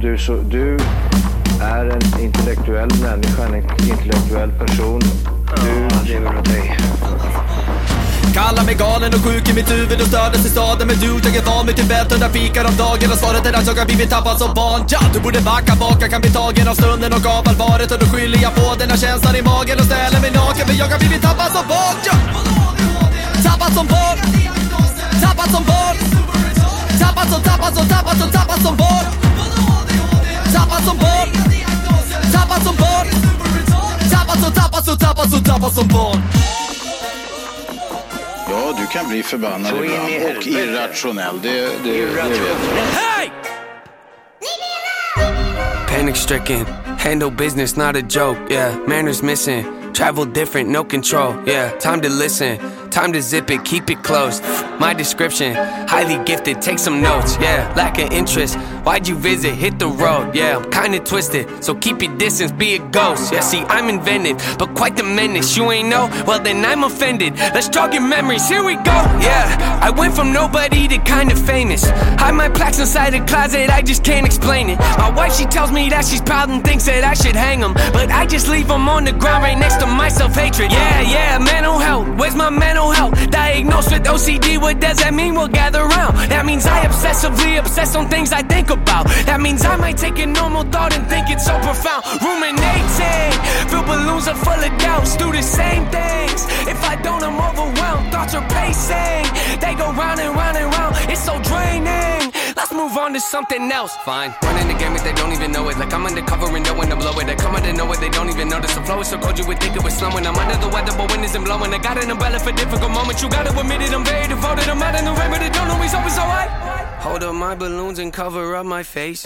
du, så, du är en intellektuell människa, en intellektuell person. Du lever av dig. Kallar mig galen och sjuk i mitt huvud och stördes i staden Men du, jag är van vid Tibet och där fikar om dagen Och svaret är att jag har blivit tappad som barn ja, Du borde backa bak, jag kan bli tagen av stunden och av allvaret Och då skyller jag på den här känslan i magen och ställer mig naken För jag har blivit tappad som barn ja. Tappad som barn Tappad som barn Tappad som, tappad som, tappad som, tappad som barn Tappad som barn Tappad som barn Tappad som, tappad som, tappad som, tappad som barn Ja, du kan bli förbannad Så in i ibland och helvete. irrationell. Det, det, det vet jag. Hej! Panic stricken, handle business, not a joke, yeah. Manners missing, travel different, no control, yeah. Time to listen, time to zip it, keep it close. My description, highly gifted, take some notes, yeah. Lack of interest, why'd you visit? Hit the road, yeah. I'm kinda twisted, so keep your distance, be a ghost, yeah. See, I'm inventive, but quite the menace. You ain't know? Well, then I'm offended. Let's jog your memories, here we go, yeah. I went from nobody to kinda famous. Hide my plaques inside a closet, I just can't explain it. My wife, she tells me that she's proud and thinks that I should hang them. But I just leave them on the ground right next to my self hatred. Yeah, yeah, mental health. Where's my mental health? Diagnosed with OCD, what does that mean? We'll gather around. That means I obsessively obsess on things I think about. That means I might take a normal thought and think it's so profound. Ruminating, fill balloons are full of doubts. Do the same things. If I don't, I'm overwhelmed. Thoughts are pacing, they go round and round and round. It's so draining. Let's move on to something else. Fine. Running the game if they don't even know it. Like I'm undercover and knowing to blow it. I come out of nowhere, they don't even notice. The flow is so cold you would think it was slowing. I'm under the weather, but wind isn't blowing. I got an umbrella for difficult moments. You gotta admit it, I'm very devoted. I'm out in the rain, but it don't always always alright. Hold up my balloons and cover up my face.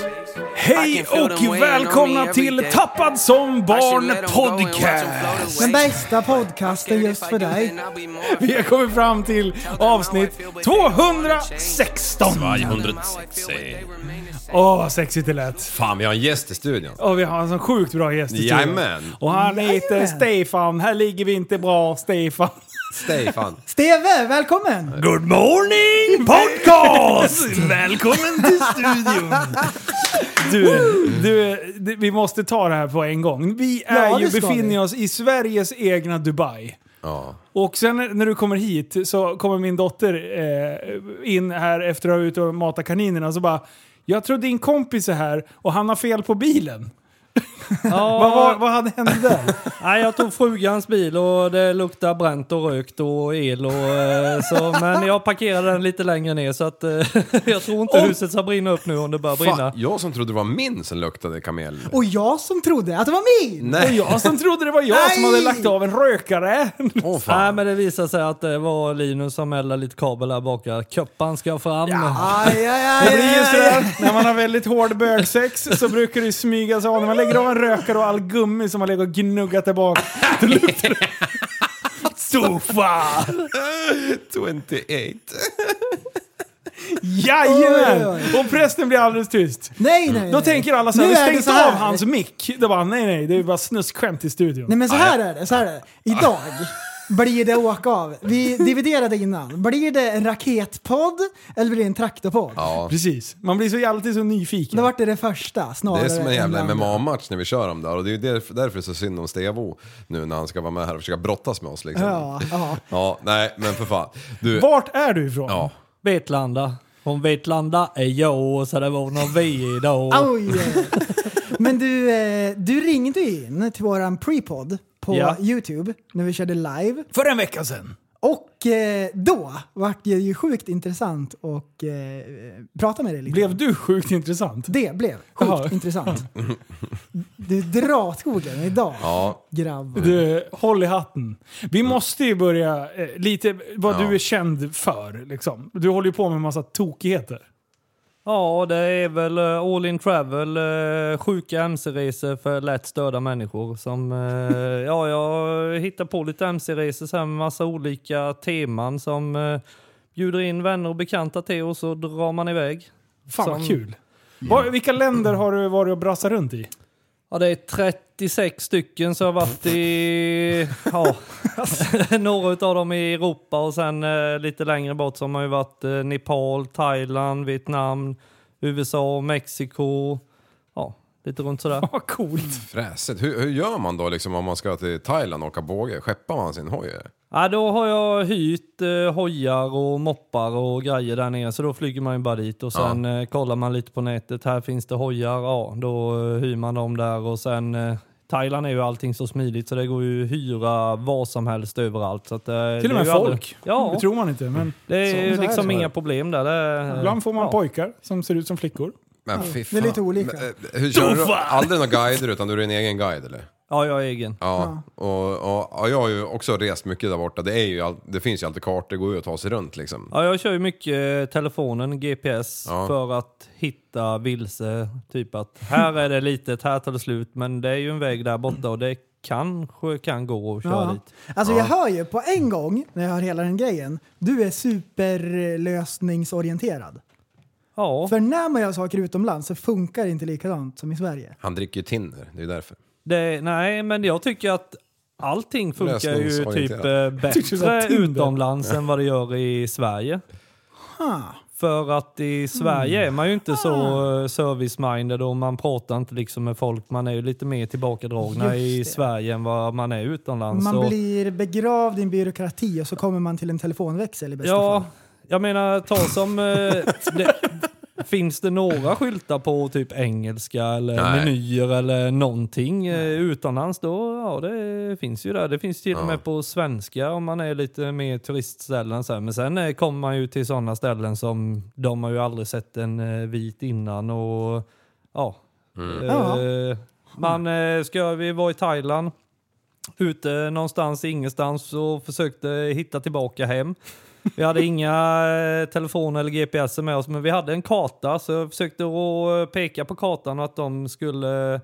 Hej och välkomna till Tappad som barn podcast! Den bästa podcasten just för dig. Vi har kommit fram till avsnitt 216! 260. Åh, vad sexigt det lät. Fan, vi har en gäst i studion. Och vi har en sån sjukt bra gäst i studion. Jajamän. Och han heter Stefan. Här ligger vi inte bra, Stefan. Stefan. Steve, välkommen! Good morning podcast! Välkommen till studion! Du, du, du, vi måste ta det här på en gång. Vi är Ja, det ju, ska befinner vi. oss i Sveriges egna Dubai. Ja. Och sen när när du kommer hit så kommer min dotter eh, in här efter att ha varit ute och matat kaninerna så bara Jag tror din kompis är här och han har fel på bilen. Vad, var, vad hade hänt där? Nej, jag tog frugans bil och det luktar bränt och rökt och el och eh, så. Men jag parkerade den lite längre ner så att eh, jag tror inte huset ska brinna upp nu om det börjar brinna. Fan, jag som trodde det var min som luktade kamel. Och jag som trodde att det var min! Och Nej. jag som alltså, trodde det var jag som Nej! hade lagt av en rökare. Åh fan. Nej men det visar sig att det var Linus som eldade lite kabel här bak. Köppan ska fram. Aj, aj, aj, Det blir ju aj, aj. sådär, när man har väldigt hård bögsex så brukar det smyga sig av. När man lägger av en rökare och all gummi som man lägger och gnuggat tillbaka. Då luktar det... Sofa! 28. Jajamän! Oj, Och prästen blir alldeles tyst. Nej, nej, Då nej. tänker alla så här, Nu vi är det stängde så här. av hans Ah, mick. Då bara, nej nej, det är bara snuskskämt i studion. Nej men så här är det, så här är det. Idag blir det åka av. Vi dividerade innan. Blir det en raketpodd eller blir det en traktorpodd? Ja. Precis. Man blir så alltid så nyfiken. Då vart det det första snarare Det är som än en det jävla andra. MMA-match när vi kör dem där och det är ju därför, därför det är så synd om Stevo nu när han ska vara med här och försöka brottas med oss liksom. Ja, ja. Ja, nej men för fan. Du, Vart är du ifrån? ja. Vetlanda. Från Vetlanda är jag så det var någon vi idag. Oj! Men du, eh, du ringde ju in till våran pre-podd på Ja. Youtube när vi körde live. För en vecka sedan. Och eh, då vart det ju sjukt intressant att eh, prata med dig lite. Blev du sjukt intressant? Det blev sjukt Jaha. intressant. Du drar åt skogen idag, Ja. grabbar. Du, håll i hatten. Vi måste ju börja eh, lite vad Mm. Ja. du är känd för. Liksom. Du håller ju på med en massa tokigheter. Ja, det är väl eh, all in travel, eh, sjuka mc-resor för lätt störda människor. Som, eh, ja, jag hittar på lite mc-resor så här med massa olika teman som eh, bjuder in vänner och bekanta till och så drar man iväg. Fan vad Som- kul. Var, vilka länder har du varit och brassat runt i? Ja, det är 36 stycken så jag har varit i ja, några av dem i Europa och sen eh, lite längre bort så har man ju varit eh, Nepal, Thailand, Vietnam, USA, Mexiko. Ja, Lite runt sådär. Vad coolt. Fräsigt. Hur, hur gör man då liksom om man ska till Thailand och åka båge? Skeppar man sin hoj? eller? Ja, då har jag hyrt eh, hojar och moppar och grejer där nere, så då flyger man ju bara dit och sen eh, kollar man lite på nätet. Här finns det hojar, ja, då eh, hyr man dem där och sen eh, Thailand är ju allting så smidigt så det går ju att hyra vad som helst överallt. Så att, eh, det Till och är ju med folk. aldrig- Ja, Mm. Det tror man inte, men det är så- ju så här liksom är det. inga problem där. Det, ibland får man ja. pojkar som ser ut som flickor. Men fy Det är fan. lite olika. Men, eh, Hur kör du? Aldrig några guider utan du är din egen guide eller? Ja, jag är egen. Ja, och, och, ja, jag har ju också rest mycket där borta. Det, är ju all, det finns ju alltid kartor, det går ju att ta sig runt liksom. Ja, jag kör ju mycket eh, telefonen, GPS, Ja. för att hitta vilse. Typ att här är det litet, här tar det slut, men det är ju en väg där borta och det kanske kan gå att köra Ja. dit. Alltså jag hör ju på en gång när jag hör hela den grejen, du är superlösningsorienterad. Ja, För när man gör saker utomlands så funkar det inte likadant som i Sverige. Han dricker ju Tinder, det är ju därför. det, nej, men jag tycker att allting funkar ju typ eh, Lösningsorienterat. tyckte du sa bättre Tinder. utomlands än vad det gör i Sverige. Ha. Mm. För att i Sverige är man ju inte så eh, service-minded och man pratar inte liksom med folk. Man är ju lite mer tillbakadragna Just i det. Sverige än vad man är utomlands. Man Och- blir begravd i en byråkrati och så kommer man till en telefonväxel i bästa Ja, fall. jag menar ta som... eh, det, finns det några skyltar på typ engelska eller Nej. menyer eller någonting eh, utomlands då? Ja, det finns ju där. Det finns till och med på svenska om man är lite mer turistställen. Så här. Men sen eh, kommer man ju till sådana ställen som de har ju aldrig sett en eh, vit innan och ja. Eh, man eh, ska, vi var i Thailand. Ute någonstans, ingenstans och försökte hitta tillbaka hem. Vi hade inga eh, telefoner eller GPS med oss, men vi hade en karta. Så jag försökte att peka på kartan och att de skulle eh,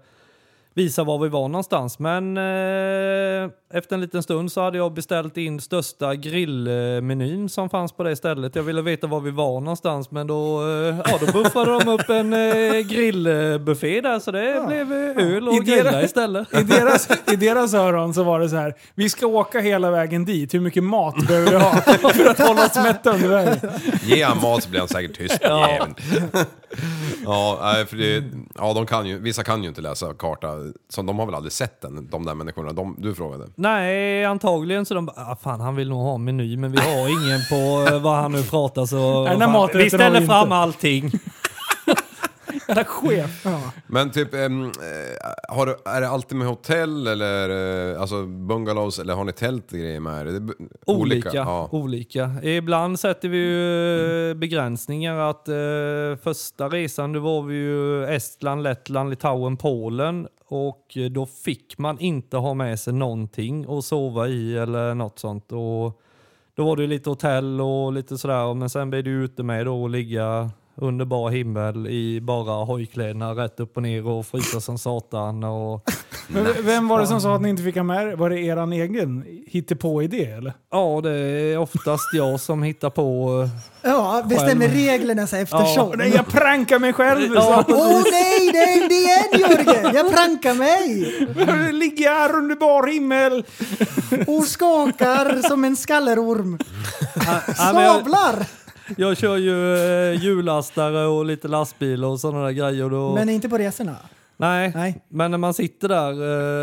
visa var vi var någonstans. Men eh, efter en liten stund så hade jag beställt in största grillmenyn som fanns på det stället. Jag ville veta var vi var någonstans, men då, eh, ja, då buffade de upp en eh, grillbuffé där. Så det blev eh, öl och Idéer. grilla istället. I deras, I deras öron så var det så här, vi ska åka hela vägen dit, hur mycket mat behöver vi ha för att hålla oss mätta under vägen? Ge han mat så blir han säkert tyst ja. ja, nej, för det, ja, de kan ju, vissa kan ju inte läsa karta. Så de har väl aldrig sett den, de där människorna de, du frågade. Nej, antagligen så de bara, ah, fan han vill nog ha en meny men vi har ingen på eh, vad han nu pratar så den här fan, maträtten vi har ställer vi fram inte." allting. Jävla chef. Ja. Men typ, ehm, eh, har du, är det alltid med hotell eller eh, alltså bungalows eller har ni tält och grejer med er? Är det b- Olika, olika. Ja. Ibland sätter vi ju eh, begränsningar att eh, första resan då var vi ju Estland, Lettland, Litauen, Polen och eh, då fick man inte ha med sig någonting och sova i eller något sånt. Och då var det ju lite hotell och lite sådär men sen blev det ju ute med då och ligga under bar himmel i bara hojkläderna rätt upp och ner och frysa som satan. Och, Men Vem var det som sa att ni inte fick ha med er? Var det eran egen hittepå-idé eller? ja, det är oftast jag som hittar på eh, Ja, bestämmer reglerna så eftersom. Nej, jag prankar mig själv! Ja. Så. Åh nej, det är det igen Jörgen! Jag prankar mig! Ligger här under bar himmel! Och skakar som en skallerorm. ja, men jag- Sablar! Jag kör ju eh, hjullastare och lite lastbilar och sådana där grejer. och Då, Men inte på resorna. nej, Nej. men när man sitter där,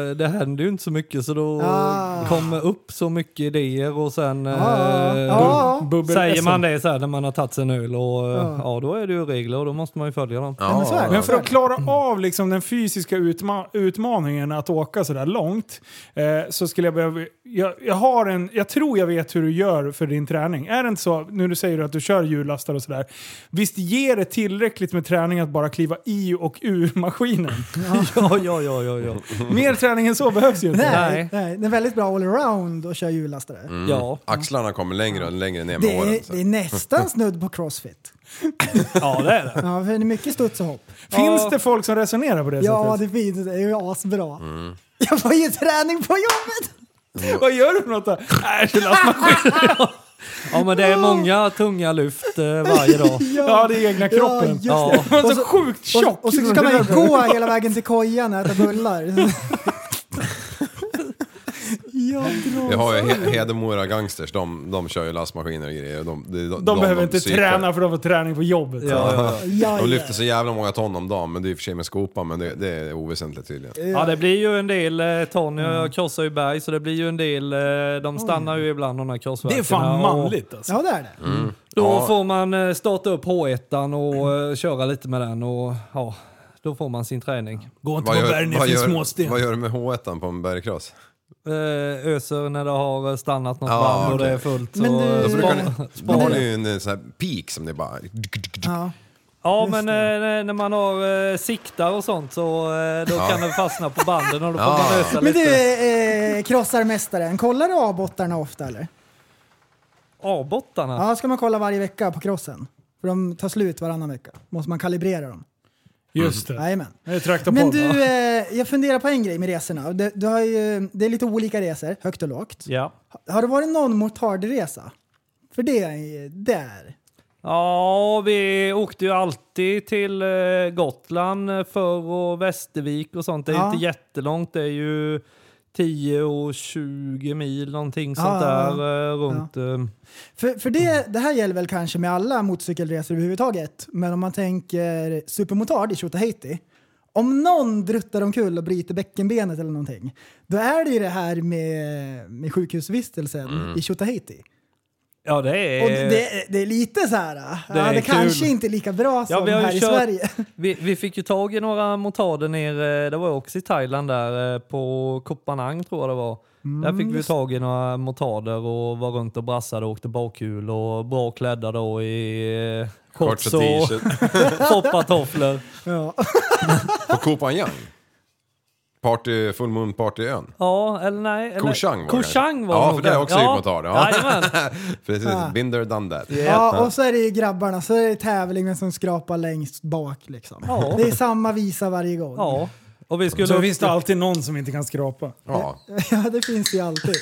eh, det händer ju inte så mycket så då Ah. kommer upp så mycket idéer och sen eh, Ja, då ja. Bubbel säger SM. man det så här när man har tagit sig en öl och eh, ja, då är det ju regler och då måste man ju följa dem. Ja, men så är det. Men för att klara av liksom den fysiska utma utmaningen att åka sådär långt eh, så skulle jag behöva... Jag, jag, har en, jag tror jag vet hur du gör för din träning. Är det inte så, nu du säger att du kör hjullastare och sådär, visst ger det tillräckligt med träning att bara kliva i och ur maskinen? Ja, ja, ja, ja, Mm. ja. Mer träning än så behövs ju inte. Nej. Nej, nej, det är väldigt bra allround att köra hjullastare. ja. Axlarna kommer längre och längre ner med Mm. Det, åren. är, så. det är nästan snudd på crossfit. ja, det är det. Ja, för det är mycket studs och hopp. Finns Ja. det folk som resonerar på det Ja, sättet? det finns. Det är ju asbra. Jag får ju träning på jobbet! Vad gör du för något då? Äh, hjullastmaskin. Ja, men det är många tunga lyft eh, varje dag. ja, det är egna kroppen. just det. Ja. Man är Och så så- sjukt tjock! Och, och så ska man ju gå hela vägen till kojan och äta bullar. Jag har ju Alltså. He- Hedemora Gangsters, de, de kör ju lastmaskiner och grejer. De, de, de, De behöver inte psykar. träna för de får träning på jobbet. Ja, ja. Ja, De lyfter så jävla många ton om dagen, men det är i och för sig med skopa, men det, det är oväsentligt tydligen. Ja, det blir ju en del eh, ton. Mm. Jag krossar ju berg, så det blir ju en del. eh, De stannar ju ibland de här Det krossverken. är fan och manligt alltså. ja, det är det. Mm. Då Ja. får man eh, starta upp H1 och eh, köra lite med den och ja, då får man sin träning. Gå inte på berg ner vad, för en gör, småsten. vad gör du med H1 på en bergkross? Eh, Öser när det har eh, stannat något Ja, varv och okej. det är fullt. Men så, du- eh, Då Brukar spana- ni, spana- då har ni ju en eh, sån här peak som det bara... Ja. Ja, Just men eh, när man har eh, siktar och sånt så eh, då kan den fastna på banden och då får Ja. man ösa Men du, lite. eh, krossarmästaren, kollar du A-bottarna ofta eller? A-bottarna? Ja, ska man kolla varje vecka på crossen? För de tar slut varannan vecka. Måste man kalibrera dem. Just Mm. det. Jajamän. Det är traktorpodd. Men du, eh, jag funderar på en grej med resorna. Du, du har ju, det är lite olika resor, högt och lågt. Ja. Har det varit någon motardresa? För det är där. Ja, vi åkte ju alltid till eh, Gotland eh, förr och Västervik och sånt. Det är Ja. inte jättelångt. Det är ju 10 och 20 mil någonting sånt ja, ja. där eh, runt. eh, För, för det, det här gäller väl kanske med alla motorcykelresor överhuvudtaget. Men om man tänker supermotard i Tjotahejti. Om någon druttar omkull och bryter bäckenbenet eller någonting. Då är det ju det här med, med sjukhusvistelsen Mm. i Tjotahejti. Ja, det Och är... det, det är lite så här. Det, ja, Eh. är det kul. kanske inte är lika bra som vi har ju här i kört- Sverige. Vi, vi fick ju tag i några motarder ner, eh, det var ju också i Thailand där, eh, på Kopanang tror jag det var. Mm, där fick vi tag i några motarder och var runt och brassade och åkte bakhjul och bra klädda då i eh, Shorts och shorts och t-shirt. foppatofflor. Ja. På Kopan Yang? Party, full moon partyön? Ja, eller nej. Eller, Koshang var det. Koshang var Ja, det för nog det är också motard, ja. Jajamän. Precis, been there done that. Ja, och så är det ju grabbarna, så är det tävling vem som skrapar längst bak liksom. Ja. Det är samma visa varje gång. Ja, Ja. Och vi skulle Så upp- finns det alltid någon som inte kan skrapa. Ja. det finns det ju alltid.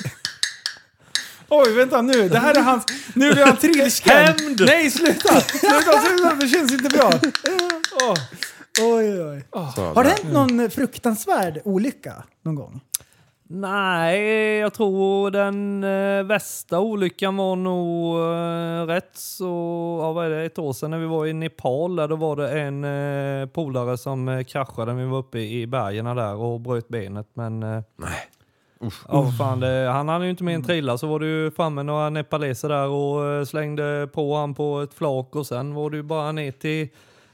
Oj, vänta nu. Det här är hans... Nu blir han trilsken. Hämnd! Nej, sluta! Sluta, sluta! Det känns inte bra. Åh. Oj, oj, oj. Så, Har det där. hänt någon fruktansvärd olycka någon gång? Nej, jag tror den eh, värsta olyckan var nog eh, rätt så, ja, vad är det, ett år sedan när vi var i Nepal. Där, då var det en eh, polare som eh, kraschade när vi var uppe i bergen där och bröt benet. Men, eh, Nej. Ja, vad fan, det, han hade ju inte mer än trilla så var det ju framme några nepaleser där och eh, slängde på han på ett flak och sen var det ju bara ner till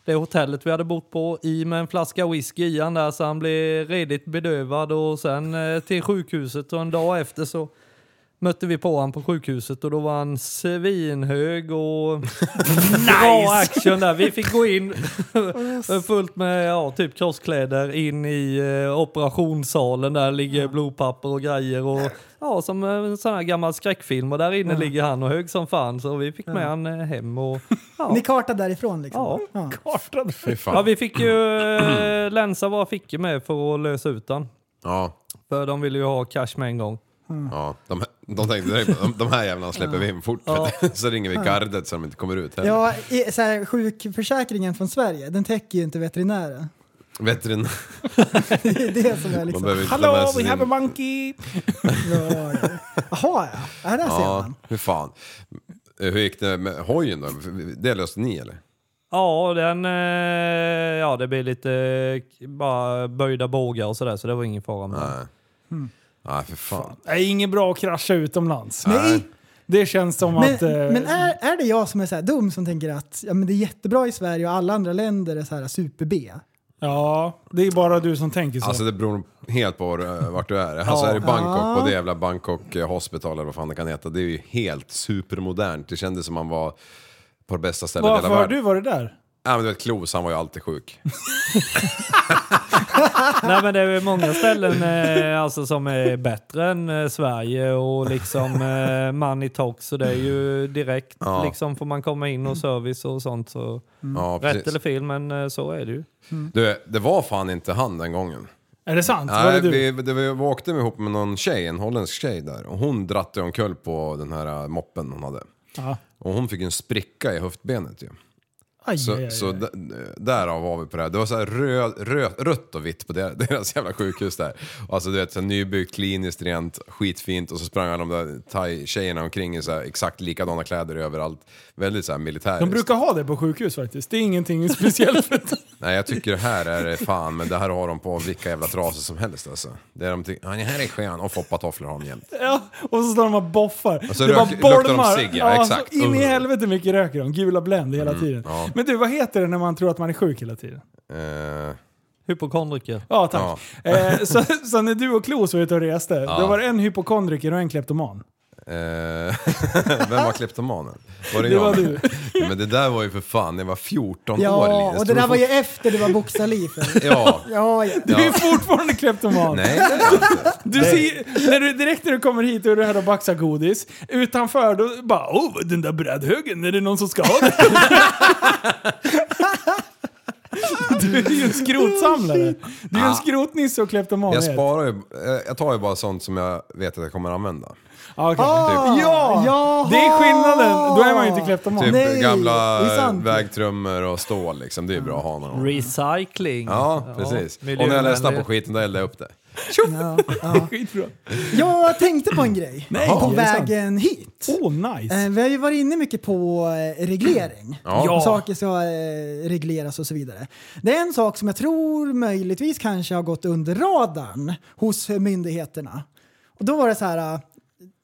det hotellet vi hade bott på i med en flaska whisky i han där så han blev redigt bedövad och sen eh, till sjukhuset och en dag efter så mötte vi på han på sjukhuset och då var han svinhög och bra action där. Vi fick gå in fullt med ja, typ crosskläder in i eh, operationssalen där ligger blodpapper och grejer och ja, som eh, en sån här gammal skräckfilm och där inne ligger han och hög som fan så vi fick med han eh, hem och ja. Ni kartade därifrån liksom? Ja. Fy Ja, fan. vi fick ju eh, länsa våra fickor med för att lösa ut den. Ja. För de ville ju ha cash med en gång. Ja, de, de tänkte direkt de, de här jävlarna släpper vi in fort. Så ringer vi gardet så de inte kommer ut heller. Ja, i, så här, sjukförsäkringen från Sverige, den täcker ju inte veterinären. Veterin, Det är det som är man liksom... behöver inte ta med Hello, sig we have a sin... monkey! Jaha ja, Ja, där ser Ja, man. hur fan. Hur gick det med hojen då? Det löste ni eller? Ja, den, eh, ja det blev lite eh, bara böjda bågar och sådär så det var ingen fara med det. Nej. Nej, för fan. Nej, inget bra att krascha utomlands. Nej, Det känns som att... eh, Men, men är, är det jag som är så här dum som tänker att ja, men det är jättebra i Sverige och alla andra länder är så här super-B? Ja, det är bara du som tänker så. Alltså det beror helt på var du- vart du är. Alltså är det Bangkok och det jävla Bangkok eh, Hospital eller vad fan det kan heta. Det är ju helt supermodernt. Det kändes som man var på det bästa stället i Varför hela har världen. du varit där? Ja men du vet Klos, han var ju alltid sjuk. Nej men det är många ställen eh, alltså, som är bättre än eh, Sverige och liksom eh, money talks så det är ju direkt Ja. liksom får man komma in och service och sånt så Ja, rätt precis. eller fel men eh, så är det ju. Du, det var fan inte han den gången. Är det sant? var det Nej, du? vi, det, vi åkte ihop med någon tjej, en holländsk tjej där. Och hon dratte omkull på den här äh, moppen hon hade. Ja. Och hon fick en spricka i höftbenet ju. Aj, aj, Så, aj, så aj. d- därav var vi på det här. Det var så här röd, röd, rött och vitt på der- deras jävla sjukhus där. Alltså du vet, så här nybyggt, kliniskt, rent, skitfint och så sprang alla de där thai-tjejerna omkring i så här exakt likadana kläder överallt. Väldigt så här militäriskt. De brukar ha det på sjukhus faktiskt. Det är ingenting speciellt. för det. Nej jag tycker det här är det fan, men det här har de på vilka jävla trasor som helst alltså. Det är de tycker, ja, det här är skön och foppatofflor har de jämt. ja, och så står de och boffar. Och så det rök- luktar de cigg, ja, så exakt. In i Uh. helvete mycket röker de. Gula Blend hela tiden. ja. Men du, vad heter det när man tror att man är sjuk hela tiden? Eh, Hypokondriker. Ja, tack. Eh, så, så när du och Klos var ute och reste, då var det en hypokondriker och en kleptoman. eh, vem var kleptomanen? Var det, Det jag? var du. Men det där var ju för fan, det var 14 år Ja, Linus. och det Tror där du var ju fort- efter det var boxarlifen. Ja. Ja, ja. Du är fortfarande kleptoman. Nej, det är jag inte. Du ser, när du, direkt när du kommer hit och är du här och baxar godis, utanför då bara oh, den där brädhögen, är det någon som ska ha den? du är ju en skrotsamlare. Du är ju en skrotnisse och kleptoman. Jag sparar ju, eh, jag tar ju bara sånt som jag vet att jag kommer använda. Ah, okej. Ah, Ja! jaha. Det är skillnaden, då är man ju inte kleptoman. Typ Nej, gamla det är sant. vägtrummor och stål liksom, det är ju bra att ha någon. gång. Recycling. Ja, precis. och när jag miljövänligt. ledsnar på skiten, då eldar jag upp det. Ja, ja. Skitbra. Jag tänkte på en grej på är det sant? vägen hit. Oh, nice. Eh, Vi har ju varit inne mycket på eh, reglering. Ja. Och Saker ska eh, regleras och så vidare. Det är en sak som jag tror möjligtvis kanske har gått under radarn hos eh, myndigheterna. Och då var det så här, eh,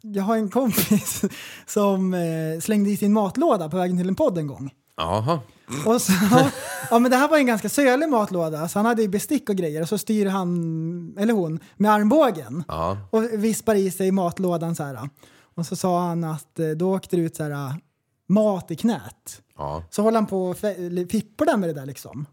jag har en kompis som eh, slängde i sin matlåda på vägen till en podd en gång. Jaha. Och så, ja, men det här var en ganska sölig matlåda, så han hade ju bestick och grejer och så styr han, eller hon, med armbågen Ja. och vispar i sig matlådan så här. Och så sa han att eh, då åkte det ut så här mat i knät. Ja. Så håller han på och fe- eller fipplar med det där liksom.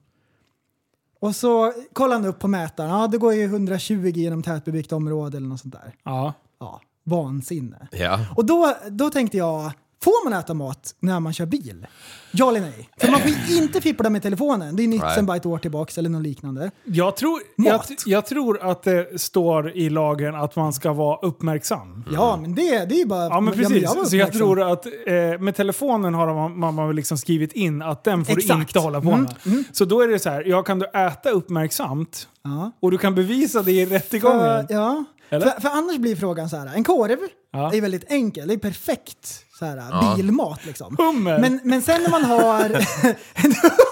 Och så kollar han upp på mätaren. Ja, det går ju 120 genom tätbebyggt område eller något sånt där. Ja. Ja, vansinne. Ja. Och då, då tänkte jag, får man äta mat när man kör bil? Ja eller nej? För man får ju inte fippla med telefonen. Det är nytt Nej. Mm. sen bara ett år tillbaks eller något liknande. Jag, tror, jag, Mat. jag tror att det står i lagen att man ska vara uppmärksam. Ja, men det, det är ju bara... Ja men precis, var så jag uppmärksam. tror att eh, med telefonen har de- man, man har liksom skrivit in att den får Exakt. du inte hålla på Mm, med. Så då är det så här, ja kan du äta uppmärksamt Ja. och du kan bevisa det i rättegången. För, ja. Eller? För, för annars blir frågan så här, en korv Ja. är väldigt enkel, det är perfekt så här, bilmat liksom. Hummer. Men, men sen när man har en hummer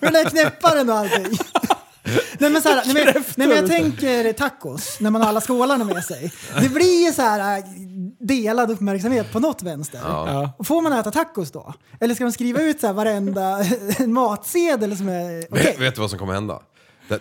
med den här knäpparen och allting. Nej men, så här, nej, men, nej men jag tänker tacos, när man har alla skålarna med sig. Det blir ju så här äh, delad uppmärksamhet på något vänster. Ja. Och Får man äta tacos då? Eller ska de skriva ut så här varenda matsedel som är okej? Vet, vet du vad som kommer hända?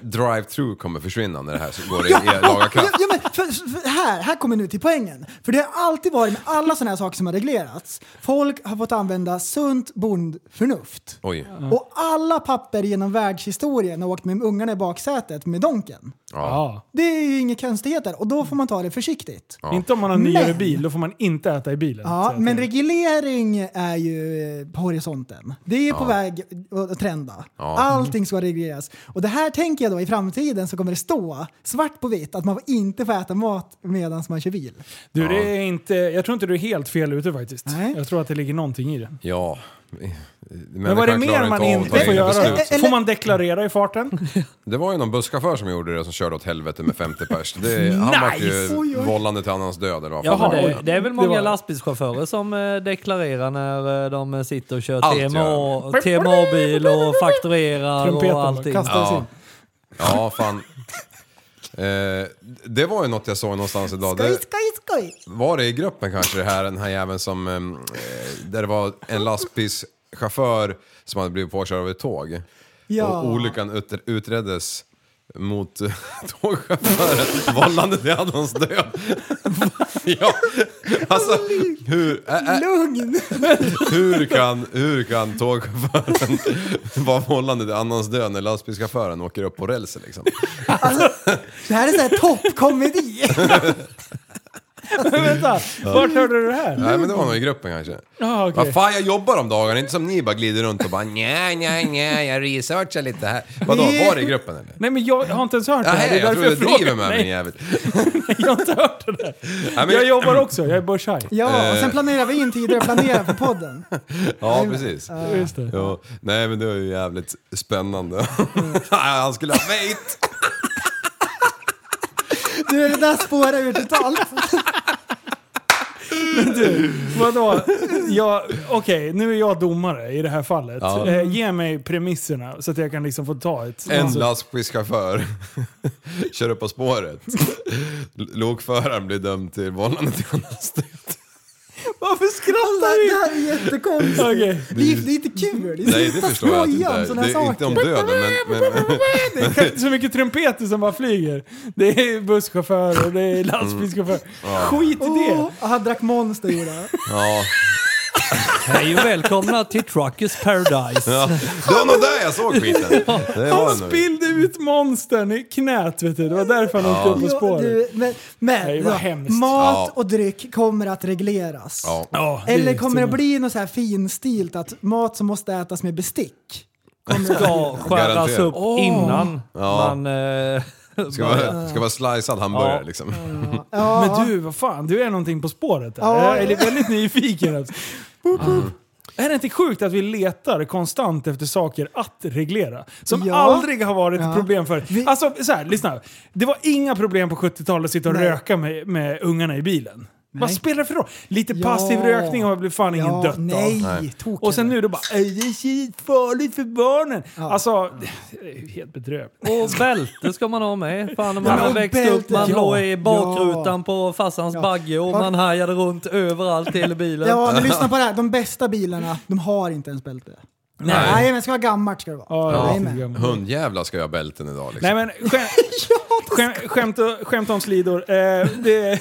Drive-through kommer försvinna när det här så går i i laga kraft. Ja, ja, men för, för, här, här kommer nu till poängen. För det har alltid varit med alla sådana här saker som har reglerats. Folk har fått använda sunt bondförnuft. Oj. Och alla papper genom världshistorien har åkt med ungarna i baksätet med donken. Ja. Ja. Det är ju inga konstigheter och då får man ta det försiktigt. Ja, Inte om man har nyare Men- bil, då får man inte äta i bilen. Så att- men reglering är ju eh, på horisonten. Det är på väg att trenda. Allting ska regleras. Och det här tänker jag då i framtiden så kommer det stå svart på vitt att man inte får äta mat medan man kör bil. du, det är inte, jag tror inte du är helt fel ute faktiskt. Nej. Jag tror att det ligger någonting i det. Ja. Men vad är det mer man inte får göra? beslut. Eller- Får man deklarera i farten? Det var ju någon busschaufför som gjorde det som körde åt helvete med 50 pers. Det, han var Nice! Oj, ju oj. vållande till annans död eller vad Ja, fan men Jaha, det, oj. det är väl Det många var- lastbilschaufförer som eh, deklarerar när eh, de sitter och kör Allt TMA, TMA-bil och fakturerar Trumpeten och bara allting. kastas Ja. in. Ja, fan. Eh, det var ju något jag såg någonstans idag. Skoj, Det, skoj, skoj! var det i gruppen kanske det här, den här jäveln som... Eh, där det var en lastbilschaufför som hade blivit påkörd av ett tåg. Ja. Och olyckan ut, utreddes mot eh, tågchauffören vållande till annans död. ja, alltså hur... Ä, ä, Äh. Lugn! Hur kan, hur kan tågchauffören vara vållande till annans död när lastbilschauffören åker upp på rälsen liksom? Det här är såhär toppkomedi. Vänta, vart hörde du det här? Nej men det var nog i gruppen kanske. Ah, okej. Vad fan jag jobbar om dagarna, inte som ni bara glider runt och bara nja nja nja jag researchar lite här. Vadå, var det i gruppen eller? Nej men jag har inte ens hört det här. Nej, Det är jag därför tror du jag driver frågar. med mig Nej, jävligt. jag har inte hört det där. Nej, men- Jag jobbar också, jag är börshaj. Ja, och Eh. sen planerar vi in tider och planerar för podden. Ja, precis. Just det. Ja, nej men det var ju jävligt spännande. Han skulle ha fejt! Du, det där spårar ur totalt. Vadå? Ja, Okej, nu är jag domare i det här fallet. Ja. Eh, ge mig premisserna så att jag kan liksom få ta ett... En alltså, lastbilschaufför kör upp på spåret. L- Lokföraren blir dömd till vållande till anastöt. varför Det skrattar här är jättekonstigt. du? Okej. Det, är, det är inte kul. Det är så Nej det jävla förstår jag att det skoj inte om är. sådana här Det är inte om döden men... men Det är kanske så mycket trumpeter som bara flyger. Det är busschaufförer och det Mm. är lastbilschaufförer. Skit i det! Åh, han drack Monster gjorde han. ja. Hej och välkomna till Truckers Paradise. ja. Det var nog där jag såg skiten. Det var Han det nog. spillde ut monstern i knät vet du. Det var därför han åkte upp på Jo, spåret. du, men men Nej, vad ja, hemskt. mat Ja. och dryck kommer att regleras. Ja. Ja, är Eller kommer det synd. bli något så här finstilt att mat som måste ätas med bestick? Ska skäras Garanterat. upp innan Ja. man... Eh, Ska vara, ska vara slicead hamburgare Ja. liksom. Ja, Men du, vad fan, du är någonting på spåret. Här. Ja. Jag är väldigt nyfiken. alltså. Är det inte sjukt att vi letar konstant efter saker att reglera? Som Ja. aldrig har varit Ja. ett problem för. Vi- Alltså, så här, lyssna. Det var inga problem på 70-talet att sitta och Nej. röka med, med ungarna i bilen. Vad spelar det för roll? Lite Ja. passiv rökning har väl fan ingen ja, dött Nej, av. nej. Och sen nu då bara "Ej, det är skitfarligt för barnen. Ja. Alltså, det är ju helt bedrövligt. Och bälte ska man ha med. Fan, när man Ja, har och växt bälte, upp, man ja. låg i bakrutan Ja. på farsans Ja. bagge och Har- man hajade runt överallt i hela bilen. Ja, men lyssna på det här. De bästa bilarna, de har inte ens bälte. Nej, men det ska vara gammalt ska det vara. Ja, Jajamän. riktigt gammalt. Hundjävlar ska jag ha bälten idag liksom. Nej men skäm, skäm, skämt, skämt om slidor. Eh, det,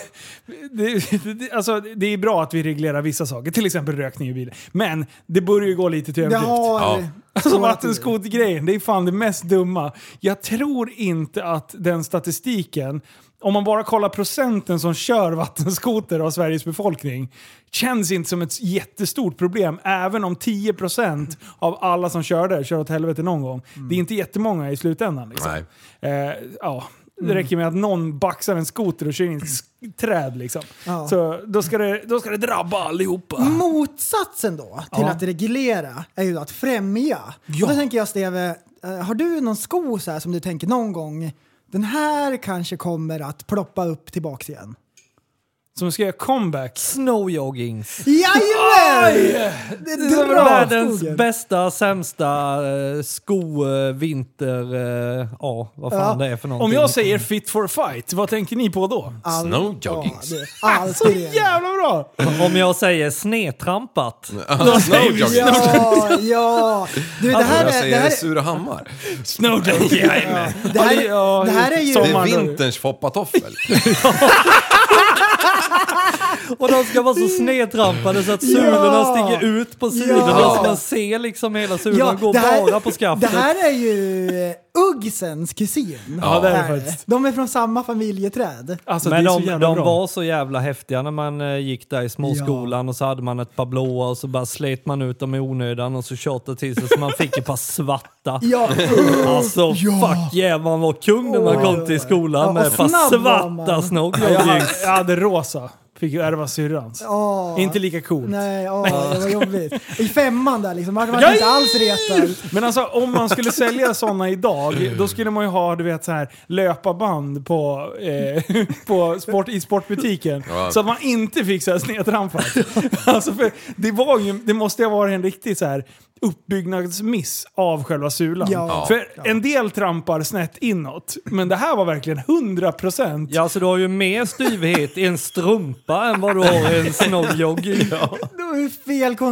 det, det, alltså, det är bra att vi reglerar vissa saker, till exempel rökning i bilen. Men det börjar ju gå lite till Det överdrift. har... Ja. Alltså vattenskotergrejen, det är fan det mest dumma. Jag tror inte att den statistiken, om man bara kollar procenten som kör vattenskoter av Sveriges befolkning, känns inte som ett jättestort problem. Även om 10% av alla som kör där kör åt helvete någon gång. Det är inte jättemånga i slutändan. Liksom. Nej. Eh, ja. Mm. Det räcker med att någon baxar en skoter och kör in i ett sk- träd liksom. Ja. Så då ska, det, då ska det drabba allihopa. Mm. Motsatsen då till Ja. att reglera är ju att främja. Ja. Och då tänker jag Steve, eh, har du någon sko så här som du tänker någon gång, den här kanske kommer att ploppa upp tillbaks igen? Som ska göra comeback. Snowjoggings. Jajamän! Det är så Världens bästa, sämsta eh, sko, eh, vinter, eh, ja vad fan Ja. det är för någonting. Om jag säger fit for fight, vad tänker ni på då? Snowjoggings. Så Alltid det. jävla bra! Om jag säger snedtrampat. Snowjoggings. Ja, ja. Du, det här Alltså, Jag är... Det här säger är Surahammar. Snowday jajamän. det här, Ja, är- det här är ju... Det är Sommar- vinterns foppatoffel. Och de ska vara så snedtrampade så att sulorna Ja. sticker ut på sidorna Ja. så man ser liksom hela sulan gå bara på skaftet. Det här är ju eh, Uggsens kusin. Ja, det är det Här. faktiskt. De är från samma familjeträd. Alltså, Men det är så de, jävla de bra. var så jävla häftiga när man eh, gick där i småskolan och så hade man ett par blåa och så bara slet man ut dem i onödan och så tjatade till sig så man fick ett par svarta. Ja, Alltså fuck yeah, man var kung när man Åh. kom till skolan Ja, med och ett par snabb var svarta man. jag, hade, snowjoggings. jag hade rosa. Fick ju ärva syrrans. Ja. Inte lika coolt. Nej, åh, det var jobbigt. I femman där liksom, man var inte alls retad. Men alltså om man skulle sälja sådana idag, då skulle man ju ha du vet, så här, löpaband på, eh, på sport, i sportbutiken. Ja. Så att man inte fick så här snedtrampat. Alltså, för det, var ju, det måste ju ha varit en riktig så här, uppbyggnadsmiss av själva sulan. Ja. För en del trampar snett inåt, men det här var verkligen 100%. Ja, så du har ju mer styvhet i en strumpa än vad du har i en snowjogging. De är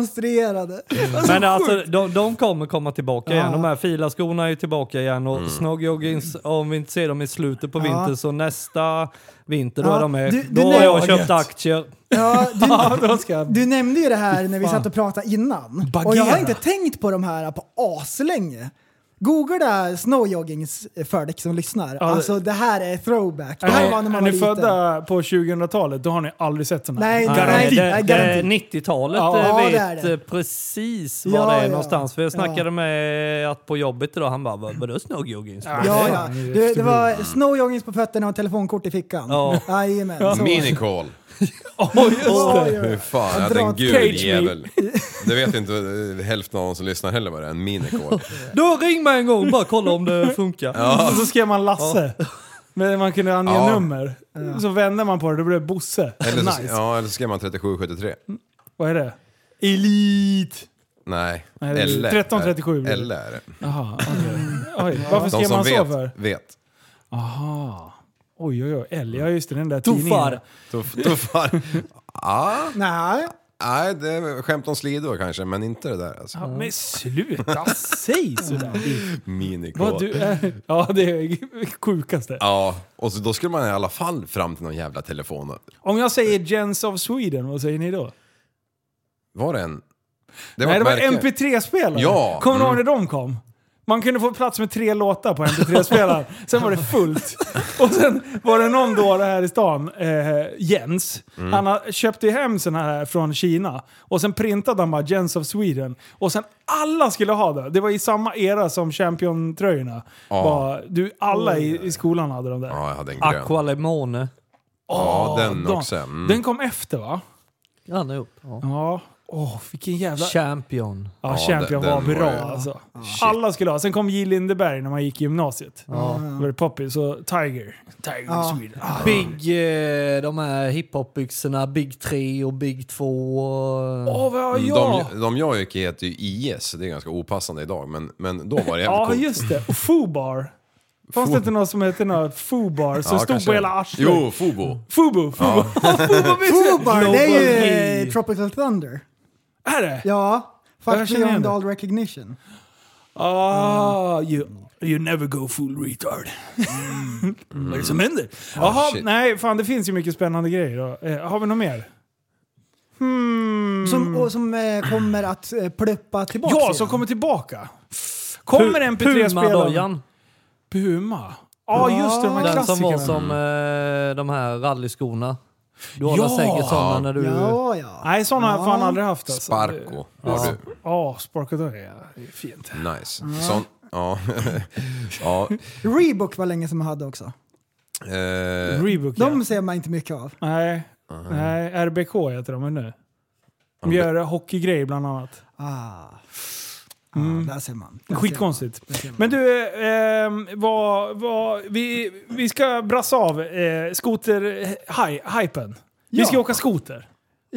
felkonstruerade. Men alltså, de, de kommer komma tillbaka igen. Ja. De här filaskorna är ju tillbaka igen och snowjoggings, om vi inte ser dem i slutet på vintern så nästa vinter då Ja. är de med. Du- då du har jag nämnde- köpt aktier. Ja, du, Ja, då ska jag... du nämnde ju det här när vi satt och pratade innan. Och jag Bagheera. har inte tänkt på de här på aslänge. Googla snowjoggings för dig eh, som lyssnar. Alltså det här är throwback. Det Är här ni, var när man är var ni liten. födda på 2000-talet, då har ni aldrig sett sådana Nej, här. Nej, garanti. det, det, Nej, garanti. 90-talet Ja, eh, det vet är det. eh, precis var Ja, det är ja. någonstans. För jag snackade Ja. med att på jobbet idag, han bara "Vad- “Vadå snowjoggings?” Ja, ja. Du, det var snowjoggings på fötterna och telefonkort i fickan. Ja. Jajamän. så. Minicall. Åh, just det! Ja, ja. Hur fan, jag hade dra en åt gul cage jävel. Det vet inte eh, hälften av dem som lyssnar heller vad det är, en minicall. Då ring mig en gång bara kolla om det funkar. Och så skrev man Lasse. Men man kunde ange Ja. nummer. Så vände man på det, då blev det Bosse. Eller så, nice. ja, eller så skrev man 3773. Vad är det? Elit! Nej, Nej, det är L är- 1337 blir det. L är det. Jaha, okej. Oj, varför De skrev som man så vet, för? vet. Aha. Oj, oj, oj. L, ja just det, den där Tuffar. Tuff, tuffar. ah, Nej, nej, det är skämt om slidor kanske, men inte det där. Alltså. Ja, men sluta, säg sådär! Vad Minikåt. du är. Ja, det är sjukaste. Ja, och så, då skulle man i alla fall fram till någon jävla telefon. Om jag säger Gens of Sweden, vad säger ni då? Var det en? Det Nej, det ett var märke. MP3-spelare. Ja, Kommer du ihåg när mm. de kom? Man kunde få plats med tre låtar på MP3-spelaren. Sen var det fullt. Och sen var det någon då här i stan, eh, Jens. Mm. Han har- köpte ju hem sådana här från Kina. Och sen printade han bara Jens of Sweden. Och sen alla skulle ha det. Det var i samma era som Champion-tröjorna. Ja. Bara, Du, alla i, i skolan hade de där. Ja, jag hade en grön. Aqua Limone. Ja, den de- också. Mm. Den kom efter va? Ja, nu. Ja. Ja. Åh, vilken jävla... Champion. Ja, Ja, Champion den- var den bra var ju- alltså. Alla skulle ha. Sen kom J. Lindeberg när man gick i gymnasiet. Då var det poppis och Tiger. Tiger Ja. of Sweden. Ah. Big, eh, de här hiphop-byxorna, Big 3 och Big 2. och- Åh, vad har jag? De, de jag gick i heter ju IS, det är ganska opassande idag, men, men då var det jävligt ja, coolt. just det. Och Fubar. Fanns det inte någon som hette något Fubar som Ja, stod kanske. på hela arslet? Alltså, Jo, Fobo. Fubu! Fubu! Ja. Fubar, det är ju Snowjogging. eh, Tropical Thunder. Är det? Ja, Jag Fuck känner igen Beyond det. All Recognition. Ah, you, you never go full retard. Mm. Vad är det som händer? Jaha, Mm. Ah, shit. nej fan det finns ju mycket spännande grejer. Då. Eh, har vi något mer? Som, och som eh, kommer att eh, pluppa tillbaka. Mm. Ja, igen. som kommer tillbaka. Kommer MP3-spelaren? Puma-dojan. Puma. Ja, just det. De här Den som klassikerna. var som eh, de här rallyskorna. Du har Ja! väl säkert sådana när du... Ja, ja. Nej, sådana har jag fan Ja. aldrig haft. Alltså. Barco var du. Ja, sparkodoja. Det är fint. Nice. Sån, ja. ja. Reebok var länge som jag hade också. Eh, Reebok, ja. De ser man inte mycket av. Nej. Nej, RBK heter de nu. De gör hockeygrejer bland annat. Ah. Ah, Där ser man. Där Mm. Skitkonstigt. ser man. Men du, ehm, vad, vad, vi, vi ska brassa av eh, skoter-hypen. Vi Ja. ska åka skoter. ser man.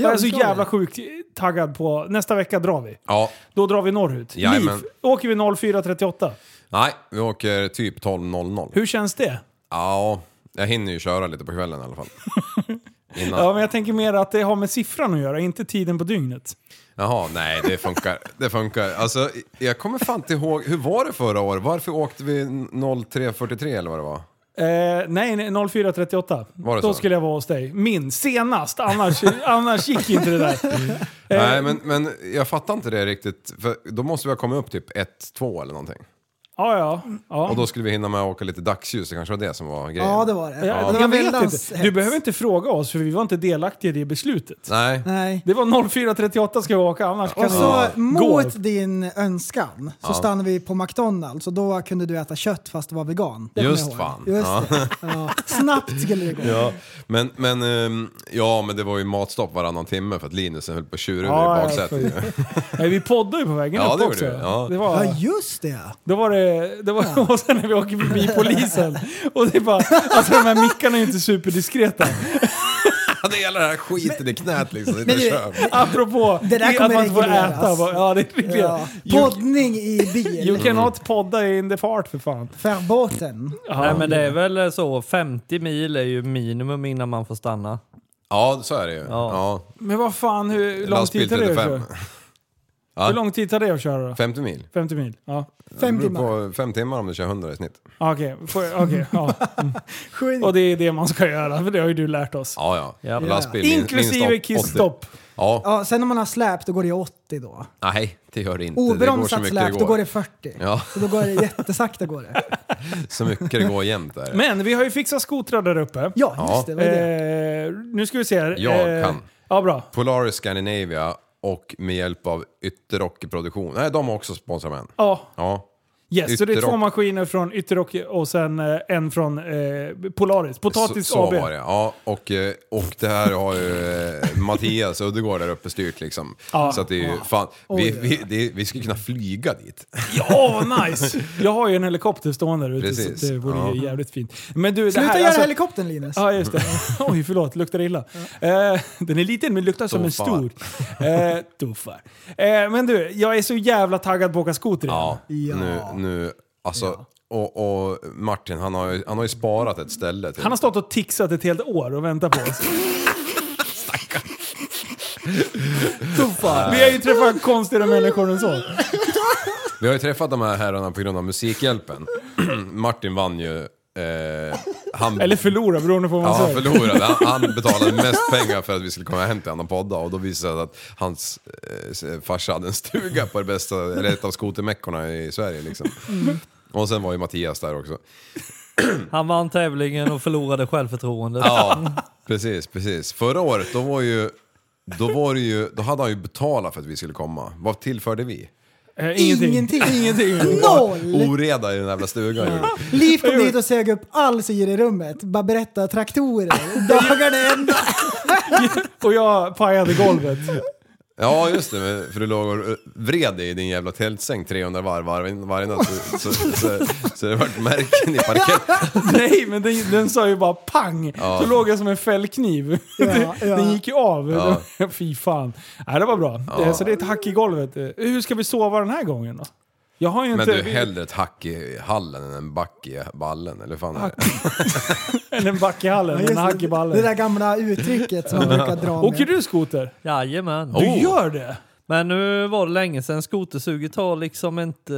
jag är så det ska jävla vi. sjukt taggad på... Nästa vecka drar vi. ja. Då drar vi norrut. Jajamän. Liv, åker vi 04.38. Nej, vi åker typ 12.00. Hur känns det? Ja, jag hinner ju köra lite på kvällen i alla fall. Innan. Ja, men jag tänker mer att det har med siffran att göra, inte tiden på dygnet. Jaha, nej det funkar. Det funkar. Alltså, jag kommer fan inte ihåg, hur var det förra året? Varför åkte vi 03.43 eller vad det var? Eh, nej, nej, 04.38. Var det Då så? skulle jag vara hos dig. Min, senast. Annars, annars gick inte det där. Nej, men, men jag fattar inte det riktigt. För då måste vi ha kommit upp typ 1-2 eller någonting. Ja, ja. ja. Och då skulle vi hinna med att åka lite dagsljus, det kanske var det som var grejen. Ja, det var det. jag, det var jag vet väldans inte. hets. Du behöver inte fråga oss, för vi var inte delaktiga i det beslutet. Nej. Nej. Det var 04.38 ska vi åka, annars kan Och så vi gå. Alltså, mot din önskan så stannade vi på McDonalds och då kunde du äta kött fast du var vegan. Det kommer jag Just ihåg. fan. Just Ja. det. Ja. Snabbt skulle det gå. Ja, men, men, ehm, ja, men det var ju matstopp varannan timme för att Linus höll på att tjura ur Ja, i ja, baksätet. Nej, vi poddade ju på vägen Ja, upp det gjorde också. vi. Ja. Det var... Ja, just det. Då var det, det var, och sen när vi åker förbi polisen och det är bara, alltså de här mickarna är ju inte superdiskreta. Han hade hela den här skiten i knät liksom. Men Men, det- kör. Apropå Det där att kommer man inte får regleras. äta. Bara, Ja, det är Ja. ja. You, Poddning i you bil. cannot podda in the fart för fan. Verboten. Nej men det är väl så, 50 mil är ju minimum innan man får stanna. Ja, så är det ju. Ja. Men vad fan, hur lång tid Lastbil tar det? 35. tror du? Ja. Hur lång tid tar det att köra då? 50 mil. 50 mil? Ja. Det Fem beror timmar. på fem timmar om du kör 100 i snitt. Ah, Okej, Får- okej, ja. Sju- och det är det man ska göra. För det har ju du lärt oss. Ja, ja. Ja. Lastbil, min- Inklusive minst åt- 80. kissstopp. Ja, Ja, sen om man har släp då går det 80 då. nej det gör det inte. det går Obromsat så mycket släp, det då går. går det 40. Ja, Så då går det jättesakta går det. så mycket det går jämt där. Men vi har ju fixat skotrar där uppe. Ja, Ja. just det. Vad är det? Eh, nu ska vi se här. Eh, Jag kan. Ja, bra. Polaris Scandinavia och med hjälp av Ytterrocker Produktion. Nej, de har också sponsrat med en. Ja, Ja. yes. Så det är två Ytterrock. maskiner från Ytterrock och sen eh, en från eh, Polaris. Potatis så, så AB. var det, ja. Och, eh, och det här har ju eh, Mattias Uddegård där uppe styrt liksom. Ja. Så att det är ju, fan, vi, vi, det, är- vi skulle kunna flyga dit. Ja, nice! Jag har ju en helikopter stående där ute så Precis. det vore Ja. ju jävligt fint. Men du, det Sluta här, göra alltså- helikoptern Linus. Ja, just det. Oj, förlåt. Luktar illa. Eh, den är liten men luktar som en Tuffar. stor. Eh, tuffar. Eh, men du, jag är så jävla taggad på att åka skoter igen. Ja, Ja. nu, nu alltså. Och, och Martin, han har, ju, han har ju sparat ett ställe till. Han har stått och tixat ett helt år och väntat på oss. Tuffar. Vi har ju träffat konstigare människor än så. Vi har ju träffat de här herrarna på grund av Musikhjälpen. Martin vann ju... Eh, han, Eller förlora beroende på vad man Ja, han säger. förlorade. Han, han betalade mest pengar för att vi skulle komma hem till honom och podda och då visade det sig att hans eh, farsa hade en stuga på det bästa, eller ett av skotermäckorna i Sverige liksom. Och sen var ju Mattias där också. Han vann tävlingen och förlorade självförtroendet. Ja, precis, precis. Förra året då var ju, då var det ju, då hade han ju betalat för att vi skulle komma. Vad tillförde vi? Eh, ingenting. Ingenting. Ingenting. Noll! Oreda i den jävla stugan ju. Liv kom dit och sög upp all syre i rummet. Bara berätta traktorer. Dagarna ända. Och jag pajade golvet. Ja just det, men- för du låg och vred dig i din jävla tältsäng 300 varv varje varje natt. Så, så, så, så det vart märken i parketten. Nej, men den, den sa ju bara pang! Så låg jag som en fällkniv. Ja, ja. Den gick ju av. Ja. Fy fan. Nej, det var bra. Eh, Så det är ett hack i golvet. Eh, Hur ska vi sova den här gången då? Jag har ju Men inte... du, hellre ett hack i hallen än en back i ballen, eller fan är det? Än en back i hallen, Ja, en just hack i det, det ballen. där gamla uttrycket som man brukar dra Åker med. du skoter? Jajamän. Du Oh. gör det? Men nu var det länge sedan. Skotersuget har liksom inte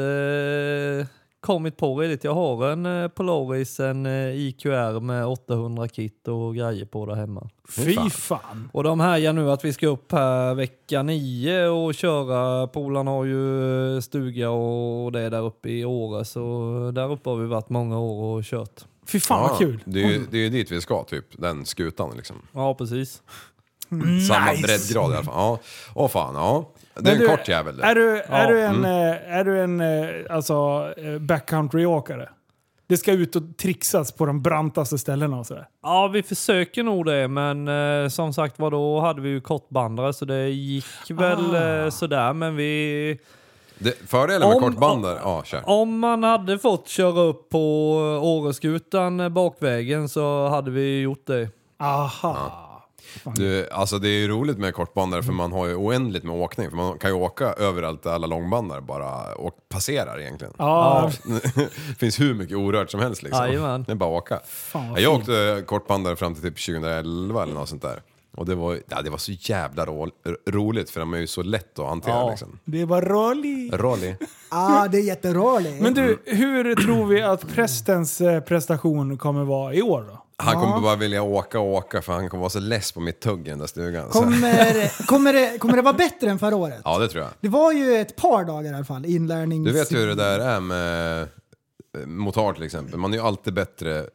eh, kommit på riktigt. Jag har en eh, Polaris, en eh, IQR med 800 kit och grejer på där hemma. Fy fan. Och de här gör nu att vi ska upp här vecka 9 och köra. Polarna har ju eh, stuga och det där uppe i Åre så där uppe har vi varit många år och kört. Fy fan vad kul. Det är, ju, det är ju dit vi ska, typ. Den skutan liksom. Ja precis. Samma breddgrad i alla fall. Ja. Åh fan, ja. Det är en Mm. Men du, kort jävel Mm. det. Är du, är Ja. du en, eh, är du en eh, alltså, eh, backcountry-åkare? Det ska ut och trixas på de brantaste ställena och sådär. Ja vi försöker nog det men eh, som sagt var då hade vi ju kortbandare så det gick väl eh, sådär men vi det fördelen med Om- kortbandare, ja kör. Om man hade fått köra upp på Åreskutan bakvägen så hade vi gjort det. Aha. Du, alltså det är ju roligt med kortbandare för man har ju oändligt med åkning. För man kan ju åka överallt där alla långbandare bara och passerar egentligen. Ja, Det finns hur mycket orört som helst liksom. Jajamän. Det är bara att åka. vad jag åkte kortbandare fram till typ 2011 eller något sånt där. Och det var, ja, det var så jävla ro, roligt för de är ju så lätt att hantera Ja. liksom. det var roligt. Rolly. Ah, det är jätteroligt. Men du, hur tror vi att prästens eh, prestation kommer vara i år då? Han kommer bara vilja åka och åka för han kommer vara så less på mitt tugg i den där stugan. Så- Kommer, kommer, det, kommer det vara bättre än förra året? Ja det tror jag. Det var ju ett par dagar i alla fall, inlärnings... Du vet ju hur det där är med eh, Motard till exempel. Man är ju alltid bättre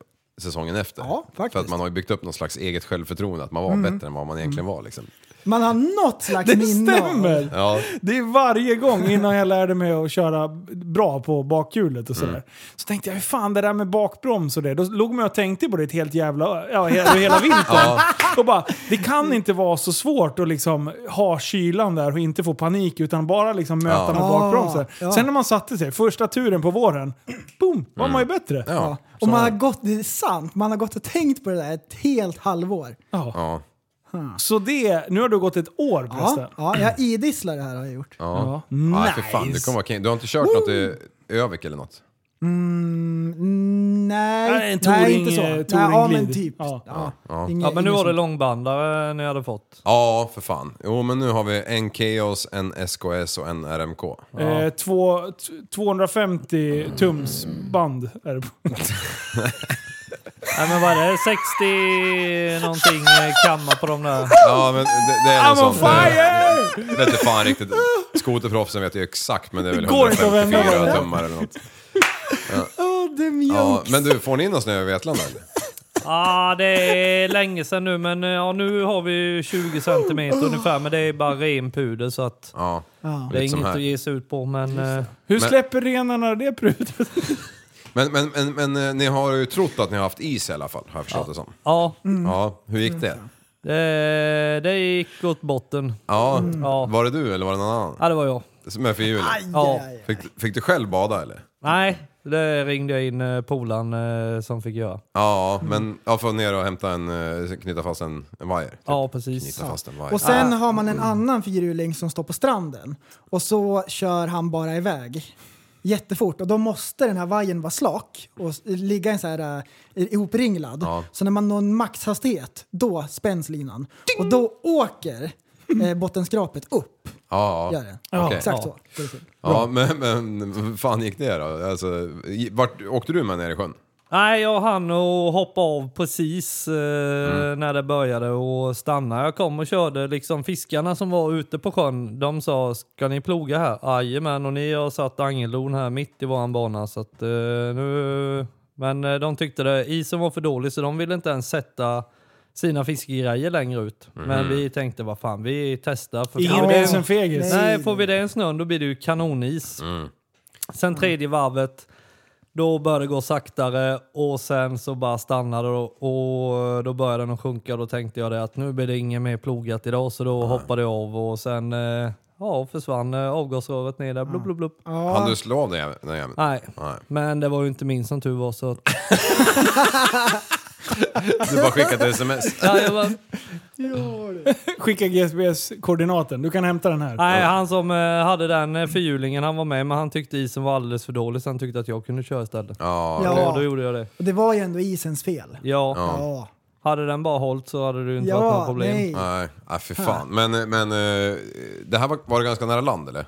säsongen efter. Ja, faktiskt. För att man har ju byggt upp någon slags eget självförtroende. Att man var bättre än vad man egentligen var liksom. Man har något slags Det minne av- stämmer! Ja. Det är varje gång innan jag lärde mig att köra bra på bakhjulet och sådär. Mm. Så tänkte jag, hur fan det där med bakbroms och det. Då låg man och tänkte på det ett helt jävla, ja, hela, hela vintern. Och bara, det kan inte vara så svårt att liksom ha kylan där och inte få panik utan bara liksom möta med Ah, bakbromsen. ja. Sen när man satte sig, första turen på våren, boom, var man ju Mm. bättre. Ja. Och man har gått, det är sant, man har gått och tänkt på det där ett helt halvår. Ja. Ja. Så det, nu har du gått ett år Ja, förresten. ja jag idisslar det här har jag gjort. Ja. Mm. Nice. Nej, för fan, du kommer vara king. Du har inte kört något i Övik eller något? Mm, mm, nej, Nej, en nej, touring- inte så. eh, Nej, ja, touringglid. men typ. Ja. Ja. Ja. Inge- Ja, men nu inget var det sånt. långbandare ni hade fått. Ja, för fan. Jo, men nu har vi en Chaos, en SKS och en RMK. Eh, två, t- 250 tums band är det. Nej, men vad är det? 60 någonting eh, kammar på de där. Ja, men det, det är I'm något on sånt. fire! Jag vet inte fan riktigt. Skoterproffsen vet ju exakt, men det är väl Det går inte att vända 154 på det. tummar eller något. Åh, det är Ja, mjölk. men du, får ni in någon snö över Vetlanda eller? Ah, det är länge sedan nu, men eh, ja, nu har vi ju 20 centimeter ungefär. Men det är bara ren puder så att Ja. Ja. det är Lite som inget här. att ge sig ut på. Men eh, Hur Men- släpper renarna det prutet? Men, men, men, men eh, ni har ju trott att ni har haft is i alla fall, har jag förstått det som. ja, Mm. Ja, hur gick det? det, det gick åt botten. Ja, Mm. Ja. var det du eller var det någon annan? ja, det var jag. Som är för julen? Ja. Aj, aj, aj. Fick, fick du själv bada eller? Nej, det ringde jag in eh, polaren eh, som fick göra. Ja, Mm. men jag får ner och hämta en, eh, knyta fast en, en vajer. Typ. Ja, precis. Knyta fast en vajer. Och sen Ah. har man en annan fyrhjuling som står på stranden och så kör han bara iväg jättefort och då måste den här vajern vara slak och s- ligga i en så här eh, ihopringlad. Ja. Så när man når en maxhastighet, då spänns linan och då åker eh, bottenskrapet upp. Ja, Gör ja. det. Ja, okej. Exakt Ja. så. Det är kul. ja men, men hur fan gick det då? Alltså, i- vart åkte du med ner i sjön? Nej, jag hann och hoppa av precis eh, Mm. när det började och stanna. Jag kom och körde liksom fiskarna som var ute på sjön. De sa, ska ni ploga här? Jajamän, och ni har satt angeldon här mitt i våran bana. Så att, eh, nu... Men eh, de tyckte det, isen var för dålig så de ville inte ens sätta sina fiskegrejer längre ut. Mhm. Men vi tänkte, vad fan, vi testar. För Ingen fan." blir som fegis. Nej, får vi den snön då blir det ju kanonis. Mm. Sen tredje varvet, då började det gå saktare och sen så bara stannade det och, och då började den att sjunka. Då tänkte jag det att nu blir det inget mer plogat idag så då hoppade jag av och sen eh, ja, försvann eh, avgasröret ner där. Blub, blub, blub. Hann du slå av den jäveln? den jäveln? Nej, Nej. men det var ju inte min som tur var så att, Du bara skickat ett sms? ja, jag bara, Skicka GPS-koordinaten. Du kan hämta den här. Nej, han som eh, hade den eh, fyrhjulingen han var med men han tyckte isen var alldeles för dålig så han tyckte att jag kunde köra istället. Ja, Ja. Ja, då gjorde jag det. Och det var ju ändå isens fel. Ja. Ja, Hade den bara hållit så hade det inte varit några ja problem. nej. nej, nej för fan. Men, men eh, det här var, var det ganska nära land eller?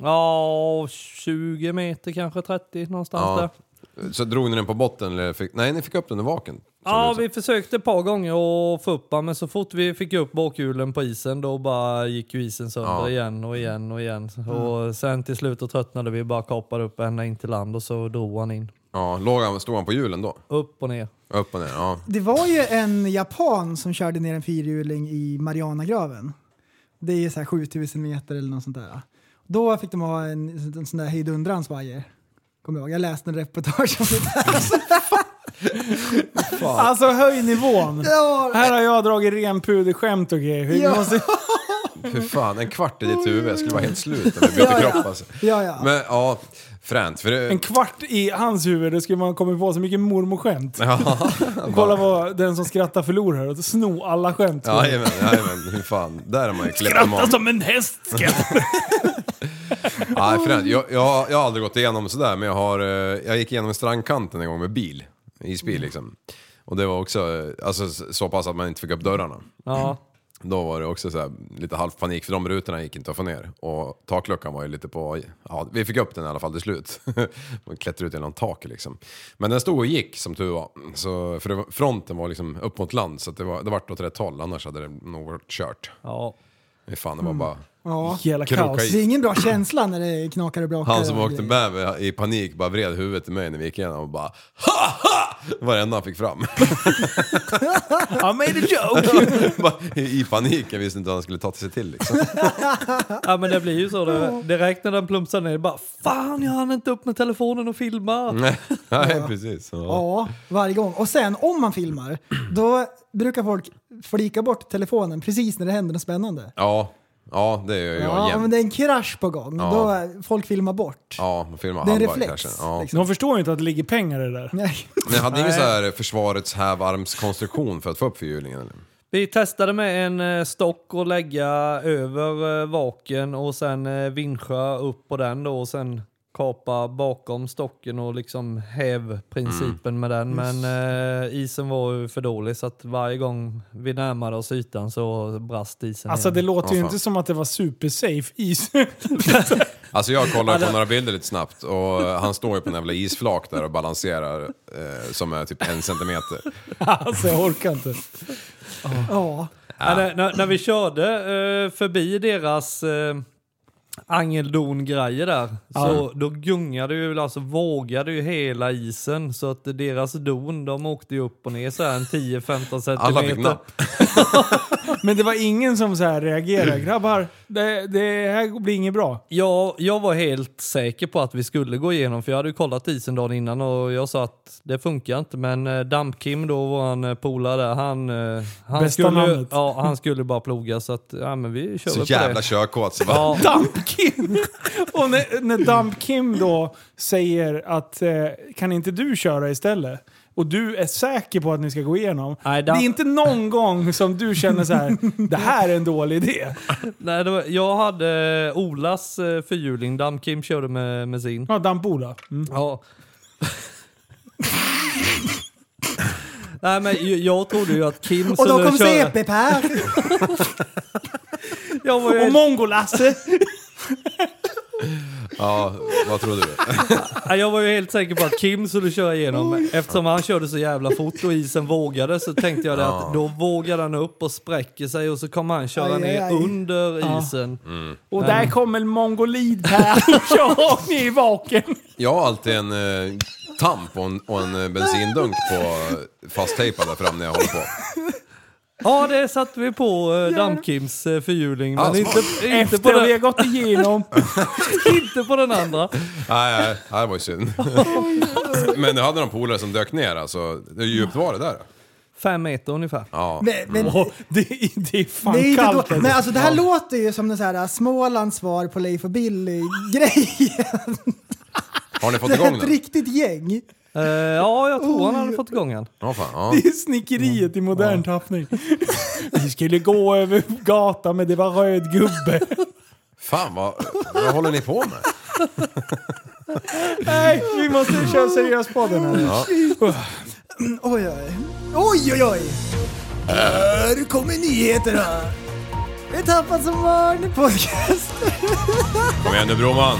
Ja, 20 meter kanske 30 någonstans Ja. där. Så drog ni den på botten eller? Fick, nej, ni fick upp den i vaken. som Ja, du sa. vi försökte ett par gånger att få upp den, men så fort vi fick upp bakhjulen på isen då bara gick ju isen sönder Ja. Mm. igen och igen och igen. Och sen till slut då tröttnade vi, bara kapade upp ända in till land och så drog han in. Ja, låg han, stod han på hjulen då? Upp och ner. Upp och ner, ja. Det var ju en japan som körde ner en fyrhjuling i Marianagraven. Det är ju så här 7000 meter eller något sånt där. Då fick de ha en, en sån där hejdundrans vajer. Kommer jag ihåg. Jag läste en reportage om det där. Alltså höj nivån. Ja, Här har jag dragit renpuderskämt och grejer. Vi Ja. måste- Hur fan, en kvart i ditt huvud. Jag skulle vara helt slut när vi bytte Ja, ja. kropp alltså. ja, ja. Men ja, fränt. För det, En kvart i hans huvud, då skulle man komma på så mycket mormorskämt. ja, Kolla vad den som skrattar förlorar och sno alla skämt. jajamän, jajamän. Hur fan, där är man ju kleptoman. som en häst! Nej, fränt. Jag, jag, har- jag har aldrig gått igenom sådär, men jag, har, eh, jag gick igenom strandkanten en gång med bil. Isbil liksom. Och det var också eh, alltså, s- så pass att man inte fick upp dörrarna. Ja. Då var det också så här, lite halv panik för de rutorna gick inte att få ner. Och takluckan var ju lite på... Ja, vi fick upp den i alla fall till slut. Man klättrade ut genom taket liksom. Men den stod och gick som tur var. Så, för det var, fronten var liksom upp mot land så att det, var, det vart åt rätt håll. Annars hade det nog varit kört. Ja. Fy fan, det var bara... ja. Jävla Kroka kaos. i. Det är ingen bra känsla när det knakar och brakar. Han som och åkte grejer. med mig i panik bara vred huvudet till mig när vi gick igenom och bara ha ha! Det var det enda han fick fram. I made a joke! Bara I i paniken visste inte vad han skulle ta till sig till liksom. Ja men det blir ju så. Det, direkt när den plumpsar ner bara Fan jag hann inte upp med telefonen och filma. Nej, nej, precis. Ja. Ja, varje gång. Och sen om man filmar, då brukar folk flika bort telefonen precis när det händer något spännande. Ja, ja det gör jag Ja, men jämt. det är en krasch på gång. Ja. Då är- folk filmar bort. Ja, man filmar Det är en halva reflex, kanske. Ja. liksom. De förstår ju inte att det ligger pengar i det där. Nej. Ni hade ingen så här försvarets hävarmskonstruktion för att få upp fyrhjulingen? eller? Vi testade med en eh, stock och lägga över eh, vaken och sen eh, vindscha upp på den då och sen kapa bakom stocken och liksom hävprincipen med den. Men eh, isen var ju för dålig så att varje gång vi närmade oss ytan så brast isen Alltså det igen. låter ju Vad fan. inte som att det var supersafe is. Alltså jag kollade på några bilder lite snabbt och eh, han står ju på en jävla isflak där och balanserar eh, som är typ en centimeter. alltså jag orkar inte. Ja. Ja, när- när, när vi körde eh, förbi deras eh, angeldon-grejer där, så då gungade ju, alltså vågade ju hela isen så att deras don, de åkte ju upp och ner så här en 10-15 Alla fick centimeter. napp. Men det var ingen som så här reagerade. Grabbar, det, det här blir inget bra. Jag, jag var helt säker på att vi skulle gå igenom för jag hade ju kollat isen dagen innan och jag sa att det funkar inte men eh, Damp-Kim då, vår eh, polare, där, han, eh, han, Bästa skulle, namnet. ja, han skulle bara ploga så att ja, men vi kör Så väl på det. jävla körkåt. Så bara, Ja, Dump Kim! Och när, när Dump Kim då säger att eh, kan inte du köra istället? Och du är säker på att ni ska gå igenom. Nej, Det Dump- är inte någon gång som du känner så här. det här är en dålig idé. Nej, det var, jag hade eh, Olas eh, fyrhjuling. Dam-Kim körde med, med sin. Ja, Dampola. Mm. Ja. Nej, men jag, jag trodde ju att Kim Och då skulle kom köra... CP Per! Jag var ju Och Mongolasse! ja, vad trodde du? Ja, Jag var ju helt säker på att Kim skulle köra igenom. Eftersom han körde så jävla fort och isen vågade så tänkte jag det att då vågar han upp och spräcker sig och så kommer han köra Aj, aj, ner aj. under isen. Och där kommer mongolid här och kör ner i vaken. Jag har alltid en eh, tamp och en, och en eh, bensindunk på fasttejpad där fram när jag håller på. Ja, det satte vi på eh, Dam-Kims eh, fyrhjuling. Men Ah, smart. inte, inte, på Efter vi har den, gått igenom. inte på den andra. Nej, nej, nej, det var ju synd. Men jag hade någon polare som dök ner alltså. Hur djupt var det där? Fem meter ungefär. Ja. Men, men, Åh, det, är- det är fan det är inte kallt. då, alltså. men alltså det här låter ju som den så här äh, Smålands svar på Leif och Billy-grejen. Har ni fått Det är igång ett den? riktigt gäng. Eh, ja, jag tror han hade fått igång den. Ja, fan, ja. Det är snickeriet i modern tappning. Vi skulle gå över gatan men det var röd gubbe. fan vad, vad håller ni på med? Nej, vi måste köra seriös podden här. Oj, oj. Oj, oj, oj! Här kommer nyheterna! Vi tappar som barn podcast. Kom igen nu Broman!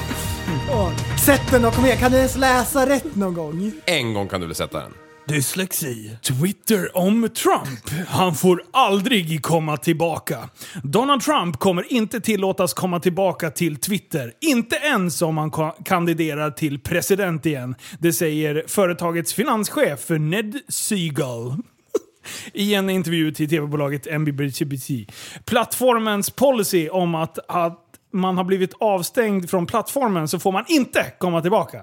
Åh, Sätt den då, kom igen. Kan du ens läsa rätt någon gång? En gång kan du väl sätta den? Dyslexi. Twitter om Trump. Han får aldrig komma tillbaka. Donald Trump kommer inte tillåtas komma tillbaka till Twitter. Inte ens om han ka- kandiderar till president igen. Det säger företagets finanschef Ned Seagal. I en intervju till tv-bolaget NBBTBT. Plattformens policy om att, att man har blivit avstängd från plattformen så får man inte komma tillbaka.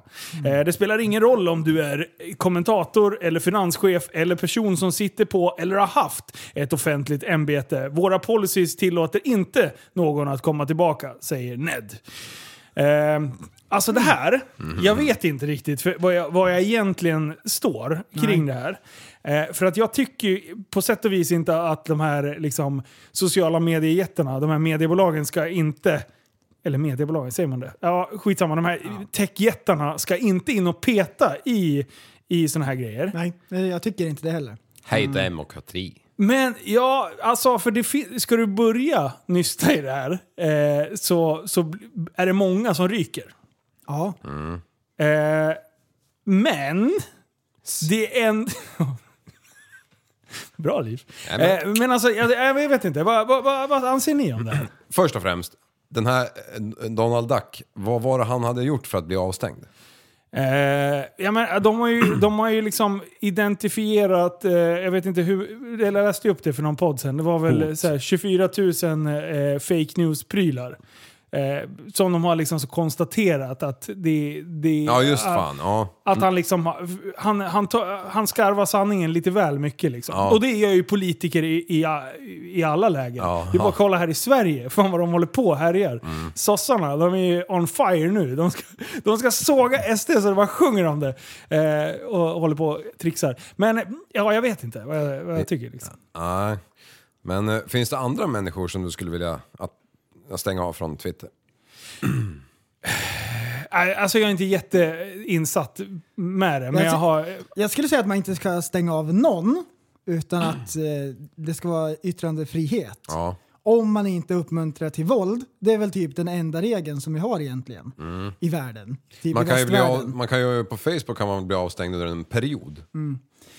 Eh, Det spelar ingen roll om du är kommentator, eller finanschef eller person som sitter på eller har haft ett offentligt ämbete. Våra policies tillåter inte någon att komma tillbaka, säger Ned. Eh, alltså det här, jag vet inte riktigt för vad, jag, vad jag egentligen står kring det här. Eh, för att jag tycker ju på sätt och vis inte att de här liksom, sociala mediejättarna, de här mediebolagen ska inte eller mediebolagen, säger man det? Ja, skitsamma. De här techjättarna ska inte in och peta i, i såna här grejer. Nej, jag tycker inte det heller. Hej demokrati. Men ja, alltså för det fin- ska du börja nysta i det här eh, så, så bl- är det många som ryker. Ja. Eh, men... Det är en... Bra liv. Ja, men- Eh, men alltså, jag, jag vet inte. Vad, vad, vad, vad anser ni om det här? Först och främst, den här eh, Donald Duck, vad var det han hade gjort för att bli avstängd? Eh, ja, men de, har ju, de har ju liksom identifierat, eh, jag vet inte hur, eller jag läste ju upp det för någon podd sen, det var väl så här, 24 000 eh, fake news-prylar. Eh, som de har liksom så konstaterat att det... det Ja, just att- fan. Ja. Att han liksom har- han, han, tar- han skarvar sanningen lite väl mycket liksom. Ja. Och det gör ju politiker i, i, i alla lägen. Ja. Mm. det är bara att kolla här i Sverige, fan vad de håller på och härjar. Sossarna, de är ju on fire nu. De ska, de ska såga SD så det bara sjunger om det. Eh, och håller på och trixar. Men ja, jag vet inte vad jag, vad jag tycker liksom. Nej. Men eh, finns det andra människor som du skulle vilja att, att stänga av från Twitter? Nej, Alltså jag är inte jätteinsatt med det, men Jag jag ty- alltså, har... Jag skulle säga att man inte ska stänga av någon utan att eh, det ska vara yttrandefrihet. Ja. Om man inte uppmuntrar till våld. Det är väl typ den enda regeln som vi har egentligen i världen. Typ Man i kan, ju bli av, västvärlden. man kan ju, på Facebook kan man bli avstängd under en period.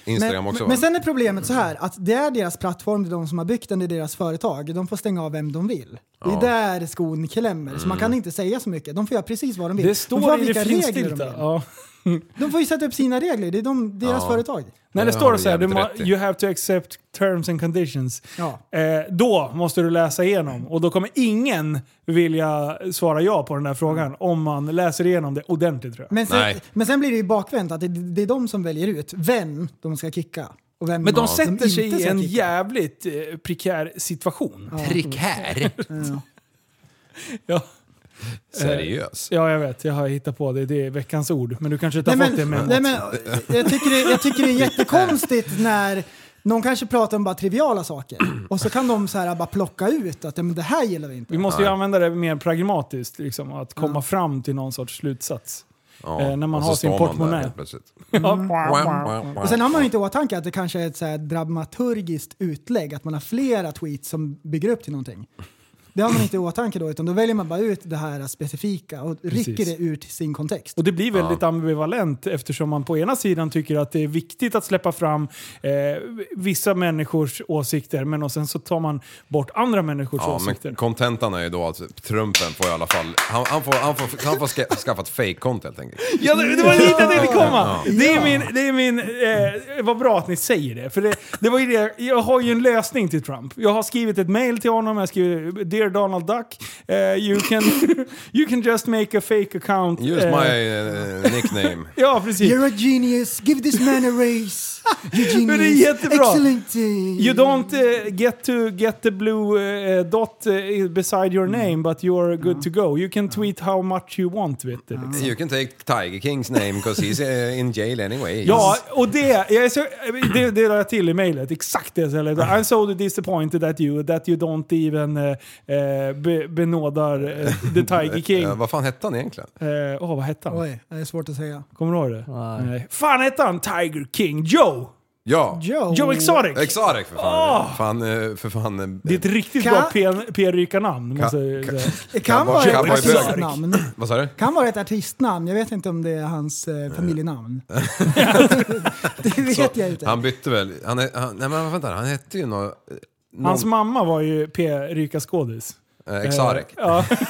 Instagram men, också men- va? men sen är problemet så här att det är deras plattform, det är de som har byggt den, det är deras företag. De får stänga av vem de vill. Det Ja. Mm. är där skon klämmer. Så man kan inte säga så mycket. De får göra precis vad de vill. Det de får ha står i det finstilta. de vill. Ja. De får ju sätta upp sina regler, det är de, deras Ja. företag. När det Det har står du så här, du jävligt må, rätt i. you have to accept terms and conditions. Ja. Eh, då måste du läsa igenom och då kommer ingen vilja svara ja på den här frågan om man läser igenom det ordentligt tror jag. Men sen, Nej. men sen blir det ju bakvänt att det, det är de som väljer ut vem de ska kicka. Och vem Men de de sätter sig inte i ska en kicka. jävligt eh, prekär situation. Prekär. Ja. Seriös. ja, jag vet. Jag har hittat på det. Det är veckans ord. Men du kanske inte Nej, har fått det men, med. nej, men, eh, jag, tycker det, jag tycker det är jättekonstigt när någon kanske pratar om bara triviala saker och så kan de så här bara plocka ut att ja, men det här gillar vi inte. Vi måste ju använda det mer pragmatiskt, liksom, att komma fram till någon sorts slutsats. Ja. Eh, när man Och så har sin står man där portmonnä. helt plötsligt. Och sen har man ju inte i åtanke att det kanske är ett så här dramaturgiskt utlägg, att man har flera tweets som bygger upp till någonting. Det har man inte i åtanke då, utan då väljer man bara ut det här specifika och rycker Precis. det ur till sin kontext. Och det blir väldigt ambivalent eftersom man på ena sidan tycker att det är viktigt att släppa fram eh, vissa människors åsikter men och sen så tar man bort andra människors Ja, åsikter. men kontentan är ju då att Trumpen får i alla fall... Han, han får, han får, han får ska, skaffa ett fake-konto helt enkelt. Ja, det det var dit jag tänkte komma! Det är min... Det är min eh, vad bra att ni säger det. För det, det var ju det, jag har ju en lösning till Trump. Jag har skrivit ett mail till honom, jag skriver “Dear Donald Duck, eh, you, can, you can just make a fake account”. Use eh, my eh, nickname. Ja, precis. You're a genius, give this man a raise! You're Men genius, det är jättebra. excellent! eh, You don't eh, get to get the blue eh, dot eh, beside your Mm. name but you're good to go. You can tweet how much you want vet du. liksom. You can take Tiger Kings name because he's eh, in jail anyway. Ja, och det, jag är så, det, det la jag till i mejlet. Exakt det jag läste. I'm so disappointed at you that you don't even eh, eh, be, benådar eh, the Tiger King. Eh, vad fan hette han egentligen? Eh, Åh, vad hette han? Oj, det är svårt att säga. Kommer du ihåg det? Nej. Fan hette han Tiger King? Joe! Ja! Joe, Joe Exotic! Exarek för fan. fan eh, för fan. eh, det är ett riktigt Ka- bra p- p-rykarnamn. måste jag Ka- säga. det kan Cowboy- vara ett Cowboy Böger. artistnamn. Vad sa du? Kan vara ett artistnamn, jag vet inte om det är hans eh, familjenamn. det vet jag inte. Han bytte väl... Han, är- han, nej men vänta, han hette ju någon... eh, någon Hans mamma var ju p-rykarskådis. eh, Exarek. Ja. Mm.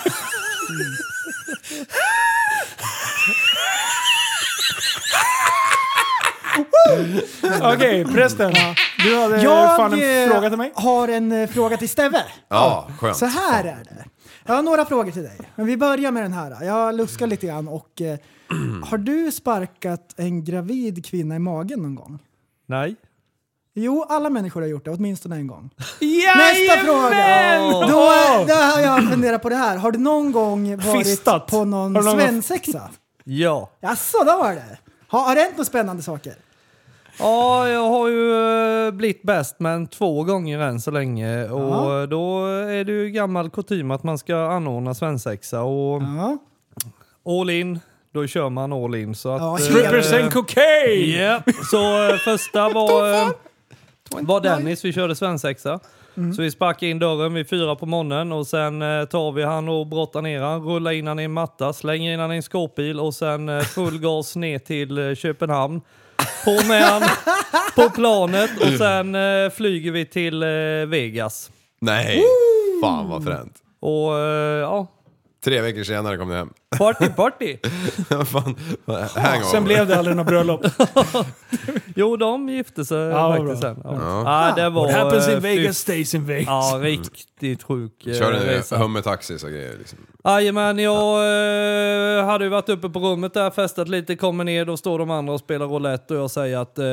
Okej, prästen. Du hade fan en eh, fråga till mig. har en eh, fråga till Steve. Ja, skönt. Så här är det. Jag har några frågor till dig. Men vi börjar med den här. Jag luskar lite grann och eh, har du sparkat en gravid kvinna i magen någon gång? Nej. Jo, alla människor har gjort det, åtminstone en gång. Nästa Jajamän! fråga! Då, Åh! då har jag funderat på det här. Har du någon gång varit Fistat. på Har någon du någon gång- svensexa? Ja. Jaså, då var det. Har, har det hänt några spännande saker? Ja, jag har ju eh, blivit bäst men två gånger än så länge och Ja. eh, då är det ju gammal kutym att man ska anordna svensexa och Ja. all in, då kör man all in så att... Ja, eh, Strippers and cocaine! Japp, så eh, första var, eh, var Dennis, vi körde svensexa. Mm. Så vi sparkade in dörren vid fyra på morgonen och sen eh, tar vi han och brottar ner han, rullar in han i en matta, slänger in han i en skåpbil och sen eh, full gas ner till eh, Köpenhamn. På med han på planet och sen eh, flyger vi till eh, Vegas. Nej! Fan vad fränt. Och eh, ja, Tre veckor senare kom ni hem. party party! fan, hangover. Sen blev det aldrig något bröllop. Jo, de gifte sig Ja, vad faktiskt bra. sen. Ja. Ja, det var... What happens eh, in fy Vegas stays in Vegas. Ja, riktigt sjuk eh, Körde ni resa. hummertaxis och grejer liksom? Jajamän, jag eh, hade ju varit uppe på rummet där, festat lite, kommer ner, då står de andra och spelar roulette och jag säger att eh,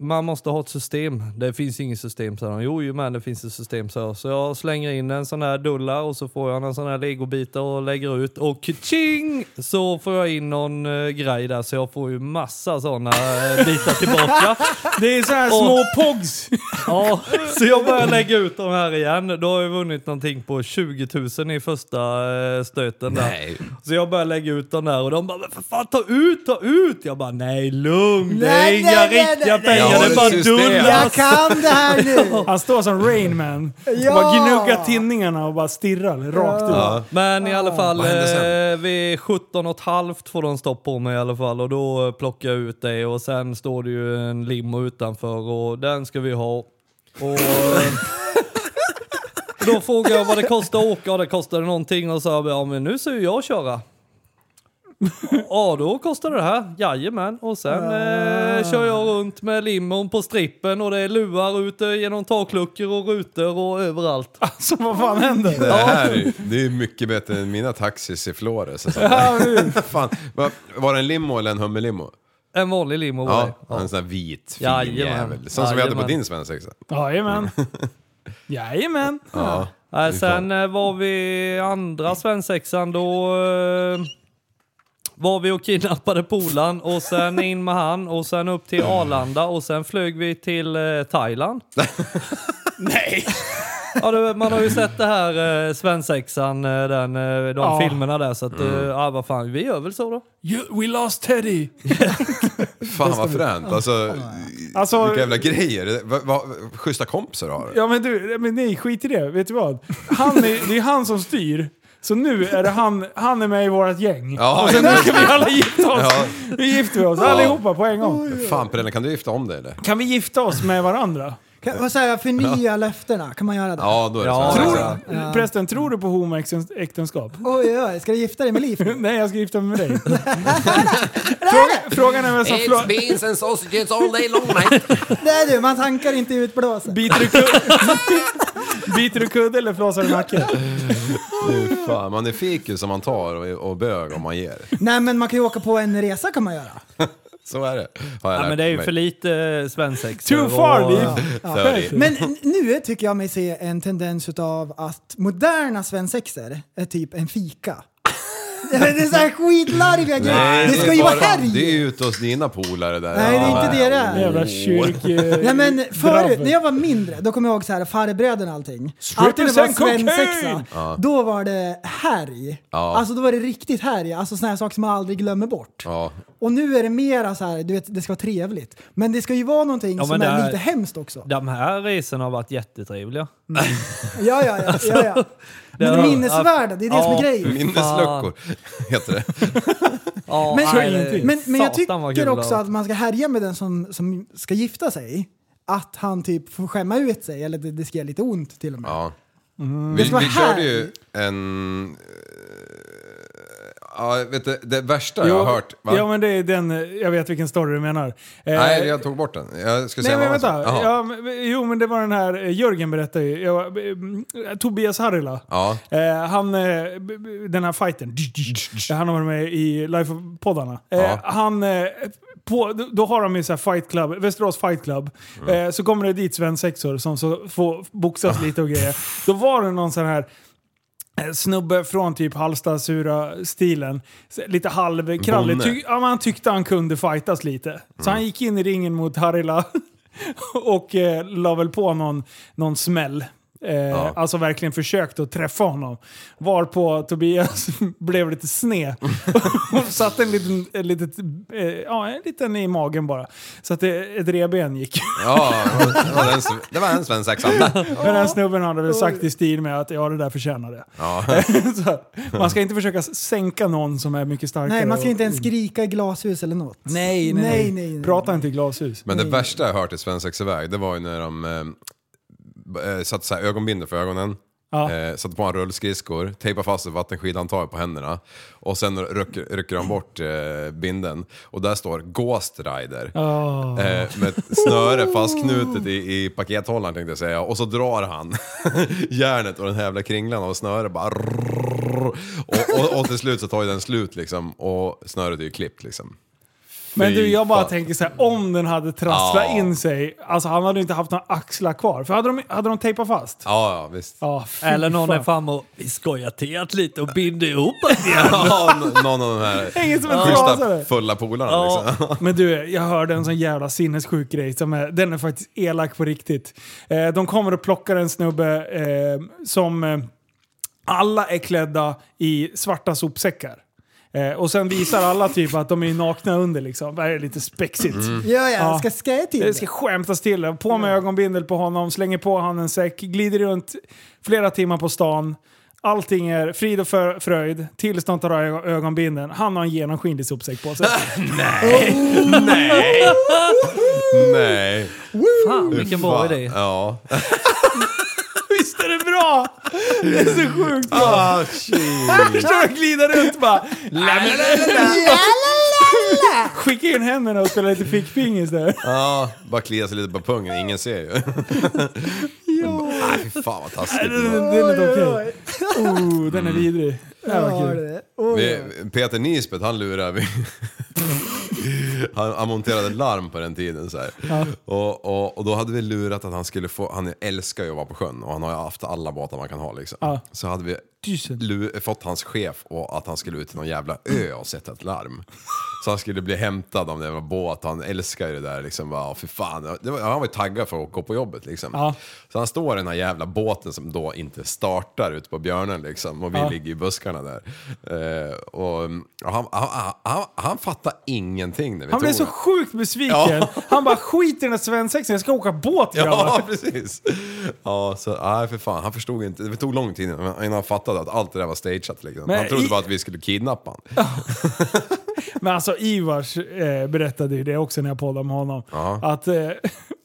man måste ha ett system. Det finns inget system, sa han. Jo, jo, men det finns ett system, sa jag. Så jag slänger in en sån här dollar och så får jag en sån här legobitar och lägger ut och ching så får jag in någon eh, grej där så jag får ju massa såna eh, bitar tillbaka. Det är så här små pogs. Ja, så jag börjar lägga ut dem här igen. Då har jag vunnit någonting på 20 000 i första eh, stöten där. Nej. Så jag börjar lägga ut dem där och de bara "Men för fan ta ut, ta ut! Jag bara nej lugn, det är Nej, inga nej, nej, riktiga nej, nej. pengar, det Jag är har bara ett system. Jag dulla! kan det här nu! Han står som Rain Man. Ja! Och bara gnuggar tinningarna och bara stirrar rakt ut. Men i alla fall, Vad hände sen? eh, vid 17 och ett halvt får de stopp på mig i alla fall och då eh, plockar jag ut det och sen står det ju en limo utanför och den ska vi ha. Och, eh, då frågar jag vad det kostar att åka och det kostade någonting och så sa jag, ja men nu ska ju jag köra. Ja då kostar det här, jajamän. Och sen eh, kör jag runt med limon på strippen och det är luar ute genom takluckor och rutor och överallt. Så vad fan händer? Det här är ju- det är mycket bättre än mina taxis i Flores. Alltså. Fan, var, var det en limo eller en hummerlimo? En vanlig limo var det. Ja, en sån här vit, fin Jajamän. jävel. Sån som vi hade på Jajamän. din svensexa. Jajamän. Jajamän. Ja. Nej, sen eh, var vi andra svensexan då eh, var vi och kidnappade polan och sen in med han och sen upp till Arlanda och sen flög vi till eh, Thailand. Nej! Ja, du, vet, man har ju sett det här eh, svensexan, eh, den, eh, de Ja. filmerna där så att eh, Mm. ja, vad fan, vi gör väl så då. You, we lost Teddy. Fan vad fränt. Alltså, Alltså- vilka jävla grejer. Det- vad- vad- Schyssta kompisar du har. Ja men du, men nej skit i det. Vet du vad? Han är, det är han som styr. Så nu är det han, han är med i vårt gäng. Ja, och sen nu ja. ska vi alla gifta oss. Ja. Nu gifter vi oss allihopa på en gång. Fan Pernilla, kan du gifta om dig eller? Kan vi gifta oss med varandra? Kan, vad säger jag, förnya löftena, kan man göra det? Ja, då är det Alltså, Ja, svensexa. Tror, ja. Prästen, tror du på homoäktenskap? Oj, oj, ska du gifta dig med Liv? Nej, jag ska gifta mig med dig. Fråga, frågan är vem som It's flör... beans and sausages all day long mate. Nej du, man tankar inte ut blåsen. Biter du kudde, Biter du kudde eller flåsar du nacken? Fy Fan, man är fikus som man tar och, och bög om man ger. Nej men man kan ju åka på en resa kan man göra. Så är det. Har jag Ja, lärt men det är ju mig. för lite eh, svensexor. Too far, och- eh, Liv! Sorry. Men n- nu tycker jag mig se en tendens utav att moderna svensexer är typ en fika. Det är så här skitlarviga grejer. Det är ska ju vara bara- Det är helg! ute hos dina polare där. Nej, det är inte det det är. Jävla eh, kyrk... Nej men Mm. förut, Drabbel. när jag var mindre, då kommer jag ihåg så här farbröderna och allting. Strippers Alltid när det var and cocaine! svensexa, då var det härj. Ja. Alltså då var det riktigt härj, alltså såna här saker som man aldrig glömmer bort. Ja, Och nu är det mera så här, du vet, det ska vara trevligt. Men det ska ju vara någonting Ja, som men det är här- lite hemskt också. De här resorna har varit jättetrevliga. Ja, ja, ja. ja, ja. det Men var- minnesvärda, det är det som är Ja. grejen. minnesluckor heter det. Ja, Men, nej, det- ingenting. men, men jag Satan vad tycker kul det också var. att man ska härja med den som, som ska gifta sig. Att han typ får skämma ut sig, eller det, det ska göra lite ont till och med. Ja. Mm. Det Vi, ska vara vi körde här. ju en... eh, Ja, vet du, det värsta jag har hört. Va? Ja men det är den, eh, jag vet vilken story du menar. Eh, Nej, jag tog bort den. Jag ska Nej säga men vad han sa. vänta, Jaha. ja, men, eh, jo men det var den här, eh, Jörgen berättade ju, jag, mm, Tobias Harila. Ja. Eh, han, eh, b- b- den här fighten, han har varit med i Life of-poddarna. Eh, Ja. Han, eh, på, då- då har de ju så här fight club, Västerås fight club. Mm. Eh, så kommer det dit svensexor som så får boxas lite och grejer. Då var det någon sån här eh, snubbe från typ Halsta-sura-stilen. Så Lite halvkrallig. Bonne. Ty, ja, men han tyckte han kunde fightas lite. Så han gick in i ringen mot Harila och eh, la väl på någon, någon smäll. Eh, Alltså verkligen försökt att träffa honom. Varpå Tobias blev lite sned. och satte en liten, en, litet, eh, ja, en liten i magen bara. Så att det, ett revben gick. Ja, det var en sv- det var en svensexa. Men den snubben hade väl sagt i stil med att ja, det där förtjänar det. Ja. Så att man ska inte försöka sänka någon som är mycket starkare. Nej, man ska och- inte ens skrika i glashus eller något. Nej, nej, nej. Nej, nej, nej. Prata inte i glashus. Men det värsta jag hört i svensexaväg, det var ju när de eh, b- eh, satte så här ögonbindel för ögonen. Ja. Eh, satte på en rullskridskor, tejpade fast ett vattenskidhandtag på händerna och sen rycker, rycker de bort eh, binden och där står Ghost Rider. Ah. Eh, med ett snöre fastknutet i, i pakethållaren tänkte jag säga. Och så drar han järnet och den här jävla kringlan av snöre bara... rrrr. Och, och, och till slut så tar ju den slut liksom och snöret är ju klippt liksom. Men du, jag bara fan. tänker så här, om den hade trasslat Ja. in sig, alltså han hade ju inte haft några axlar kvar. För hade de, hade de tejpat fast? Ja, ja, visst. Ja, fy Eller någon fan. är framme och vi skojar till att lite och binder ihop oss igen. Ja, n- någon av de här Ingen som är trasare. schyssta fulla polarna Ja. liksom. Men du, jag hörde en sån jävla sinnessjuk grej. Som är, den är faktiskt elak på riktigt. Eh, de kommer och plockar en snubbe eh, som... Eh, alla är klädda i svarta sopsäckar. Eh, och sen visar alla typ att de är nakna under liksom. Det här är lite spexigt. Ja, ja, Ja. ska skaja till Det ska skämtas till. det. På med ögonbindel på honom, slänger på han en säck, glider runt flera timmar på stan. Allting är frid och för- fröjd tills de tar av ögonbindeln. Han har en genomskinlig sopsäck på sig. Nej. Fan, vilken bra Fan. idé. Ja. Visst är det bra? Det är så sjukt bra. Ah, shit. Förstår du? Glida runt bara. Skicka in händerna och spela lite fickpingis där. Ja, bara klia sig lite på pungen, ingen ser ju. Nej, fy fan vad taskigt. Den den är inte okej. Oh, den är vidrig. Det här var kul. Vi, Peter Nisbet, han lurade vi. Han, han monterade larm på den tiden så här. Och, och, och då hade vi lurat att han skulle få, han älskar ju att vara på sjön och han har ju haft alla båtar man kan ha liksom. Ja. Så hade vi Tusen. lu- fått hans chef och att han skulle ut till någon jävla ö och sätta ett larm. Så han skulle bli hämtad av en jävla båt, han älskar ju det där liksom. Bara, för fan. Det var, han var ju taggad för att gå på jobbet liksom. Ja. Så han står i den här jävla båten som då inte startar ute på björnen liksom och vi ligger i buskarna där. Eh, och, mm, och han, han, han, han, han fattar ingenting när vi Han tog blev så den. sjukt besviken. Ja. Han bara skit i den här svensexen, jag ska åka båt Ja, grabbar. precis. Ja, så nej för fan, han förstod inte. Det tog lång tid innan han fattade att allt det där var stageat liksom. Men han trodde i- bara att vi skulle kidnappa han. Men alltså Ivars eh, berättade ju det också när jag poddade med honom. Att eh,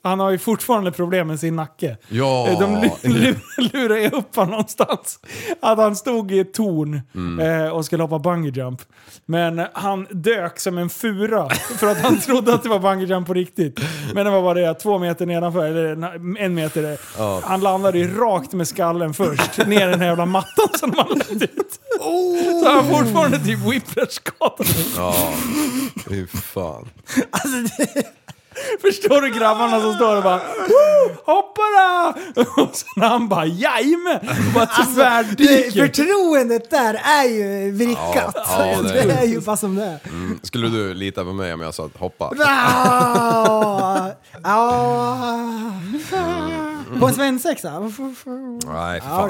han har ju fortfarande problem med sin nacke. Ja. Eh, De lu- lu- lurade ju upp honom någonstans. Att han stod i ett torn eh, och skulle hoppa bungee jump. Men han dök som en fura för att han trodde att det var bungee jump på riktigt. Men det var bara det att två meter nedanför, eller na- en meter, eh, han landade ju rakt med skallen först ner i den här jävla mattan som han lagt ut. Så han har fortfarande typ whiplash-skadad. Ja, fy fan. Förstår du grabbarna som står och bara "Woo! hoppa då! Och sen han bara jajamän! Och Bara Alltså, tvärdyker. Förtroendet där är ju vrickat. Ja, ja, det, det är. är- ju bara som det är. Mm, Skulle du lita på mig om jag sa att hoppa? Ah, ah. På en svensexa? Nej, för fan.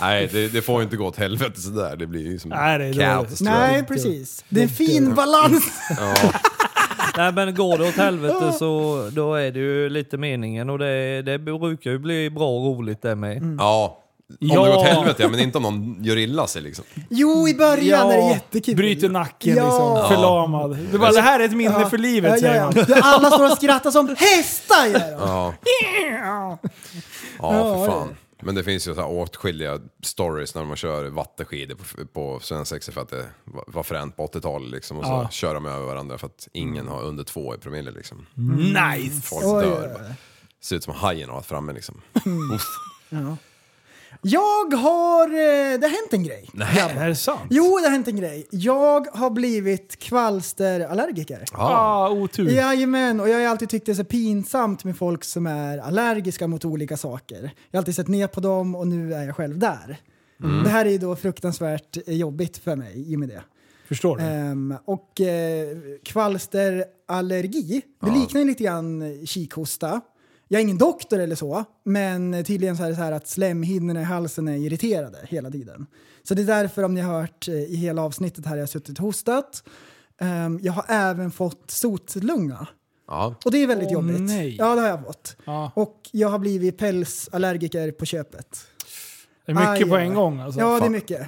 Nej, det, det får ju inte gå åt helvete sådär. Det blir ju som Nej, det är dåligt. katastrof. Nej, precis. Det är en fin balans. Nej men går det åt helvete så då är det ju lite meningen och det, det brukar ju bli bra och roligt det med. Mm. Ja. Om Ja. det går åt helvete, ja, men inte om någon gör illa sig liksom. Jo, i början är det jättekul. Bryter nacken Ja. liksom, förlamad. Det, är bara, det här är ett minne för livet ja, säger ja, man. ja. Alla står och skrattar som hästar gör de. Ja, ja för fan. Men det finns ju så här åtskilliga stories när man kör vattenskidor på, på svensexa för att det var var fränt på 80-talet liksom. Och så Ja. kör de över varandra för att ingen har under två i promille liksom. Nice! Folk Mm. Oj, dör. oj, bara. Ser ut som hajen har varit framme liksom. Jag har... eh, Det har hänt en grej. Är det sant? Jo, det har hänt en grej. Jag har blivit kvalsterallergiker. Ah, otur. Jajamän, och jag har ju alltid tyckt det är så pinsamt med folk som är allergiska mot olika saker. Jag har alltid sett ner på dem och nu är jag själv där. Det här är ju då fruktansvärt eh, jobbigt för mig i och med det. Förstår du? Ehm, och eh, kvalsterallergi, det liknar ju lite grann kikhosta. Jag är ingen doktor eller så, men tydligen så är det så här att slemhinnorna i halsen är irriterade hela tiden. Så det är därför om ni har hört eh, i hela avsnittet här jag har suttit och hostat. Ehm, jag har även fått sotlunga. Ja. Och det är väldigt Åh, jobbigt. nej. Ja, det har jag fått. Ja. Och jag har blivit pälsallergiker på köpet. Det är mycket Aj, på aj, en aj. gång alltså. ja, det är fan. mycket.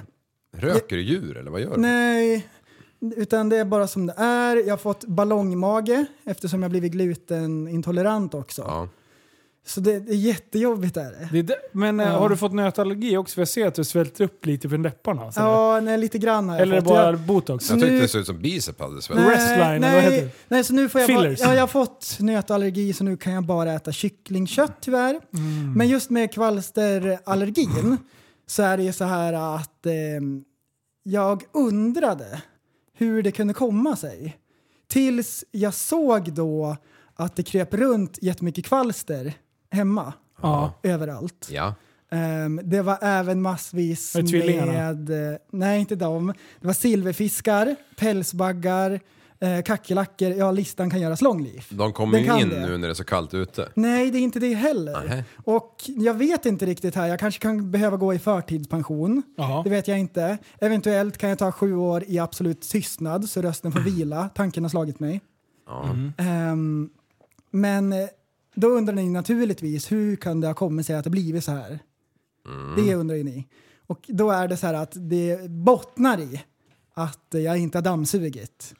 Röker du djur eller vad gör du? Nej, utan det är bara som det är. Jag har fått ballongmage eftersom jag blivit glutenintolerant också. Ja. Så det, det är jättejobbigt är det. Det är där- men eh, Ja. har du fått nötallergi också? För jag ser att du svälter upp lite från läpparna. Så Ja, nej, lite grann har jag Eller är det fått. bara Jag, botox? Jag tyckte Nu- det såg ut som bicep hade svällt. Nej. Restline, eller vad heter nej, det? nej, så nu får jag bara, Fillers. ja, jag har fått nötallergi så nu kan jag bara äta kycklingkött tyvärr. Mm. Men just med kvalsterallergin så är det ju så här ehm, att eh, jag undrade hur det kunde komma sig. Tills jag såg då att det kröp runt jättemycket kvalster hemma. Överallt. Ja. Ehm, det var även massvis Var det tvillingarna? med... eh, Nej, inte dem. Det var silverfiskar, pälsbaggar, eh, kackerlackor. Ja, listan kan göras lång, Liv. De kommer Den ju kan in det. nu när det är så kallt ute. Nej, det är inte det heller. Nej. Och jag vet inte riktigt här. Jag kanske kan behöva gå i förtidspension. Jaha. Det vet jag inte. Eventuellt kan jag ta sju år i absolut tystnad så rösten får vila. Tanken har slagit mig. Ehm, men eh, då undrar ni naturligtvis hur kan det ha kommit sig att det blivit så här? Det undrar ju ni. Och då är det så här att det bottnar i att jag inte har dammsugit.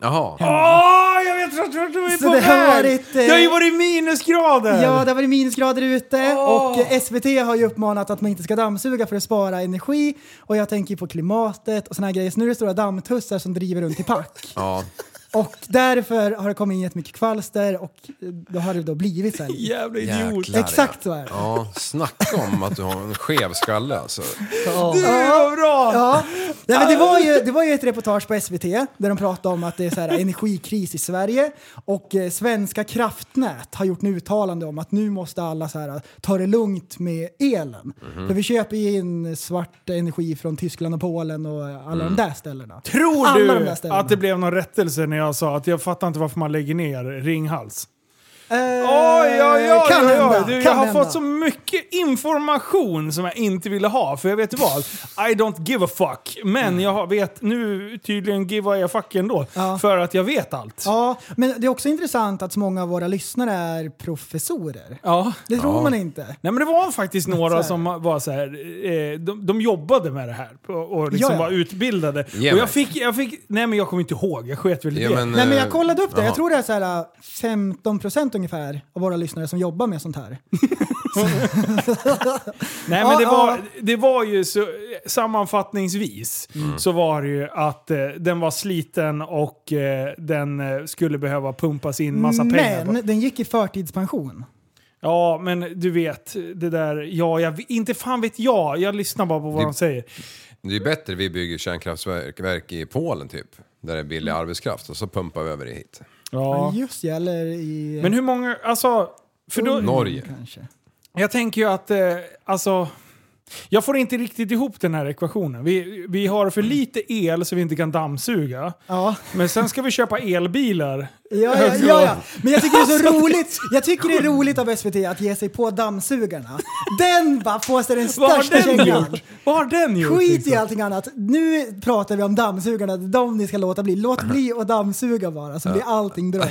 Jaha. Åh, Ah, jag vet vart vart du är Så på det har väg! varit, eh, Det har ju varit minusgrader! Ja, det har varit minusgrader ute och eh, SVT har ju uppmanat att man inte ska dammsuga för att spara energi. Och jag tänker på klimatet och såna här grejer. Så nu är det stora dammtussar som driver runt i pack. Ja. och därför har det kommit in jättemycket kvalster och eh, då har det då blivit så här. Jävla idiot! Jäklar, Exakt så ja. är det. Ja, snacka om att du har en skev skalle alltså. Du, vad bra! Ja. Nej, men det, var ju, det var ju ett reportage på SVT där de pratade om att det är så här energikris i Sverige och eh, Svenska kraftnät har gjort en uttalande om att nu måste alla så här, ta det lugnt med elen. Mhm. För vi köper ju in svart energi från Tyskland och Polen och alla de där ställena. Mm. Tror alla du de där ställena. att det blev någon rättelse när jag sa att jag fattar inte varför man lägger ner Ringhals? Eh, Oj, oj, oj, kan oj, oj. hända. Du, jag kan har hända. fått så mycket information som jag inte ville ha. För jag vet ju vad, I don't give a fuck. Men jag har- vet nu tydligen give a fuck ändå. Mm. Ja. För att jag vet allt. Ja, men det är också intressant att så många av våra lyssnare är professorer. Ja. Det tror man inte. Nej men det var faktiskt Så några här. som var så här, eh, de, de jobbade med det här och, och liksom Ja, ja. var utbildade. Ge och mig. jag fick, jag fick, nej men jag kommer inte ihåg, jag sket väl i Ja, det. Nej, men jag kollade upp det. eh, Jag tror det är så här äh, 15 procent ungefär av våra lyssnare som jobbar med sånt här. Nej men Ja, det ja. var, det var ju så, sammanfattningsvis så var det ju att eh, den var sliten och eh, den eh, skulle behöva pumpas in massa pengar. Men på. den gick i förtidspension. Ja men du vet, det där, ja jag, inte fan vet jag, jag lyssnar bara på vad Det- de säger. Det är bättre vi bygger kärnkraftverk verk i Polen typ. Där det är billig Mm. arbetskraft och så pumpar vi över det hit. Ja. Just det, eller i Men hur många, alltså, för då, Ungern Norge. kanske. Jag tänker ju att, eh, alltså... Jag får inte riktigt ihop den här ekvationen. Vi, vi har för lite el så vi inte kan dammsuga. Ja. Men sen ska vi köpa elbilar. Ja, ja, ja, ja. Men jag tycker det är så roligt. Jag tycker det är roligt av SVT att ge sig på dammsugarna. Den bara får sig den Vad har största den kängan. gjort? Vad har den gjort? Skit liksom? i allting annat. Nu pratar vi om dammsugarna. Det är de ni ska låta bli. Låt bli att dammsuga bara så blir allting bra.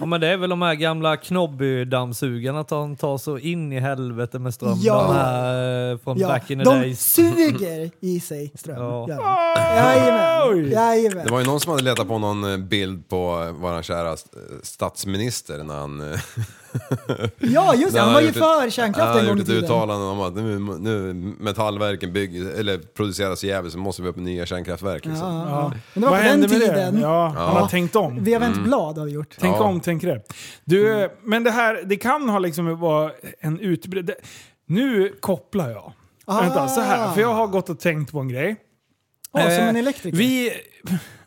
Ja, men det är väl de här gamla knobby-dammsugarna att de tar så in i helvete med ström. Ja. De här, eh, från Ja, back in the de days. suger i sig ström. Ja. Ja. Jajamän. Jajamän. Det var ju någon som hade letat på någon eh, bild på eh, våran kära eh, statsminister när han... eh, Ja, just det. när Han var ju gjort ett- för kärnkraft en Han gång hade i gjort ett tiden. uttalande om att nu, nu metallverken bygger, eller produceras i Gävle så måste vi upp nya kärnkraftverk. Liksom. Ja, Ja. ja. Men det Vad var på den hände med tiden. det? Ja, han har tänkt om. Vi har vänt blad har vi gjort. Tänk Ja. om, tänk rätt. Du, men det här, det kan ha liksom varit en utbredd... det- Nu kopplar jag. Ah. Vänta, så här. För jag har gått och tänkt på en grej. Åh, som Eh, en elektriker. Vi...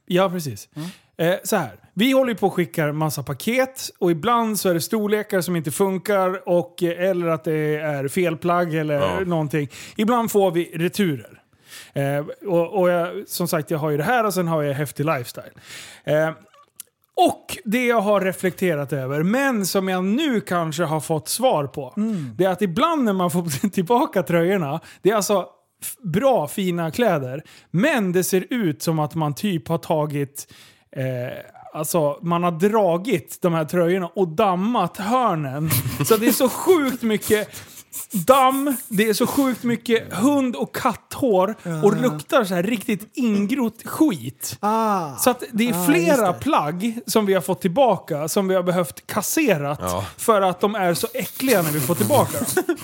Ja, precis. Eh, så här. Vi håller ju på och skickar massa paket och ibland så är det storlekar som inte funkar och, eh, eller att det är felplagg eller Ja. någonting. Ibland får vi returer. Eh, och och jag, som sagt, jag har ju det här och sen har jag häftig lifestyle. Eh, och det jag har reflekterat över, men som jag nu kanske har fått svar på. Det är att ibland när man får tillbaka tröjorna, det är alltså f- bra fina kläder, men det ser ut som att man typ har tagit Eh, Alltså man har dragit de här tröjorna och dammat hörnen. Så det är så sjukt mycket damm, det är så sjukt mycket hund och katthår och luktar så här riktigt ingrott skit. Ah. Så att det är Ah, just flera det. plagg som vi har fått tillbaka som vi har behövt kasserat Ja. för att de är så äckliga när vi får tillbaka dem.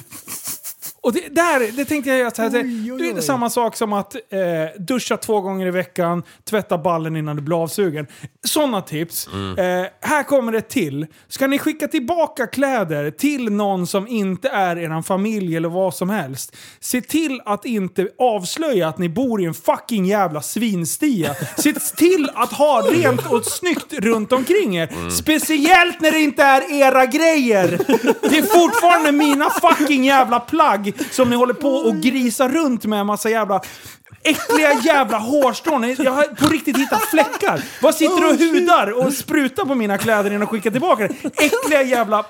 Och det, där, det tänkte jag göra så här. Oj, oj, oj. Det är samma sak som att eh, duscha två gånger i veckan, tvätta ballen innan du blir avsugen. Sådana tips. Mm. Eh, här kommer ett till. Ska ni skicka tillbaka kläder till någon som inte är er familj eller vad som helst, se till att inte avslöja att ni bor i en fucking jävla svinstia. Se till att ha rent och snyggt runt omkring er. Speciellt när det inte är era grejer. Det är fortfarande mina fucking jävla plagg som ni håller på och grisar runt med en massa jävla äckliga jävla hårstrån. Jag har på riktigt hittat fläckar. Vad sitter du och hudar och sprutar på mina kläder innan jag skickar tillbaka det? Äckliga jävla...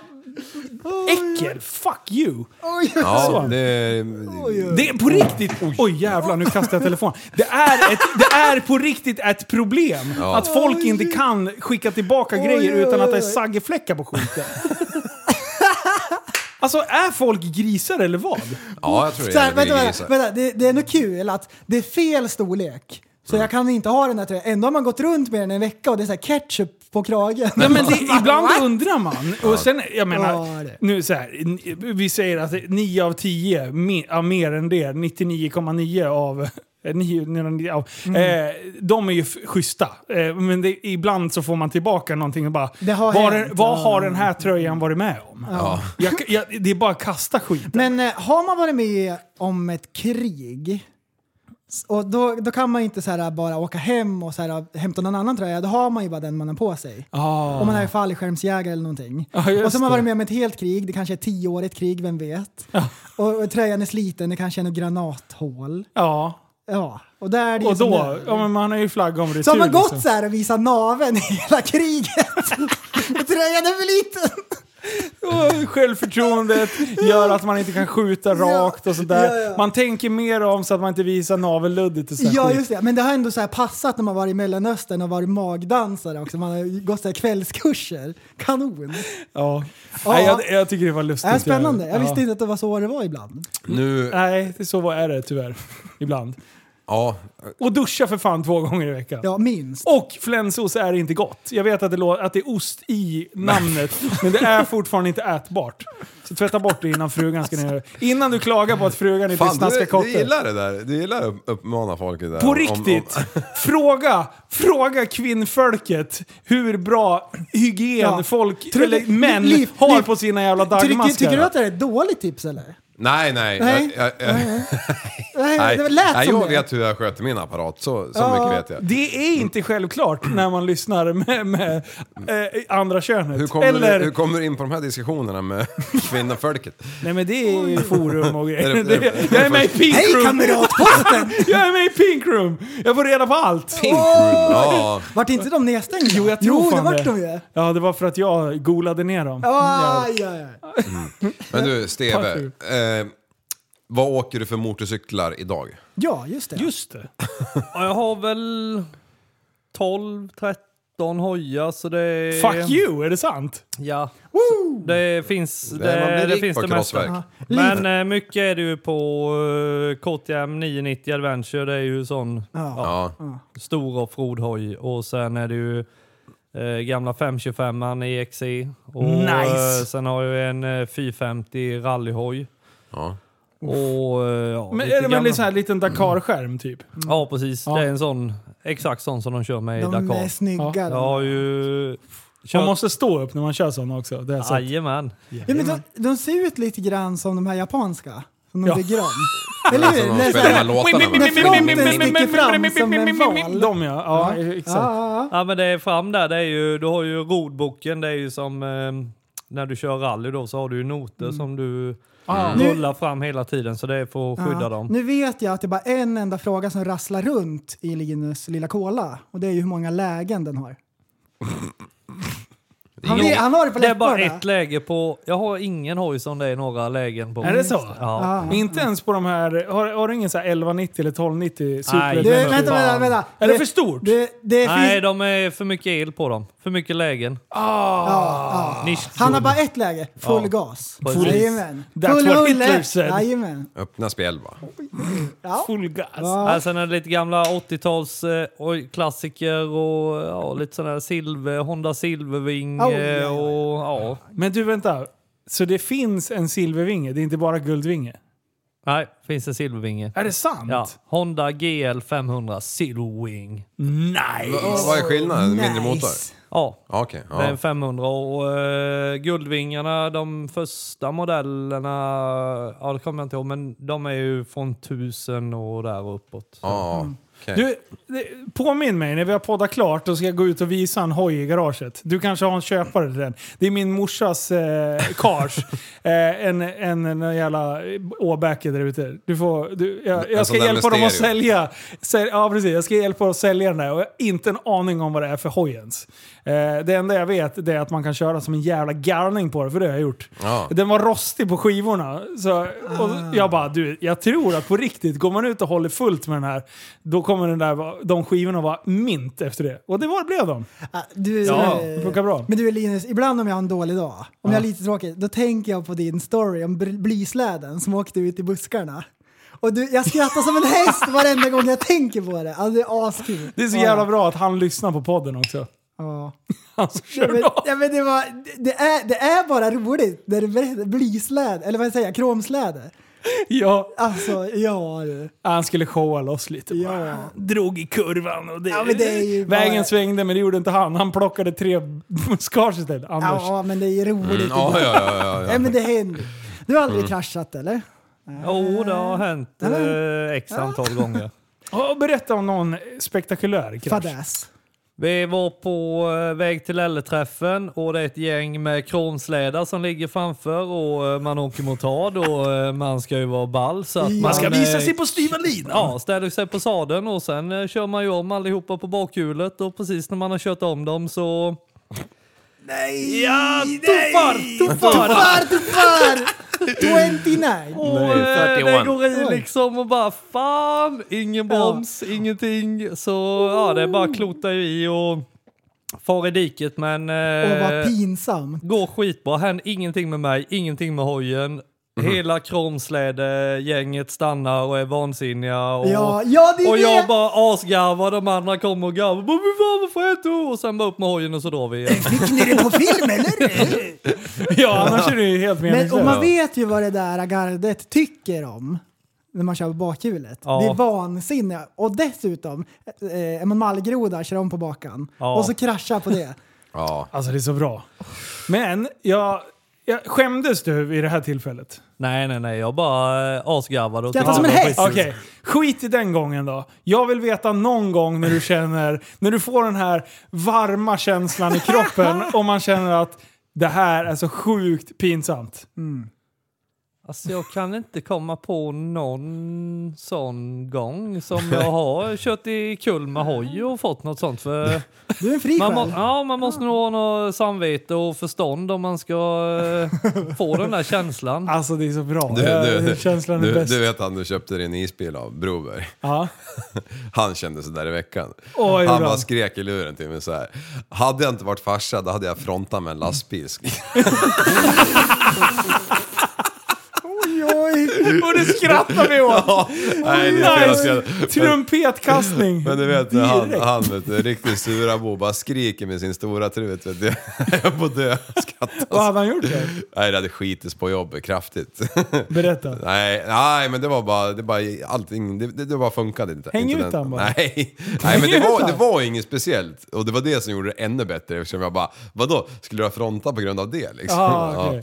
Äckel! Fuck you! Ja, Så. det, Det är på riktigt... Oj, jävlar, nu kastar jag telefonen. Det är, ett, det är på riktigt ett problem. Att folk inte kan skicka tillbaka grejer utan att det är saggefläckar på skiten. Alltså, är folk grisar eller vad? ja, jag tror Så det. här, är vänta, grisar. vänta, vänta. Det, det är nog kul att det är fel storlek. Så jag kan inte ha den här tröjan. Ändå har man gått runt med den en vecka och det är så här ketchup på kragen. Ja, men det, ibland undrar man. Och sen, jag Ja, menar, det. nu så här, n- vi säger att 9 av 10, me- ja, mer än det, 99,9 av... eh, 999 av Mm. Eh, de är ju f- schyssta, eh, men det, ibland så får man tillbaka någonting och bara... Det har vad, hänt, den- vad ja. har den här tröjan varit med om? Jag, jag, det är bara att kasta skiten. Men eh, har man varit med om ett krig s- och då, då kan man inte så här bara åka hem och så här, hämta någon annan tröja. Då har man ju bara den man har på sig. Ah. Om man är fallskärmsjägare eller någonting. Ja, just och så har man det. varit med om ett helt krig, det kanske är ett tioårigt krig, vem vet? Och, och tröjan är sliten, det kanske är något granathål. Ja, Ja, och där är det ju och som det då, är. ja, men man har ju flagg om retur. Så har man liksom. gått så här och visat naveln i hela kriget. Och Tröjan är för liten. Och Självförtroendet gör att man inte kan skjuta rakt och sådär. Ja, ja. Man tänker mer om så att man inte visar navelluddet och sådär Ja, skit. just det. Men det har ändå så här passat när man varit i Mellanöstern och varit magdansare också. Man har ju gått så här kvällskurser. Kanon! Ja. Ja. Nej, jag, jag tycker det var lustigt. Det här är spännande. Jag Ja. visste inte att det var så det var ibland. Nu, Nej, det är så vad är det tyvärr. Ibland. ja, Och duscha för fan två gånger i veckan. Ja, minst. Och flensos är inte gott. Jag vet att det, lå- att det är ost i namnet, men det är fortfarande inte ätbart. Så tvätta bort det innan frugan Alltså. ska ner. Innan du klagar på att frugan inte fan du, snaskar du kotten. gillar det där. Du gillar att uppmana folk det där. På Om- om- riktigt! Fråga, fråga kvinnfolket hur bra hygien Ja. folk, Tror- eller män, Liv- har Liv- på sina jävla Tycker, tycker du dagmaskar. att det är ett dåligt tips eller? Nej, nej. Nej. Jag, jag, jag, Nej, det lät nej, som jag det. vet hur jag sköter min apparat, så, så mycket vet jag. Det är inte självklart när man lyssnar med, med eh, andra könet. Hur kommer, eller, du, hur kommer du in på de här diskussionerna med kvinnofolket? Nej men det är ju forum och Är det- grejer. är det- Det- Jag är med i pink Hej room! kamratposten! Jag är med i pink room! Jag får reda på allt! Pink room! Ja, Vart inte de nedstängda? Jo jag tror jo, det. fan vart de ju. Ja det Mm. var för att jag golade ner dem. Ah, ja, ja. men du Steve. Tack, Eh, vad åker du för motorcyklar idag? ja, just det. Just det. Ja, jag har väl 12, 13 hojar så det är... Fuck you, är det sant? Ja. Det finns det, man blir det, rik finns på det mesta. crossverk. Men eh, mycket är det ju på eh, KTM 990 Adventure. Det är ju sån Ja. Ja. stor offroad-hoj. Och sen är det ju eh, gamla 525an i XI. Och, Nice. eh, sen har jag ju en eh, 450 rallyhoj. Ja. Och, eh, ja, Men, lite är det med gamla- en sån här liten Dakar-skärm typ? Ja, precis. Ja. Det är en sån, exakt sån som de kör med i De Dakar. är snygga. Ja. de. Jag har ju... Man Kört... måste stå upp när man kör sådana också. Det har jag sett. Jajamän. Ja, men de, de ser ut lite grann som de här japanska som de Ja. alltså, bygger om. Eller Som hur? de Det är så spelar de här här- låtarna med. De ja, ja, Ja, Ah, exakt. ja, ja. Ja men det är fram där, det är ju, du har ju rodboken, det är ju som eh, när du kör rally då så har du ju noter som du rullar fram hela tiden så det är för att skydda Ja. dem. Nu vet jag att det är bara en enda fråga som rasslar runt i Linus lilla kola och det är ju hur många lägen den har. Han, vet, han har det på Det är bara läpparna. ett läge på, jag har ingen hoj som det är några lägen på. Är det så? Mm. Ja. Ja. Inte ens på de här, har, har du ingen så här 1190 eller 1290 super? Nej, Du, det Nej, är- vänta, vänta, vänta. Är det för stort? Det, det är för, Nej, de är för mycket el på dem. För mycket lägen. ja, ja. Nisch. Han har bara ett läge, full gas. Precis. Jajamän. That's Full what rulle. Hitler said. Jajamän. Öppna spjäll va? Ja. Full gas. Ja. Ja. Äh, Sen är det lite gamla 80-tals eh, oj, klassiker och ja, lite sådana här silver, Honda Silverving Oh, eh, ja, ja, ja. och ja. Men du vänta, så det finns en silvervinge, det är inte bara guldvinge? Nej, finns en silvervinge. Är det sant? Ja, Honda GL 500 Silverwing. Nej! Vad- Vad är skillnaden? Mindre Nice. motor? Ja, Ja, Okej. det är ja. en 500 och eh, guldvingarna, de första modellerna, ja det kommer jag inte ihåg, men de är ju från 1000 och där och uppåt. Ja, okej. Du, det- påminn mig när vi har poddat klart och ska jag gå ut och visa en hoj i garaget. Du kanske har en köpare till den. Det är min morsas eh, cars. eh, en, en, en jävla åbäke där ute. Du får, du, jag, En jag sån ska där hjälpa dem att Mysterio. sälja. Säl, ja, precis. Jag ska hjälpa dem att sälja den där och jag har inte en aning om vad det är för hoj ens. Eh, det enda jag vet det är att man kan köra som en jävla garning på det, för det har jag gjort. Ja. Den var rostig på skivorna. Så, och jag bara, du, jag tror att på riktigt, går man ut och håller fullt med den här, då kommer den där, vara- de skivorna vara mint efter det. Och det var, blev de. Ah, du, Ja, eh, det funkar bra. Men du Linus, ibland om jag har en dålig dag, om jag är lite tråkig, då tänker jag på din story om br- blysläden som åkte ut i buskarna. Och du, jag skrattar som en häst varenda gång jag tänker på det. Alltså det är askul. Det är så Ja. jävla bra att han lyssnar på podden också. Ja. Han som kör Men, då. ja, men det, var, det- det, är, det är bara roligt när du berättar blysläde, eller vad säger jag, kromsläde. Ja, Alltså, ja du. han skulle showa loss lite. bara. Ja. Drog i kurvan och det, Ja, men det är ju bara- vägen svängde men det gjorde inte han. Han plockade tre muskars istället. Anders. Ja, men det är roligt. Mm, ja, ja, ja, ja, Nej, ja. men det händer. Du har aldrig kraschat eller? Jo, det har hänt eh, x antal gånger. Och berätta om någon spektakulär krasch. Fadäs. Vi var på eh, väg till LL-träffen och det är ett gäng med kronslädar som ligger framför och eh, man åker motard och eh, man ska ju vara ball. Så att Ja. man ska eh, på styva linan. Ja, ställer sig på sadeln och sen eh, kör man ju om allihopa på bakhjulet och precis när man har kört om dem så... Nej! Ja, tuffar! Tuffar! Tuffar, tuffar! 29! Och eh, det 31. går i liksom och bara fan, ingen broms, ingenting. Så ja, det bara klotar ju i och far i diket men... Åh eh, vad pinsamt. Går skitbra, hän ingenting med mig, ingenting med hojen. Hela kromsläde-gänget stannar och är vansinniga. Och, Ja, ja det är och det! jag bara asgarvar, de andra kommer och garvar. "Men fy fan, Varför är du? Och sen bara upp med hojen och så drar vi igen. Fick ni det på film eller? Ja, annars är det ju helt Men, och meningslöst. man vet ju vad det där gardet tycker om när man kör på bakhjulet. Ja. Det är vansinne. Och dessutom, eh, är man mallgroda kör om på bakan Ja. och så kraschar på det. ja. Alltså det är så bra. Men jag, jag skämdes du vid det här tillfället? nej, nej, nej, jag bara eh, asgarvade. och Skrattar tyckte som det en var häst. skit. Okej, skit i den gången då. Jag vill veta någon gång när du känner, när du får den här varma känslan i kroppen och man känner att det här är så sjukt pinsamt. Mm. Alltså jag kan inte komma på någon sån gång som jag har kört i kull med hoj och fått något sånt. För Du är en fri Man, må, själ. ja, man måste nog ha något samvete och förstånd om man ska eh, få den där känslan. Alltså det är så bra. Eh, Du, du, Känslan är du, bäst. du vet han du köpte din isbil av Broberg? Ja. Han kände sådär i veckan. Oj, han bra. bara skrek i luren till mig så här. Hade jag inte varit farsa då hade jag frontat med en lastbil. Oj, oj. Och det skrattar vi åt! Ja, Nej, det är fel att nice. säga. Men- Trumpetkastning! Men du vet, han, Direkt. han vet du, riktigt sura bo bara skriker med sin stora trut. Vet du. Jag är på dö. Vad Skrattas. hade han gjort det? Nej, det hade skitits på jobbet kraftigt. Berätta. Nej, nej, men det var bara, det bara allting, det, det, det bara funkade inte. Häng inte ut han bara. Nej, nej men det ut var, han. det var inget speciellt. Och det var det som gjorde det ännu bättre eftersom jag bara, vadå, skulle du ha frontat på grund av det liksom? Ah, okej. Ah. Ja.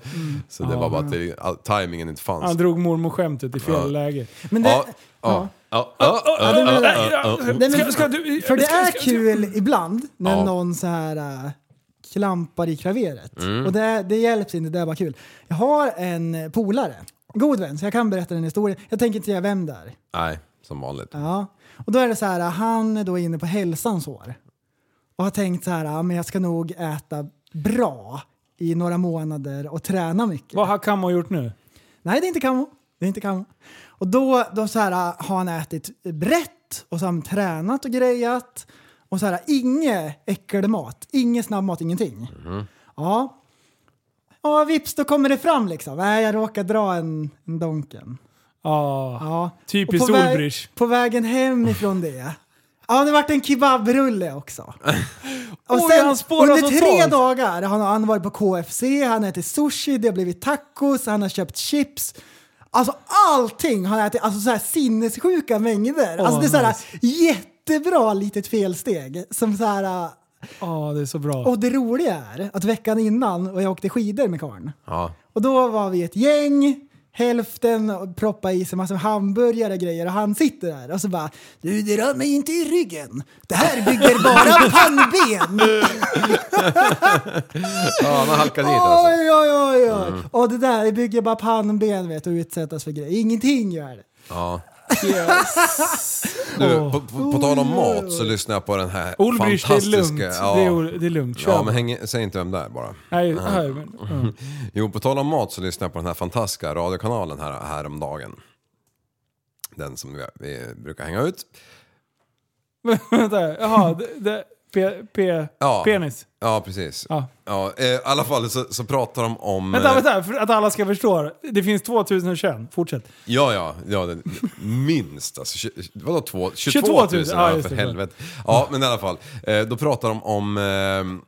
Så det var bara att det, all, tajmingen inte fanns. Han drog mormor-skämtet i fel läge. Men det, ja, ja, Ah, ja, ja, ja, det är- ja, ja, ja. nej, men, Ska- ska du- för det ska- är ska- ska- kul ibland när Ja. någon så här äh, klampar i klaveret. Mm. Och det, det hjälps inte, det är bara kul. Jag har en polare, god vän, så jag kan berätta den historien. Jag tänker inte säga vem det är. Nej, som vanligt. Ah. Ja. Och då är det så här, äh, han är då inne på hälsans år. Och har tänkt så här, ja, men jag ska nog äta bra i några månader och träna mycket. Vad har Kammo gjort nu? Nej, det är inte Camo. Det är inte Camo. Och då, då så här, äh, har han ätit brett och så har han tränat och grejat. Och så här, äh, inget äckelmat, ingen snabbmat, ingenting. Ja. Ja, vips, då kommer det fram liksom. Nej, jag råkar dra en, en donken. Ja. Ja. Typiskt Och på vä- Ulbrich. På vägen hem ifrån det. Ja, det vart en kebabrulle också. Och Oj, sen han spårar under totalt. tre dagar, han har han har varit på KFC, han har ätit sushi, det har blivit tacos, han har köpt chips. Alltså allting har jag ätit, alltså så här sinnessjuka mängder. alltså det är så här jättebra litet felsteg. Som så här, äh, Ja, det är så bra. och det roliga är att veckan innan och jag åkte skidor med karln. Ja. Och då var vi ett gäng, hälften proppade i sig massa hamburgare och grejer och han sitter där och så bara Du, det rör mig inte i ryggen. Det här bygger bara pannben. Ja, man halkar dit alltså. Mm. Oj, oj, oj, oj. Och det där, det bygger bara pannben vet du, och utsättas för grejer. Ingenting gör det. Ja. Du, på, på, på tal om mat så lyssnar jag på den här Ol bryr sig, det är fantastiska... lugnt. ja. Det, är, ol- det är lugnt. Kör. Ja, men häng, säg inte vem det är bara. Nej, här, men, mm. Jo, på tal om mat så lyssnade jag på den här fantastiska radiokanalen här, häromdagen. Den som vi, vi brukar hänga ut. Vänta, jaha. Det, det, pe, pe, Ja. Penis. Ja, precis. Ja. Ja, eh, I alla fall så, så pratar de om... Vänta, eh, vänta, för att alla ska förstå. Det finns 2021. Fortsätt. Ja, ja, ja det, minst. Alltså, tju- vadå två, 22 22 000? 000, ja, ja, just för det. helvete. Ja, men i alla fall. Eh, då pratar de om... Eh,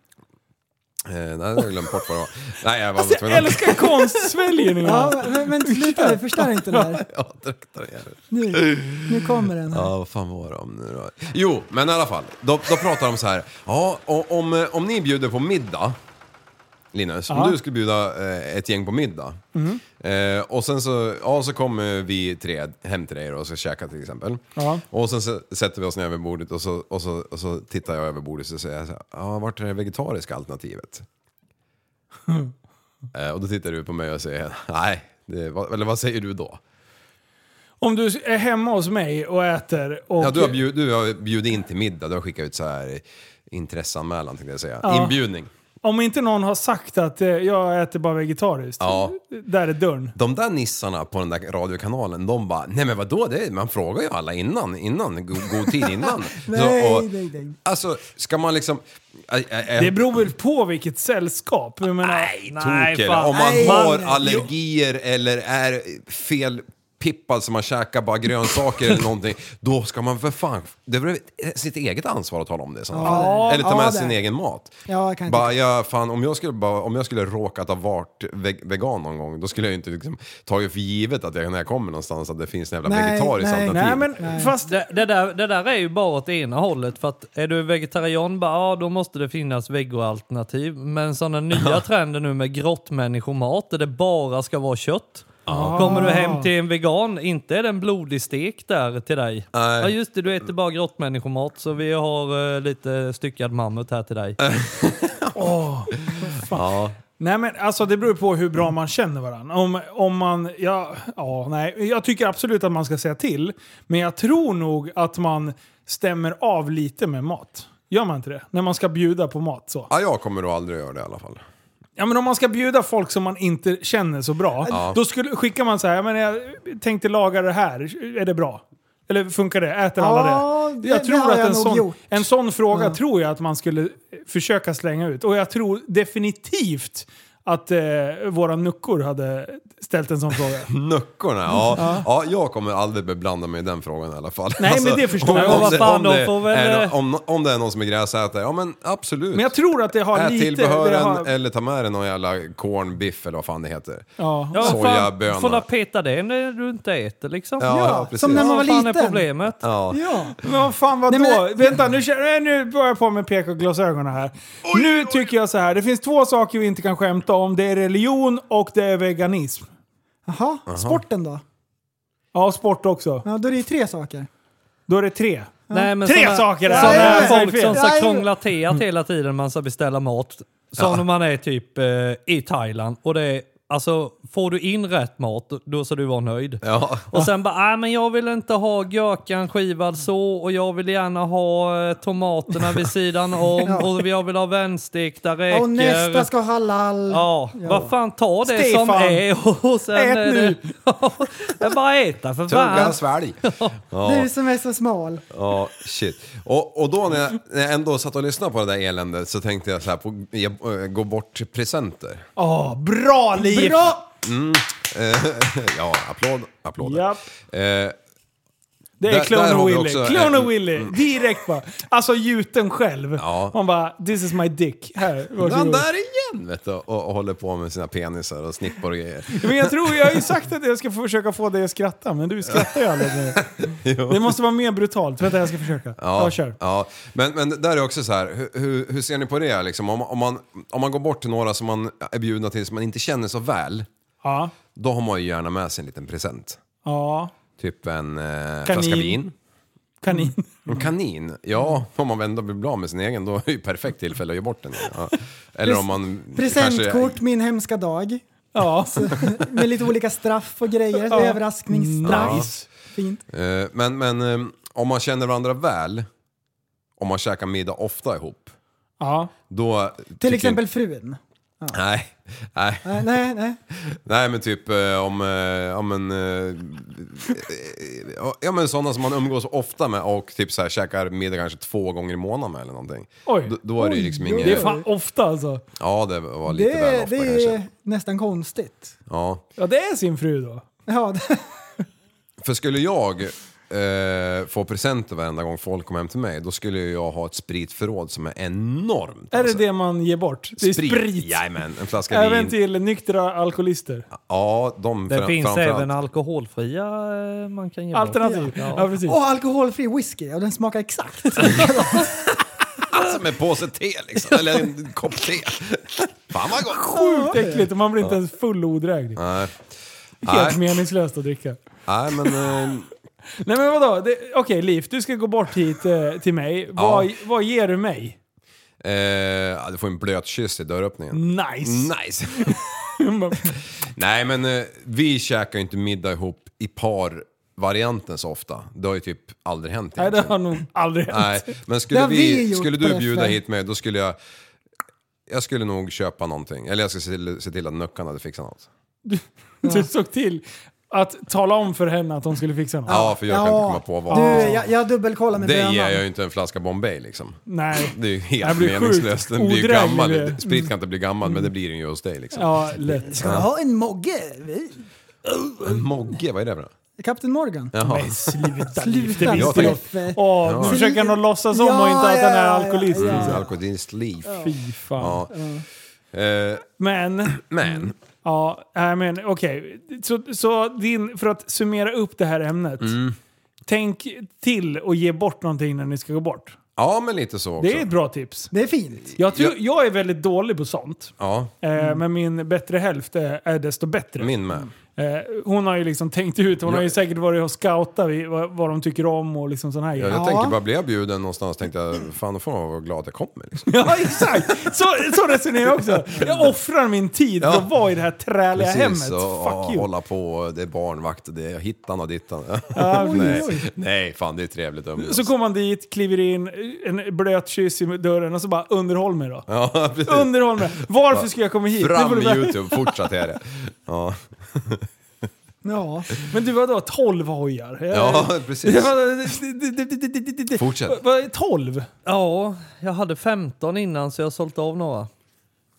eh, nej, jag har glömt bort vad det var. Nej, jag var Alltså, jag tvungen att... älskar konstsväljer nu. Ja, men, men sluta nu, förstör inte det här. Ja, direkt där igen. Nu, nu kommer den här. Ja, vad fan var det om nu då? Jo, men i alla fall. Då, då pratar de så här. Ja, o- om, eh, om ni bjuder på middag, Linus, Ja. Mm. om du skulle bjuda eh, ett gäng på middag. Eh, och sen så, ja, så kommer vi tre hem till dig då och ska käka till exempel. Ja. Och sen så sätter vi oss ner vid bordet och så, och så, och så tittar jag över bordet och så säger jag så här, ja, vart är det vegetariska alternativet? eh, och då tittar du på mig och säger, nej, det, vad, eller vad säger du då? Om du är hemma hos mig och äter och... eh, Ja, du har, bjud, du har bjudit in till middag, du har skickat ut så här intresseanmälan tänkte jag säga. Ja. Inbjudning. Om inte någon har sagt att eh, jag äter bara vegetariskt. Ja. Där är dörren. De där nissarna på den där radiokanalen, de bara “Nej men vadå, det är, man frågar ju alla innan, innan, god, god tid innan”. Nej, nej, nej. Alltså, ska man liksom... Ä, ä, ä, Det beror väl på vilket sällskap. Jag menar, nej, tokel. fan. Om man Nej, har nej. allergier eller är fel pippad så man käkar bara grönsaker eller någonting, då ska man för fan... Det är väl sitt eget ansvar att tala om det i sådana fall. Ja, Eller ta ja, med det. sin egen mat. Ja, jag kan inte- bara, ja, fan, om, jag skulle, bara, om jag skulle råkat ha varit veg vegan någon gång, då skulle jag ju inte liksom, tagit för givet att jag, när jag kommer någonstans att det finns en jävla Nej, vegetariskt nej. alternativ. Nej, men fast... Det, det, där, det där är ju bara åt det ena hållet. För att är du vegetarian, bara, ja, då måste det finnas vegoalternativ. Men sådana nya trender nu med grottmänniskomat, där det bara ska vara kött. Kommer du hem till en vegan, inte är det en blodig stek där till dig. Ja just det, du äter bara grottmänniskomat så vi har eh, lite styckad mammut här till dig. Nej men alltså det beror på hur bra man känner varandra. Om, om man, ja, ja, nej. Jag tycker absolut att man ska säga till. Men jag tror nog att man stämmer av lite med mat. Gör man inte det? När man ska bjuda på mat så. Ja, jag kommer då aldrig göra det i alla fall. Ja men om man ska bjuda folk som man inte känner så bra. Då skulle, skickar man så här, "Ja, men jag tänkte laga det här, är det bra? Eller funkar det? Äter alla Ja, det? det- det har jag en nog sån, gjort. Mm. en sån fråga tror jag att man skulle försöka slänga ut. Och jag tror definitivt att eh, våra nuckor hade ställt en sån fråga. Nuckorna, ja. ja. jag kommer aldrig beblanda mig i den frågan i alla fall. Mm. Alltså, Nej, men det förstår om- jag. om Vad det- fan, om de det får väl- är- Om, om det är någon som är gräsätare, ja men absolut. eh, Men jag tror att det har Ät lite... Det tillbehören har, eller ta med dig någon jävla cornbiff eller vad fan det heter. ja. Ja, Sojabönor. fan, får la peta det när du inte äter liksom. Ja, ja, precis. som när man var Vad fan är liten. problemet? Ja. Ja. Men vad fan vadå? Nej, men- Vänta, nu, känner- nej, nu börjar jag på med PK-glasögonen här. nu tycker jag så här, det finns två saker vi inte kan skämta om. Det är religion och det är veganism. Jaha, sporten då? Ja, och sport också. Ja, då är det ju tre saker. Då är det tre. Nej, men Tre såna- saker är Såna det. här Nej, folk fel. som ska Nej. krångla till att hela tiden när man ska beställa mat. Som när man är typ eh, i Thailand. Och det är, alltså, får du in rätt mat, då ska du vara nöjd. Ja. Och sen bara, nej men jag vill inte ha gurkan skivad så och jag vill gärna ha eh, tomaterna vid sidan om Ja. och jag vill ha vändstekta räkor. Och nästa ska ha halal. Ja, vad fan ta det Stefan. som är och sen Ät är nu. det... det är bara äta för Tugga, fan. svälj. Du som är så smal. Ja, shit. Och, och då när jag, när jag ändå satt och lyssnade på det där eländet så tänkte jag så här, på, jag, eh, gå bort presenter. Åh, bra liv! Bra! Ja, applåd, applåder. Japp. Eh, Det Där- är där har Clone vi Willy. också- Clone eh, Willy. Direkt bara. Alltså gjuten själv. Ja. Han bara “This is my dick”. Här, Då är han varsågod. där igen vet du, och, och håller på med sina penisar och snippor och grejer. Men jag tror, jag har ju sagt att jag ska försöka få dig att skratta, men du skrattar ju aldrig nu. Det måste vara mer brutalt. Vänta, jag ska försöka. Ja, kör. Ja. Men, men där är också så här, hur, hur, hur ser ni på det? Liksom, om, om, man, om man går bort till några som man är bjudna till som man inte känner så väl, Ja. då har man ju gärna med sig en liten present. Ja. Typ en eh, flaska vin. Kanin. Mm. En kanin? Ja, om man ändå blir bra med sin egen då är det ju perfekt tillfälle att ge bort den. Ja. Eller om man... Presentkort, kanske- min hemska dag. Ja. Med lite olika straff och grejer. Ja. Överraskningsstraff. Nice. Fint. Eh, men men eh, om man känner varandra väl, om man käkar middag ofta ihop, Ja. då... Till tycker- exempel frun. Nej, nej. Nej, nej, nej. Nej men typ eh, om, eh, om en, eh, eh, ja men sådana som man umgås ofta med och typ så här käkar middag kanske två gånger i månaden med eller någonting. Oj. Då, då är det ju liksom inget... Det är fan ofta alltså. Ja det var lite väl Det, ofta det kanske. är nästan konstigt. Ja. Ja, det är sin fru då. Ja, det, För skulle jag eh, få presenter varenda gång folk kom hem till mig, då skulle ju jag ha ett spritförråd som är enormt. Är det alltså. det man ger bort? Det är sprit. Jajamän, en flaska Även vin. till nyktra alkoholister. Ja, de Det fram- finns framförallt. även alkoholfria eh, man kan ge bort. Alternativ. Ja, Ja. precis. och alkoholfri whisky och den smakar exakt. Alltså med påse te liksom, eller en kopp te. Fan vad gott! Sjukt äckligt och man blir inte ens full och odräglig. Nej, Helt Nej. meningslöst att dricka. nej men... Eh, Nej men vadå? Det- Okej Liv, du ska gå bort hit eh, till mig. Vad, vad ger du mig? Eh, ja, du får en blöt kyss i Mm. dörröppningen. Nice! Nice! Nej men eh, vi käkar ju inte middag ihop i par varianten så ofta. Det har ju typ aldrig hänt Nej det egentligen. har nog aldrig hänt. Nej, men Det skulle, har vi vi, gjort skulle på du FN. bjuda hit mig då skulle jag... Jag skulle nog köpa någonting. Eller jag ska se till, se till att Nuckan hade fixat något. Du såg till att tala om för henne att hon skulle fixa något. Ja, för jag kan Ja. inte komma på vad. Du, jag, jag dubbelkollar med det bönan. ger jag ju inte en flaska Bombay liksom. Nej. Det är ju Det helt blir sjukt meningslöst. Den blir ju odräglig. gammal. Sprit kan inte bli gammal, men det blir den ju hos dig liksom. Ja, lätt. Ska du ha en mogge? Mogge, vad är det för något? Kapten Morgan. Jaha. Sluta Liv, det Sluta visste jag. Steffe. Åh, nu försöker han att låtsas om och inte att han är Ja, ja, ja, alkoholist. ja. Mm, Alkoholist liv. Fy fan. Ja. Eh, Men, men, ja, nej, men okej. Så, så din, för att summera upp det här ämnet. Mm. Tänk till och ge bort någonting när ni ska gå bort. ja men lite så också. Det är ett bra tips. Det är fint. Jag, tror, jag är väldigt dålig på sånt. Ja, Eh, Men min bättre hälft är, är desto bättre. Mm. min med. Eh, Hon har ju liksom tänkt ut, hon har ju säkert varit och scoutat vid- vad, vad de tycker om och liksom sån här Ja, jag grejer. tänker bara, blir jag bjuden någonstans tänkte jag, fan då får man vara glad jag kommer. Liksom. Ja exakt! Så, så resonerar jag också. Jag offrar min tid för Ja. att vara i det här träliga hemmet. och, och Fuck you. hålla på, och det är barnvakt och det är hittan och dittan. Ja, nej, oj, nej, fan det är trevligt att umgås. Så kommer man dit, kliver in, en blöt kyss i dörren och så bara underhåll mig då. Ja, precis. Underhåll mig! Varför ska jag komma hit? Nu får Fram du med väl- YouTube, fortsätt är det. Ja, Ja. Men du vadå, 12 hojar? Jag- ja precis. Fortsätt. Vad- vad är 12? ja, jag hade 15 innan så jag har sålt av några.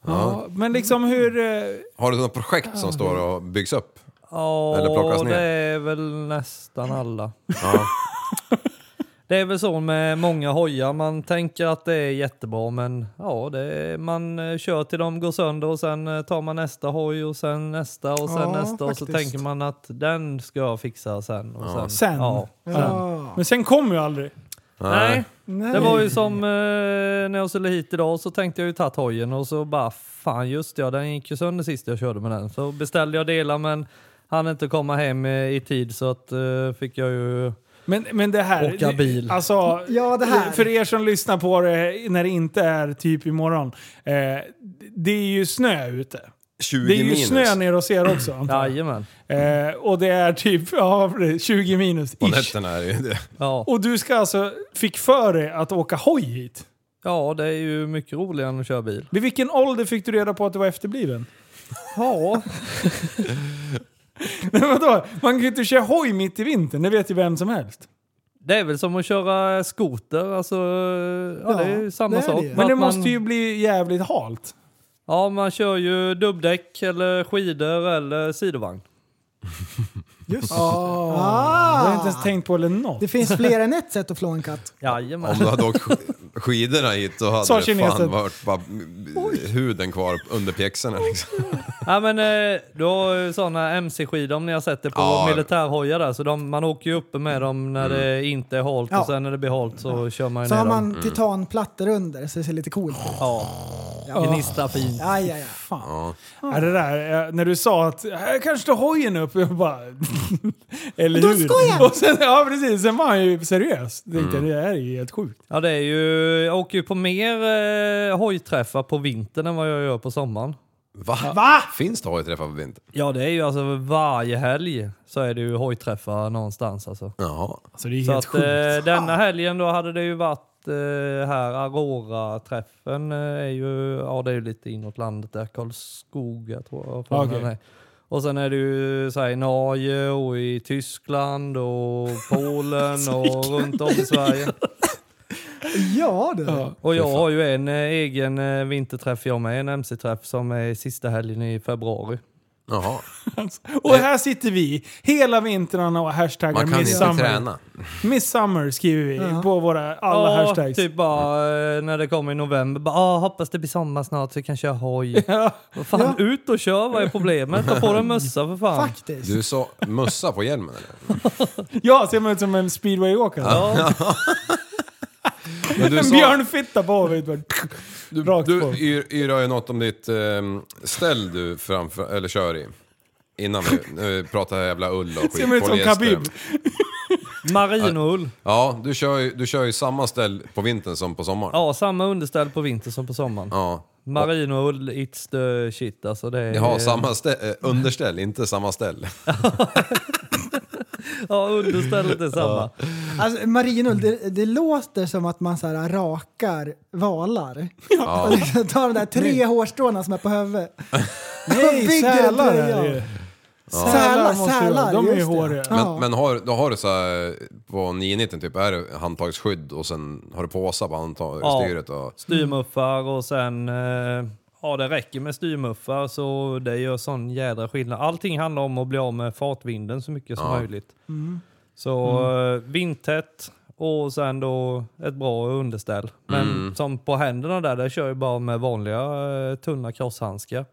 Ja, men liksom hur... eh, Har du något projekt som står och byggs upp? Ja, Eller plockas ner. det är väl nästan alla. Det är väl så med många hojar, man tänker att det är jättebra men ja, det är, man eh, kör till de går sönder och sen eh, tar man nästa hoj och sen nästa och sen Ja, nästa och så faktiskt. tänker man att den ska jag fixa sen. Och sen, Sen? Ja. ja. Men sen kommer ju aldrig. Nej. Nej. Det var ju som eh, när jag skulle hit idag så tänkte jag ju tagit hojen och så bara fan just det, ja, den gick ju sönder sist jag körde med den. Så beställde jag delar men hann inte komma hem eh, i tid så att eh, fick jag ju... Men, men det här... Åka bil. Alltså, Ja, det här. För er som lyssnar på det när det inte är typ imorgon. Eh, det är ju snö ute. 20 Det är ju minus. snö nere hos er också. antar jag. Jajamän. eh, och det är typ ja, 20 minus. På Ish. nätterna är det ju det. Ja. Och du ska alltså, fick för dig att åka hoj hit. ja, det är ju mycket roligare än att köra bil. Vid vilken ålder fick du reda på att du var efterbliven? Ja, Nej, vadå? Man kan ju inte köra hoj mitt i vintern, det vet ju vem som helst. det är väl som att köra skoter, alltså, ja, det är ju samma det är det sak. ju. Men det Att man, måste ju bli jävligt halt. Ja, man kör ju dubbdäck eller skidor eller sidovagn. Just Jag har inte ens ah. tänkt på eller något. Det finns fler än ett sätt att flå en katt. Jajamän. Om du hade åkt sk- skidorna hit då Sa hade det kinesen. fan varit bara mm, huden kvar under pjäxorna liksom. Ja, men, eh, du har ju sådana mc-skidor om ni har sett det på Ja. militärhojar där. Så de, man åker ju uppe med dem när det inte är halt Ja. och sen när det blir halt så kör man ju Så ner har dem. Mm. man titanplattor under så det ser lite coolt ut. Ja. Gnistrar fint. Aj, aj, aj. Fan. Ja, det där, eh, när du sa att här kanske står hojen upp, jag bara... eller Då hur? skojar jag. Och sen, ja precis, sen var han ju seriös. Jag Tänkte, Det här är ju helt sjukt. Ja, det är ju, jag åker ju på mer eh, hojträffar på vintern än vad jag gör på sommaren. Va? Finns det hojträffar på vintern? Ja, det är ju alltså varje helg så är det ju hojträffar någonstans alltså. Jaha. Alltså det är Så helt att sjukt. eh, denna helgen då hade det ju varit eh, här, Aurora-träffen eh, är ju, ja det är ju lite inåt landet där, Karlskoga tror jag. för mig Okej. den är. Och sen är det ju så här, i Norge och i Tyskland och Polen och runt om i Sverige. Ja du. Ja. Och jag har ju en eh, egen eh, vinterträff jag med, en mc-träff som är sista helgen i februari. Jaha. Och här sitter vi hela vintrarna och hashtaggar Man kan inte midsummer. träna. Midsummer skriver vi på våra alla Ja, hashtags. typ bara eh, när det kommer i november. Bara, ah, hoppas det blir sommar snart så vi kan köra hoj. Ja. Vad fan, ut och kör. Vad är problemet? Ta på dig en mössa för fan. Faktiskt. Du sa mössa på hjälmen eller? ja, ser man ut som en speedwayåkare. Ja, Men du En sa- björnfitta på vet du. Du, Rakt du på. yr, yrar ju något om ditt ehm, ställ du framför, eller kör i. Innan vi nu pratar jag jävla ull och skit. Ser man ut som polyester. Khabib? marinoull. Ja, du kör, ju, du kör ju samma ställ på vintern som på sommaren. Ja, samma underställ på vintern som på sommaren. Ja. Marinoull, it's the shit alltså. Det är, Ni har samma stä- eh, underställ, inte samma ställ. Ja, understället är samma. Alltså, marinull, det, det låter som att man så här rakar valar. Och liksom tar de där tre hårstråna som är på huvudet. Nej, Bygger en sälar tröja är av. det ju. Sälar, måste det vara. sälar. De är ju just det. håriga. Men, Ja. men har, då har du så här, eh, på 990 typ, är det handtagsskydd och sen har du påsar på handtagsstyret och... Styrmuffar och sen... Eh, ja, det räcker med styrmuffar så det gör sån jädra skillnad. Allting handlar om att bli av med fartvinden så mycket som Ja. möjligt. Mm. Så eh, vindtätt och sen då ett bra underställ. Men som på händerna där, där kör jag bara med vanliga eh, tunna krosshandskar.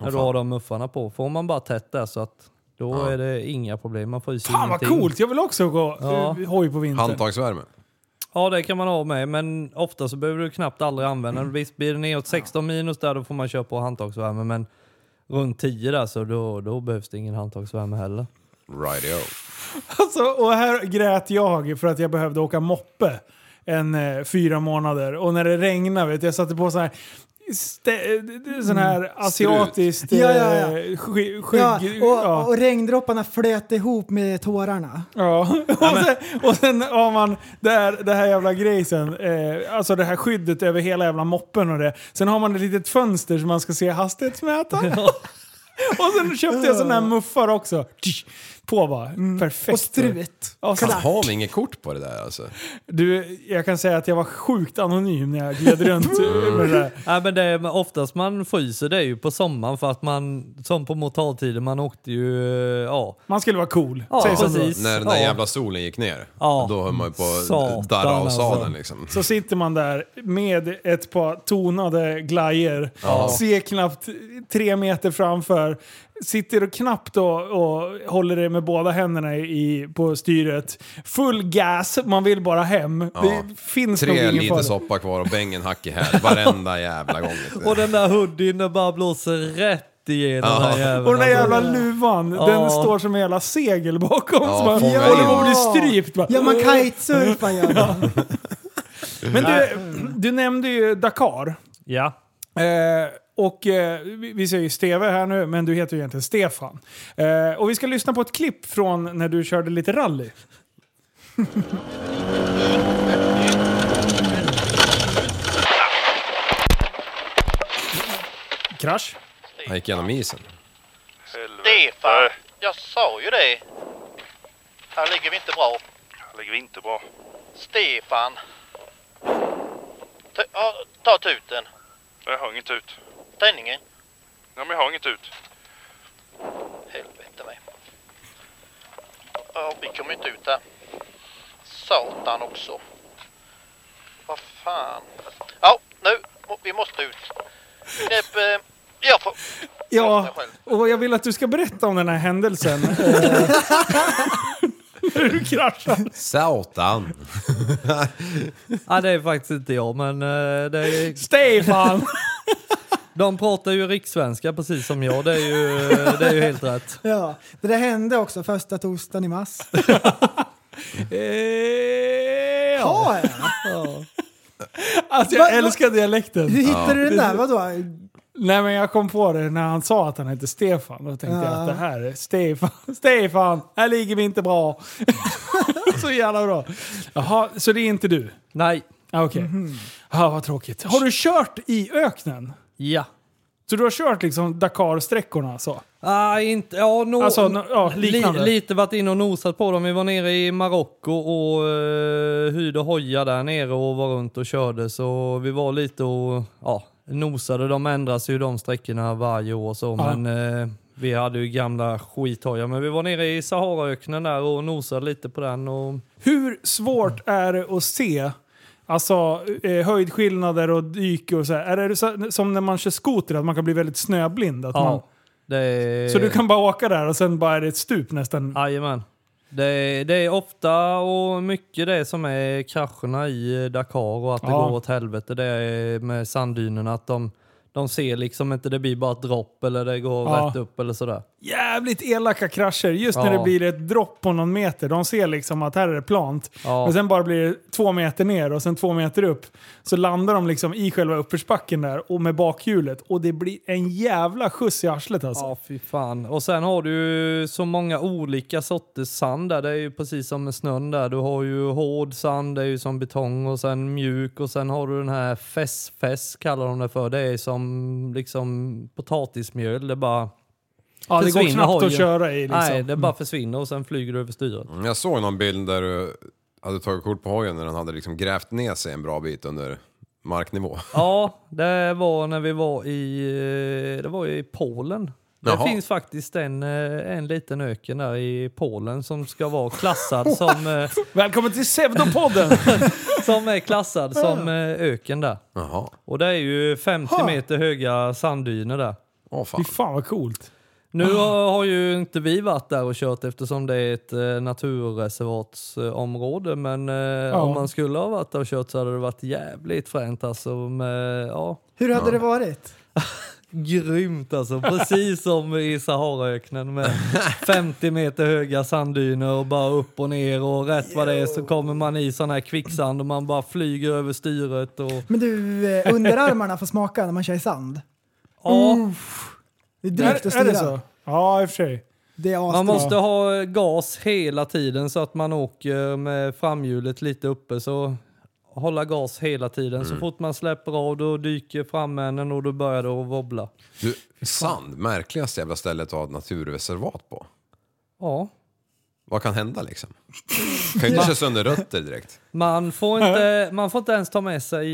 När du har de muffarna på. Får man bara tätt där så att då är det inga problem. Man får ju Fan vad coolt! Jag vill också gå Ja. eh, hoj på vintern. Handtagsvärme. Ja, det kan man ha med, men ofta så behöver du knappt aldrig använda den. Visst blir det neråt 16 minus där, då får man köra på handtagsvärme, men runt 10 där så då, då behövs det ingen handtagsvärme heller. Rightio. Alltså, och här grät jag för att jag behövde åka moppe en eh, fyra månader. Och när det regnade, vet du, jag satte på så här stä- eh, sån här asiatiskt eh, Mm. Ja, ja, ja. sky- skygg... Ja, ja. och, och regndropparna flöt ihop med tårarna. Ja, och sen, och sen har man det här, det här jävla grejsen, eh, alltså det här skyddet över hela jävla moppen och det. Sen har man ett litet fönster som man ska se hastighetsmätaren. och sen köpte jag sådana här muffar också. Tsch, På bara. Perfekt. Mm. Och strut. Ja, Fan, så- har vi inget kort på det där alltså? Du, jag kan säga att jag var sjukt anonym när jag gled runt med det där. Nej, men det är, men oftast man fryser det är ju på sommaren för att man, som på mortaltiden, man åkte ju, eh, ja. Man skulle vara cool. Ja, Säg som precis. Alltså, När den där Ja. jävla solen gick ner. Ja. Då höll man ju på Satan, att darra av alltså. sadeln liksom. Så sitter man där med ett par tonade glajer, ser knappt tre meter framför, sitter och knappt och, och håller det med båda händerna i, på styret. Full gas, man vill bara hem. Det finns nog Tre ingen liter fara. soppa kvar och bängen hack i häl varenda jävla gång. vet du. Och den där hoodien, den bara blåser rätt igenom den här jäveln. Och den där alltså. jävla luvan, den står som en jävla segel bakom. så man fånga håller på in. att bli strypt. Bara. Ja, man kitesurfar gör man. Men du, du nämnde ju Dakar. Ja. Eh, och eh, vi vi säger ju Steve här nu, men du heter ju egentligen Stefan. Eh, och vi ska lyssna på ett klipp från när du körde lite rally. Krasch. Han gick genom isen. Stefan, jag sa ju det. Här ligger vi inte bra. Här ligger vi inte bra. Stefan. Ta, ja, ta tuten. Jag har inget ut. Tändningen. Ja, men jag har inget ut. Helvete mig. Ja, vi kommer inte ut där. Satan också. Vad fan. Ja, nu. må- Vi måste ut. Knep, eh, jag får... Ja, och jag vill att du ska berätta om den här händelsen. Eh, När du kraschade. Satan. Nej, det är faktiskt inte jag, men eh, det är... Stefan! De pratar ju rikssvenska precis som jag, det är ju, eh, det är ju helt rätt. Ja, det där hände också första torsdagen i mars. Eh, ja. Ja, ja. Alltså Va- jag va- älskar dialekten. Hur hittade du den där? Vadå? Nej men jag kom på det när han sa att han hette Stefan. Då tänkte jag Ja. att det här är Stefan. Stefan, här ligger vi inte bra. så jävla bra. Jaha, så det är inte du? Nej, Ah, Okej. Ah, vad tråkigt. Har du kört i öknen? ja. Så du har kört liksom Dakar-sträckorna alltså? så? Ah, inte, ja, no, Alltså, no- ja, liknande. Li, lite varit inne och nosat på dem. Vi var nere i Marocko och uh, hyrde hoja där nere och var runt och körde. Så vi var lite och ja, nosade. De ändras ju de sträckorna varje år. Så, Ja. Men eh, vi hade ju gamla skithojar. Men vi var nere i Saharaöknen där och nosade lite på den. Och, Hur svårt är det att se alltså, eh, höjdskillnader och dyk och så här? Är det så, som när man kör skoter, att man kan bli väldigt snöblind? Att man, ja, Eh. det är... så du kan bara åka där och sen bara är det ett stup nästan? Jajamän. Det, är- det är ofta och mycket det som är krascherna i eh, Dakar och att det Ja. går åt helvete. Det är med sanddynerna att de, de ser liksom inte, det blir bara ett dropp eller det går Ja. rätt upp eller sådär. Jävligt elaka krascher. Just när Ja. det blir ett dropp på någon meter. De ser liksom att här är det plant. Ja. Men sen bara blir det två meter ner och sen två meter upp. Så landar de liksom i själva uppförsbacken där och med bakhjulet. Och det blir en jävla skjuts i arslet alltså. Ja, fy fan. Och sen har du ju så många olika sorters sand där. Det är ju precis som med snön där. Du har ju hård sand, det är ju som betong och sen mjuk och sen har du den här fess-fess kallar de det för. Det är som liksom potatismjöl. Det bara Ja, det går försvinner knappt hojen. att köra i liksom. Nej, det bara försvinner och sen flyger du över styret. Mm, Jag såg någon bild där du hade tagit kort på hojen när den hade liksom grävt ner sig en bra bit under marknivå. Ja, det var när vi var i, eh, det var ju i Polen. Jaha. Det finns faktiskt en, eh, en liten öken där i Polen som ska vara klassad som, eh, Välkommen till Pseudopodden! som är klassad som eh, öken där. Jaha. Och det är ju 50 meter höga sanddyner där. Åh Fy fan. fan vad coolt. Nu har, har ju inte vi varit där och kört eftersom det är ett eh, naturreservatsområde men eh, om man skulle ha varit där och kört så hade det varit jävligt fränt alltså. Med, ja, Hur hade det varit? Grymt alltså, precis som i Saharaöknen med 50 meter höga sanddyner och bara upp och ner och rätt vad det är så kommer man i sån här kvicksand och man bara flyger över styret och... Men du, eh, underarmarna får smaka när man kör i sand. Ja, Det är Är, drygt att styra. är det så? Ja, i och för sig. Det är man asdrygt. måste ha gas hela tiden så att man åker med framhjulet lite uppe så hålla gas hela tiden. Så fort man släpper av då dyker framänden och då börjar det att wobbla. Du, sand, märkligaste jävla stället att ha ett naturreservat på. Ja. Vad kan hända liksom? Kan inte köra sönder rötter direkt. Man får, inte, man får inte ens ta med sig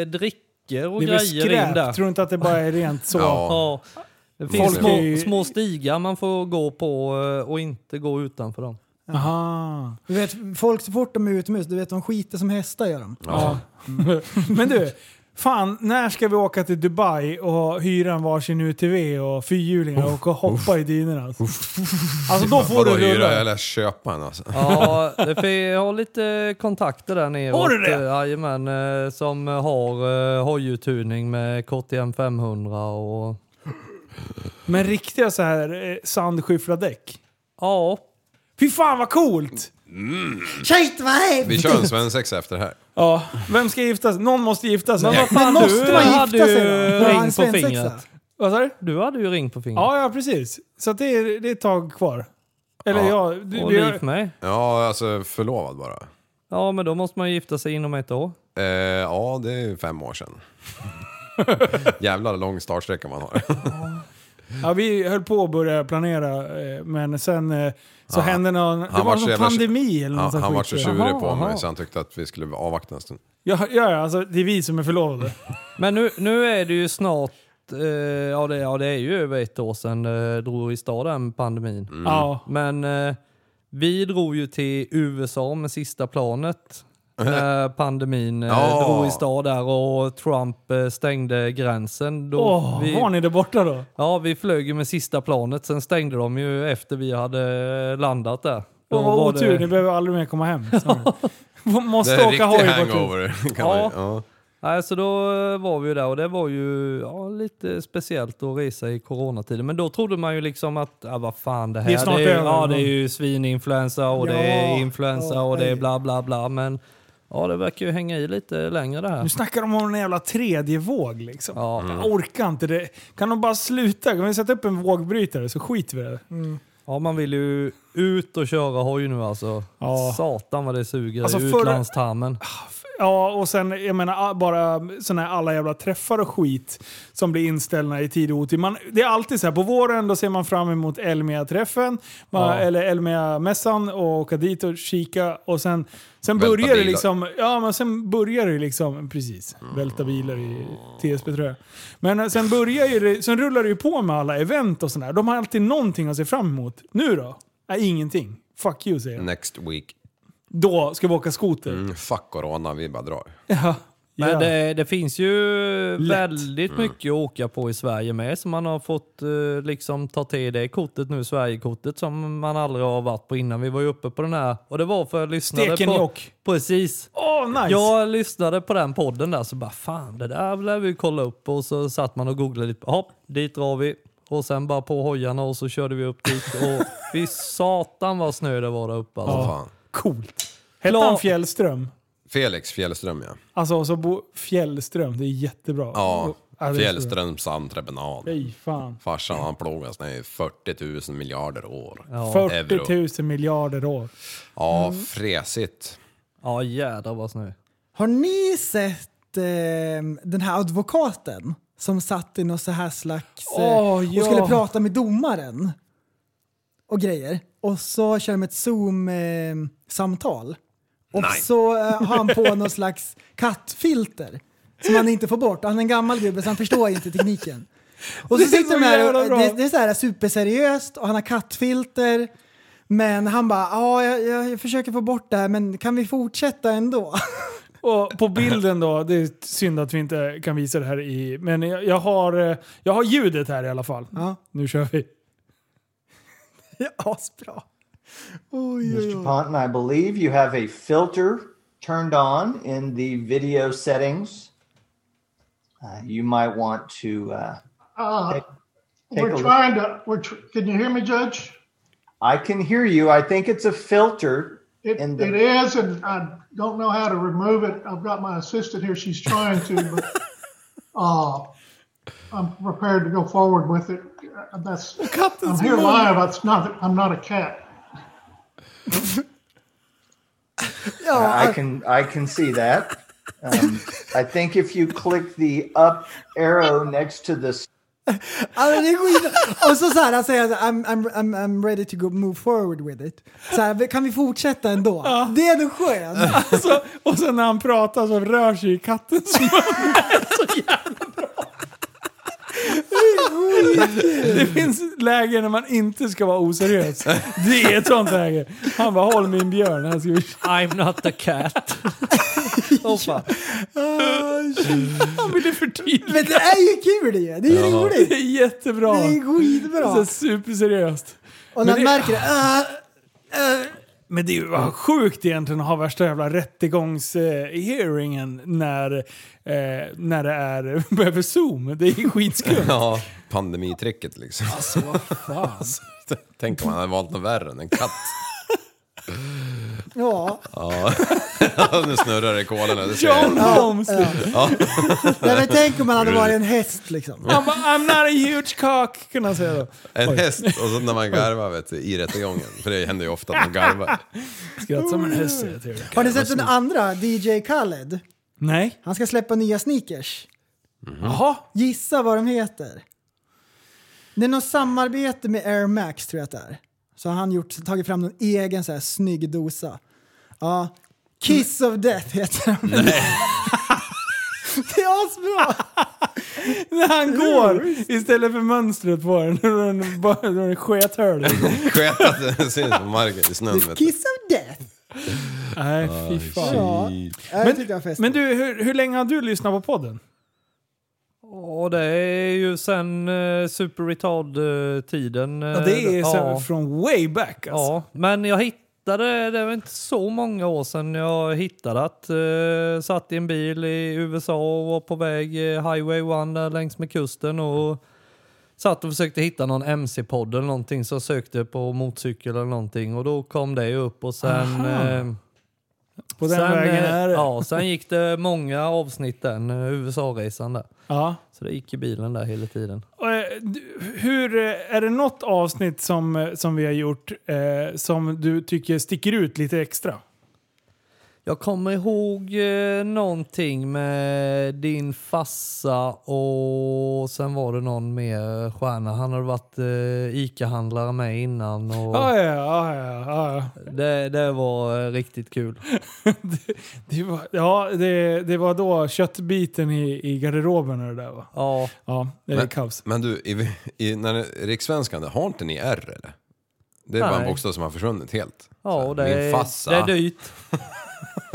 eh, drickor och Det är väl grejer in skräp? där. Tror du inte att det bara är rent så? Ja. Ja. Det finns Folk små, är ju- små stigar man får gå på eh, och inte gå utanför dem. Aha. Du vet, folk så fort de är utomhus, du vet de skiter som hästar gör de. Ja. Men du, fan, när ska vi åka till Dubai och hyra en varsin UTV och fyrhjulingar och åka och hoppa i dynorna? Alltså, alltså då får Vadå du hyra rulla. eller köpa en alltså? Ja, det- för jag har lite kontakter där nere. Har du det? Jajamän, eh, som har eh, hojuthyrning med KTM 500 och... Men riktiga så här eh, sandskyffla däck. Ja, Fy fan vad coolt! Shit vad hemskt! Vi kör en svensexa efter det här. Ja, vem ska gifta sig? Någon måste gifta sig. vad fan, Men måste du man hade gifta sig ju då? För att ha ring en på svensexa? fingret. Vad sa du? Du hade ju ring på fingret. Ja, ja precis. Så att det, är, det är ett tag kvar. Eller ja, du, Och du- likt mig. Ja, alltså förlovad bara. Ja, men då måste man ju gifta sig inom ett år. Eh, ja, det är fem år sedan. Jävlar lång startsträcka man har. Ja, vi höll på att börja planera, eh, men sen eh, så Ja, hände någon... Det han var var någon så jävla- pandemi eller något Han, sånt han var så skit. tjurig på mig aha. så han tyckte att vi skulle avvakta en stund. Ja, ja, ja, alltså det är vi som är förlovade. Men nu, nu är det ju snart, eh, ja, Mm. det, ja det är ju över ett år sedan eh, drog i stad den pandemin. Ja. Men eh, Vi drog ju till USA med sista planet när pandemin eh, Ja. drog i stad där och Trump eh, stängde gränsen. Då Åh, vi, var ni där borta då? Ja, vi flög ju med sista planet. Sen stängde de ju efter vi hade landat där. Då Åh, vad var det- otur, ni behöver aldrig mer komma hem. Sorry. Det Måste är en åka riktig hoj bort. hangover. Kan Ja. man, ja. Nej, så då eh, var vi ju där och det var ju ja, lite speciellt att resa i coronatiden. Men då trodde man ju liksom att, ja vad fan det här, Det är snart det är, över. ja, det är ju svininfluensa och det Ja, är influensa ja, och det är nej. bla bla bla. Men ja, det verkar ju hänga i lite längre det här. Nu snackar de om en jävla tredje våg liksom. Ja. Mm. Jag orkar inte det. Kan de bara sluta? Kan vi sätta upp en vågbrytare så skiter vi i det. Ja, man vill ju ut och köra hoj nu alltså. Ja. Satan vad det suger Alltså, i förra- utlandstarmen. Ja, och sen jag menar a- bara såna här alla jävla träffar och skit som blir inställda i tid och otid. Man, det är alltid så här, på våren då ser man fram emot Elmia-träffen, man, Ja. eller Elmia-mässan och åka dit och kika och sen, sen Välta börjar det bilar. Mm. liksom, ja men sen börjar det liksom, precis, välta bilar i TSB tror jag. Men eh, sen börjar ju det, sen rullar det ju på med alla event och sådär. De har alltid någonting att se fram emot. Nu då? Nej, ingenting. Fuck you säger jag. Next week. Då ska vi åka skoter. Mm, fuck corona, vi bara drar. Ja. Men Ja. Mm. det, det finns ju väldigt mycket att åka på i Sverige med. Så man har fått eh, liksom ta till det kortet nu, Sverigekortet, som man aldrig har varit på innan. Vi var ju uppe på den här, och det var för jag lyssnade på... Stekenjokk. Precis. Åh, nice! Jag lyssnade på den podden där så bara fan det där lär vi kolla upp och så satt man och googlade lite. Hopp, dit drar vi. Och sen bara på hojarna och så körde vi upp dit och fy satan vad snö det var där uppe alltså. Åh, fan. Coolt. Hette Klar- han Fjällström? Felix Fjällström ja. Alltså, så bo... Fjällström, det är jättebra. Ja, det är så bra. Fjällströms entreprenad. Fy fan. Farsan han plågar snö i 40 000 miljarder år. Ja, 40 000 Euro. miljarder år. Mm. fräsigt. Ja jädrar vad snö. Har ni sett eh, den här advokaten som satt i något så här slags... eh, Åh, ja. Och skulle prata med domaren och grejer. Och så kör de ett Zoom-samtal. eh, och så eh, har han på någon slags kattfilter som han inte får bort. Han är en gammal gubbe så han förstår inte tekniken. Och så Det är så sitter de här jävla och bra. det, det är så här superseriöst och han har kattfilter. Men han bara, ja, jag, jag, jag försöker få bort det här, men kan vi fortsätta ändå? Och på bilden då, det är synd att vi inte kan visa det här i... Men jag, jag, har, eh, jag har ljudet här i alla fall. Ja. Nu kör vi. Det är asbra. Oj, oj, oj. Ponton, I believe you have a filter turned on in the video settings. Uh, you might want to. Uh, Uh, take a We're look. trying to, we're, tr- can you hear me, Judge? I can hear you. I think it's a filter. It, In the- it is, and I don't know how to remove it. I've got my assistant here. She's trying to, but, uh, I'm prepared to go forward with it. Uh, That's, I'm here live. It's not, I'm not a cat. I I can I can see that. Um, I think if you click the up arrow next to the Alltså, det är skit. Och så, så här, han säger så här, I'm, I'm, I'm, I'm ready to go move forward with it. Så här, kan vi fortsätta ändå? Det är ändå skönt. Alltså, och sen när han pratar så rör sig kattens mun. Det är så jävla bra. Det finns lägen när man inte ska vara oseriös. Det är ett sånt läge. Han bara håll min björn. Här ska vi... I'm not a cat. Åh, fan. Ah, Han ville förtydliga. Men det är ju kul det ju. Det är ju Det roligt. är jättebra. Det är Så skitbra. superseriöst. Och när Men han det- märker det, "Ah, Men det är ju vad sjukt egentligen att ha värsta jävla rättegångshearingen när, eh, när det är över zoom. Det är skitskumt. Ja, pandemitricket liksom. Alltså vad fan. Tänk om han hade valt något värre än en katt. ja. nu snurrar det i kolen. Det ser John jag. Holmes! Nej, men tänk om han hade varit en häst liksom. I'm, I'm not a huge cock, kunde han säga då. En häst och så när man garvar vet du, i rättegången. För det händer ju ofta att man garvar. Skratt som en häst säger jag till dig. Har ni sett den andra, DJ Khaled? Nej. Han ska släppa nya sneakers. Jaha. Gissa vad de heter. Det är något samarbete med Air Max tror jag att det är. Så har han gjort, tagit fram någon egen så här snygg dosa. Ja. Kiss of Death heter den. Det är asbra! När han går istället för mönstret på den. När den bara när den sket hörd. Skönt att det syns på marken i snön. vet du. Kiss of death. Nej, fy fan. Ja, jag Men- tyckte det var festligt. Men du, hur, hur länge har du lyssnat på podden? Och det är ju sen eh, Super Retard-tiden. Ja, det är eh, så, från way back alltså. Ja, men jag hittade, det var inte så många år sedan jag hittade att eh, satt i en bil i USA och var på väg eh, Highway 1 där längs med kusten och satt och försökte hitta någon MC-podd eller någonting så jag sökte på motorcykel eller någonting och då kom det ju upp och sen... Aha. eh, På den vägen eh, är det. Ja, sen gick det många avsnitt den eh, USA-resan där. Ja. Så det gick i bilen där hela tiden. Och, eh, du- Hur, eh, är det något avsnitt som, eh, som vi har gjort eh, som du tycker sticker ut lite extra? Jag kommer ihåg eh, någonting med din fassa och sen var det någon mer stjärna. Han hade varit eh, ICA-handlare med innan. Och Ja, ja, ja, ja, ja. det, det var eh, riktigt kul. Det var, ja, det, det var då köttbiten i, i garderoben och det där va? Ja. Ja, det är Men, kaos. men du, i, i, när det- rikssvenskan, det har inte ni R eller? Det är bara en Nej. bokstav som har försvunnit helt. Ja, och det, Alltså, min är- fassa. det är dyrt.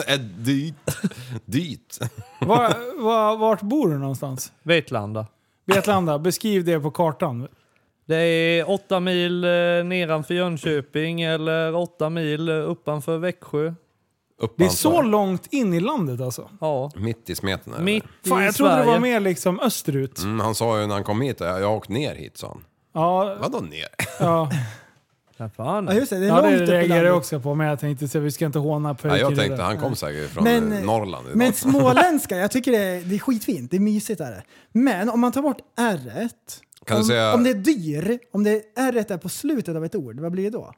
är dyrt. dyrt. Var, var, vart bor du någonstans? Vetlanda. Vetlanda, beskriv det på kartan. Det är åtta mil eh, nedanför Jönköping eller åtta mil eh, uppanför Växjö. Uppanför. Det är så långt in i landet alltså? Ja. Mitt i smeten är det. Mitt Fan, i jag trodde det var Sverige. mer liksom österut. Mm, han sa ju när han kom hit, jag jag har åkt ner hit sa han. Ja, Vadå ner? ja. Ja, fan. Ja, just det. Det är ja, långt det upp i reagerar jag landet. också på, men jag tänkte så vi ska inte håna pöjken. Nej, i jag det tänkte där. han kom säkert från Men- eh, Norrland idag. Men småländska, jag tycker det är, det är skitfint. Det är mysigt. Är det. Men om man tar bort r Kan du om, säga- om det är dyr, om det r är på slutet av ett ord, vad blir det då?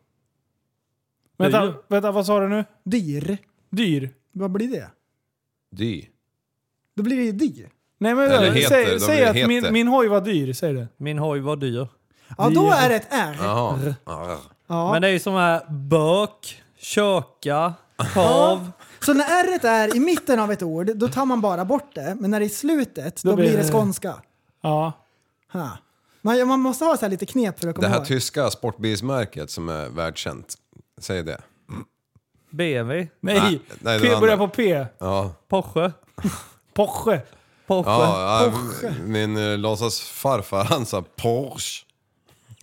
Vänta, vänta, vad sa du nu? Dyr, Dyr? vad blir det? Dy. Då blir det ju dyr. Nej men Eller heter, säg, de säg blir att heter. min, min hoj var dyr, säg det. Min hoj var dyr. Ja, då är det ett r. Jaha. Arr. Ja. Men det är ju som här bök, köka, kav. Så när r är i mitten av ett ord, då tar man bara bort det. Men när det är i slutet, då, Då blir blir det det- skånska. Ja. Ha. Man, man måste ha så här lite knep för att Det komma här ihåg. tyska sportbilsmärket som är världskänt. Säg det. BMW, Nej, Nej, nej, det P var börjar på andra. P. Ja. Porsche, Porsche. Porsche. ja, ja min eh, låtsas farfar han sa Porsche.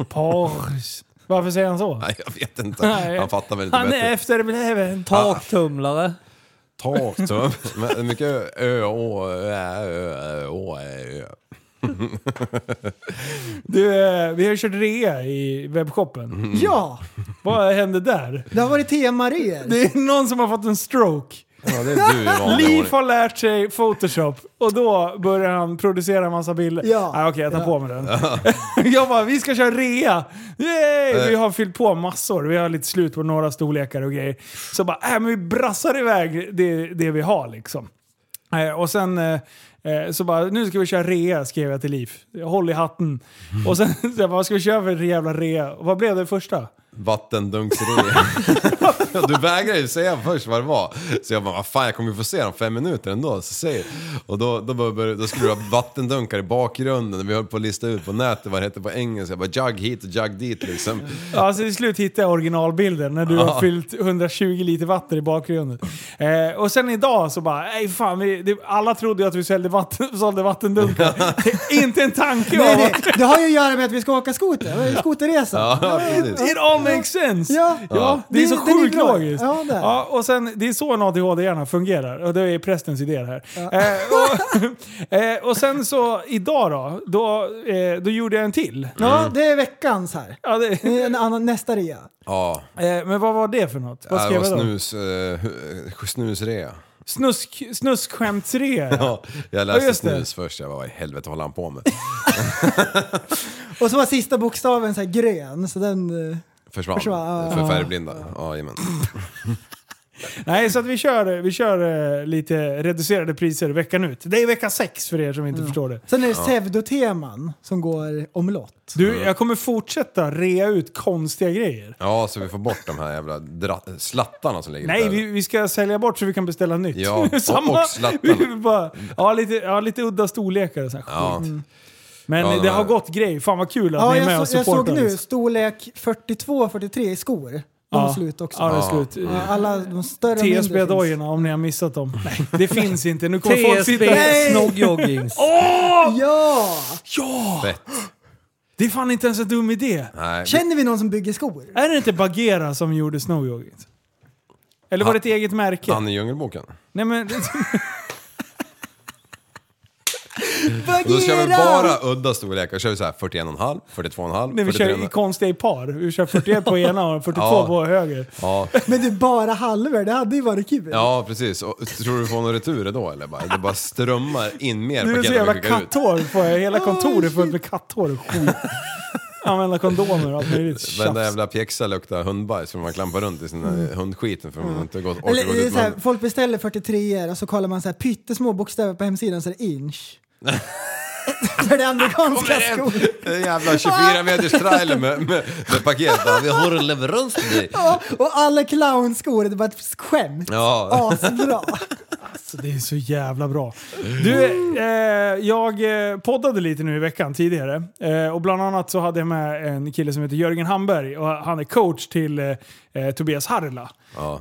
Porsche. Varför säger han så? Nej, jag vet inte. Nej. Han fattar väl inte Han är bättre. efterbliven. Taktumlare. Ah. Tak, så. Men mycket ö, å, ä, ö, å, ä, ö. Du, eh, vi har kört rea i webbshoppen. Mm. Ja, Vad hände där? det har varit temareor. Det är någon som har fått en stroke. Ja, det är du i vanlig Liv ordning. har lärt sig Photoshop och då börjar han producera en massa bilder. Ja. Ah, Okej, jag tar Ja. på mig den. jag bara, vi ska köra rea! Yay! Eh. Vi har fyllt på massor. Vi har lite slut på några storlekar och grejer. Så bara, äh, men vi brassar iväg det, det vi har liksom. Eh, Och sen eh, eh, så bara, nu ska vi köra rea, skrev jag till Liv. Håll i hatten. Och sen, så jag bara, vad ska vi köra för jävla rea? Och vad blev det första? Vattendunksring. Ja, du vägrade ju säga först vad det var. Så jag bara, vad fan jag kommer ju få se dem fem minuter ändå. Så säg. Och då, då, började, då skulle du ha vattendunkar i bakgrunden. Vi höll på att lista ut på nätet vad det hette på engelska. Jag bara, jug hit och jug dit liksom. Ja, Alltså till slut hittade jag originalbilden när du har fyllt 120 liter vatten i bakgrunden. Eh, och sen idag så bara, nej fan, vi, det, alla trodde ju att vi sålde, vatten, sålde vattendunkar. Inte en tanke Nej, om nej, att det har ju att göra med att vi ska åka skoter, skoterresa. Ja, precis. it all makes sense. Ja. det är så den sjukt bra. logiskt. Ja, det är. Ja, och sen, det är så en ADHD-hjärna fungerar. Och det är prästens idé det här. Eh, och, eh, och sen så idag då, då, eh, då gjorde jag en till. Ja, det är veckans här. Ja, det, Det är En annan, nästa rea. Ja, eh, men vad var det för något? Vad Äh, det skrev var jag då? snus, eh, snusrea. Snusk, snuskskämtsrea. Ja, jag Ja, läste just det. snus först, jag bara vad i helvete håller han på med? Och så var sista bokstaven så här grön, så den... eh, Försvann. Försvann, ja. För färgblinda. Ja, jajamän. Nej, så att vi kör, vi kör eh, lite reducerade priser veckan ut. Det är vecka sex för er som inte förstår det. Sen är det pseudoteman som går omlott. Du, jag kommer fortsätta rea ut konstiga grejer. Ja, så vi får bort de här jävla dra- slattarna som ligger Nej, där. vi, vi ska sälja bort så vi kan beställa nytt. Ja, och- och slattarna. vi vill bara, ja, lite, ja, lite udda storlekar och sånt här Ja. skit. Men Ja, eh, det de här- har gått grej. Fan vad kul att Ja, ni är med jag, och så, jag såg supportar liksom. nu oss. storlek 42-43 i skor. De Ja. är slut också. Ja, de är slut. Ja, Alla de större och mindre finns. TSB-dojorna om ni har missat dem. Nej, det finns inte. Nu kommer folk sitta... Nej! Åh! Ja! Ja! Det är fan inte ens en dum idé. Nej, Känner vi någon som bygger skor? Är det inte Bagheera som gjorde Snow Yoghurt? Eller var det ett eget märke? Han i Djungelboken. Nej men... Och då kör vi bara udda storlekar. Då kör vi så här 41,5, 42,5, Nej, vi kör i 43,5. konstiga i par. Vi kör 41 på ena och 42 Ja. på höger. Ja. Men du, bara halvor. Det hade ju varit kul. ja, precis. Och, tror du vi får några returer då eller? Bara, det bara strömmar in mer Nu är det paket så än vi jävla skickar ut. katthår. Får jag, hela kontoret Ah, fullt med katthår och skit. Använda kondomer och allt möjligt tjafs. Varenda jävla pjäxa luktar hundbajs för man klampar runt i sina eh, hundskiten för man inte gått, orkar Eller gå det är ut. så här, Men- folk beställer 43 och så kollar man så här, pyttesmå bokstäver på hemsidan så är det inch. För det är amerikanska skor. En jävla 24 meters trailer med, med, med paket. Ja, Vi har en leverans till dig. Ja, och alla clownskor, det är bara ett skämt. Ja. Asbra. Alltså, det är så jävla bra. Du, eh, jag eh, poddade lite nu i veckan tidigare. Eh, och bland annat så hade jag med en kille som heter Jörgen Hamberg och han är coach till eh, eh, Tobias Harla.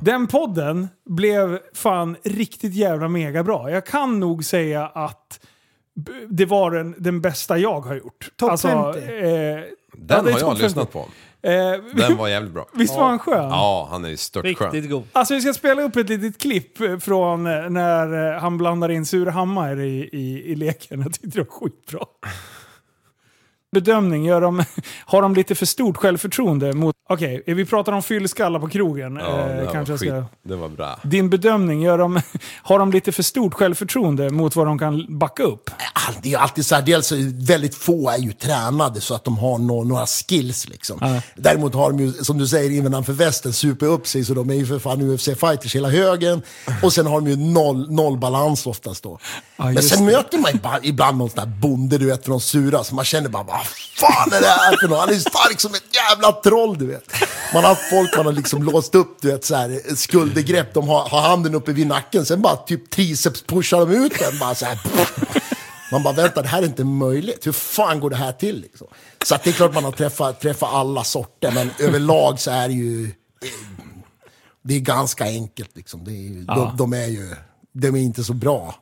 Den podden blev fan riktigt jävla mega bra. Jag kan nog säga att b- det var den, den bästa jag har gjort. Topp Alltså, 50. eh, ja, Den det är har jag topp 50. lyssnat på. Eh, Den var jävligt bra. Visst var han skön? Ja, han är ju störtskön. Alltså vi ska spela upp ett litet klipp eh, från eh, när eh, han blandar in Surahammar i, i, i leken. Jag tyckte det var skitbra. Bedömning, gör de, har de lite för stort självförtroende mot... Okej, eh, vi pratar om fyllskallar på krogen. Ja, det, eh, här kanske var jag skit. ska... det var bra. Din bedömning, gör de, har de lite för stort självförtroende mot vad de kan backa upp? all- det är alltid så här, dels är väldigt få är ju tränade så att de har nå- några skills liksom. Däremot har de ju, som du säger, innanför västen super upp sig så de är ju för fan UFC-fighters hela högen. Och sen har de ju noll, noll balans oftast då. Men just sen det. möter man ibland- ibland någon sån där bonde, du vet, från sura, så man känner bara vad fan är det här för något? Han är stark som ett jävla troll, du vet. Man har haft folk man har liksom låst upp, du vet, så här, skuldergrepp, de har, har handen uppe vid nacken, sen bara typ triceps-pushar de ut den, bara så här. Man bara, vänta, det här är inte möjligt. Hur fan går det här till? Liksom? Så att det är klart man har träffat, träffat alla sorter, men överlag så är det ju... Det är ganska enkelt. Liksom. Det är, ju- Ja. de, de är ju... De är inte så bra.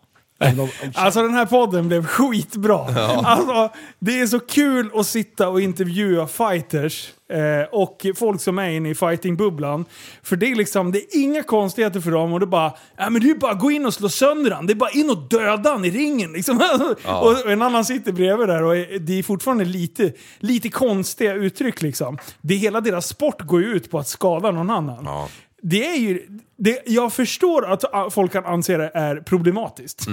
Men de, Alltså den här podden blev skitbra. Ja. Alltså, det är så kul att sitta och intervjua fighters eh, och folk som är inne i fightingbubblan. För det är liksom, det är inga konstigheter för dem och det är bara, ja men det är bara att gå in och slå sönder han. Det är bara in och döda han i ringen liksom. Ja. och, och en annan sitter bredvid där och är- det är fortfarande lite, lite konstiga uttryck liksom. Det hela deras sport går ju ut på att skada någon annan. Det är ju, det, jag förstår att ah, folk kan anse det är problematiskt.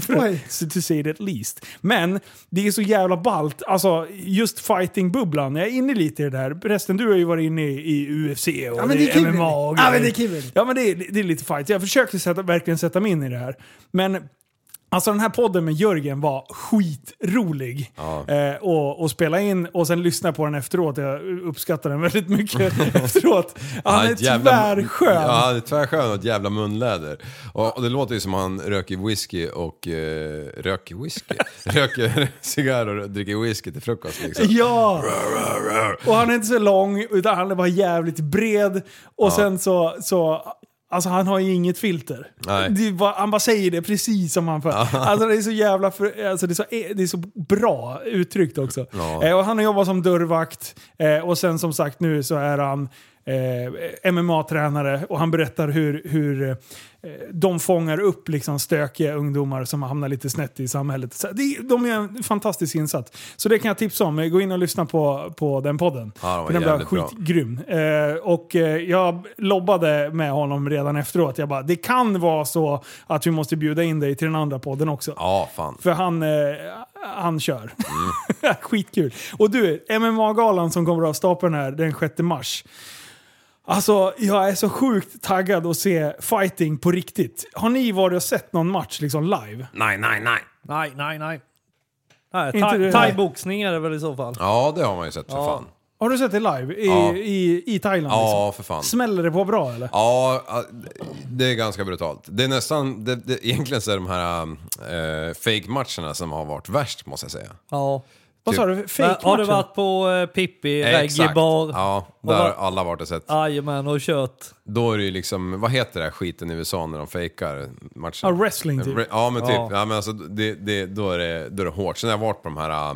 For- to say it at least. Men det är så jävla ballt. Alltså just fighting-bubblan. Jag är inne lite i det där. Resten, du har ju varit inne i, i UFC och Ja, men det det är kul. MMA och Ja, grejer. men det är kul. Ja, men det är, det är lite fight. Jag försökte sätta, verkligen sätta mig in i det här. Men Alltså den här podden med Jörgen var skitrolig eh, och, och spela in och sen lyssna på den efteråt. Jag uppskattar den väldigt mycket efteråt. Han Ja, är ett jävla- tvärskön. Ja, han är tvärskön och ett jävla munläder. Och, och det låter ju som han röker whisky och... Eh, röker whisky? röker cigarr och dricker whisky till frukost liksom. Ja! Och han är inte så lång, utan han är bara jävligt bred. Och Ja. sen så, så... Alltså han har ju inget filter. Nej. Det är bara, han bara säger det precis som han för. Alltså det är så jävla... För, alltså det, är så, det är så bra uttryckt också. Ja. Eh, och han har jobbat som dörrvakt eh, och sen som sagt nu så är han eh, MMA-tränare och han berättar hur, hur eh, de fångar upp liksom stökiga ungdomar som hamnar lite snett i samhället. Så det, de gör en fantastisk insats. Så det kan jag tipsa om. Gå in och lyssna på, på den podden. Ja, den var För den blev jävligt bra. skitgrym. Eh, och eh, jag lobbade med honom redan efteråt. Jag bara, det kan vara så att vi måste bjuda in dig till den andra podden också. Ja, fan. För han, eh, han kör. Skitkul. Och du, MMA-galan som kommer av stapeln här den 6 mars. Alltså, jag är så sjukt taggad att se fighting på riktigt. Har ni varit och sett någon match liksom live? Nej, nej, nej. Nej, nej, nej. nej Inte thai- det. Thaiboxning är det väl i så fall? Ja, det har man ju sett för fan. Har du sett det live? I, Ja. i, i Thailand? Ja, liksom? för fan. Smäller det på bra eller? Ja, det är ganska brutalt. Det är nästan, det, det, egentligen så är de här äh, fake-matcherna som har varit värst måste jag säga. Ja. Vad sa du? Men Har du Fake-matchen? varit på eh, Pippi, Exakt. Reggae-bar? Ja, Och där har vad- alla varit och sett. Jajamän, och kört. Då är det ju liksom, vad heter det här skiten i USA när de fejkar matchen? Ja, wrestling typ. Re- Ja men typ, Ja. ja. men alltså, det, det, då, är det, då är det hårt. Sen har jag varit på de här äh,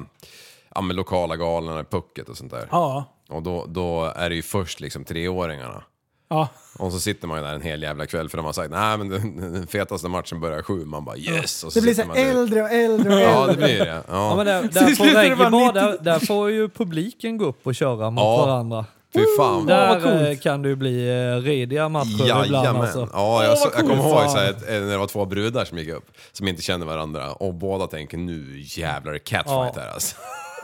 ja, men lokala galorna, Pucket och sånt där. Ja. Och då, då är det ju först liksom treåringarna. Ja. Och så sitter man ju där en hel jävla kväll för de har sagt nej men den, den fetaste matchen börjar sju. Man bara yes! Och så Det blir så sitter här man där. äldre och äldre och äldre. Ja det blir det. Ja. Ja, men där, Så där, på slutar det vara reggae där, 90. där får ju publiken gå upp och köra mot Ja. varandra. Fy fan. Där Åh, vad coolt. eh, kan det ju bli eh, rediga matcher ibland Jajamän. alltså. Ja, jag, Åh, så, vad coolt. jag kommer ihåg Fan. så här, ett, när det var två brudar som gick upp, som inte kände varandra, och båda tänker nu jävlar är det catfight Ja. här alltså.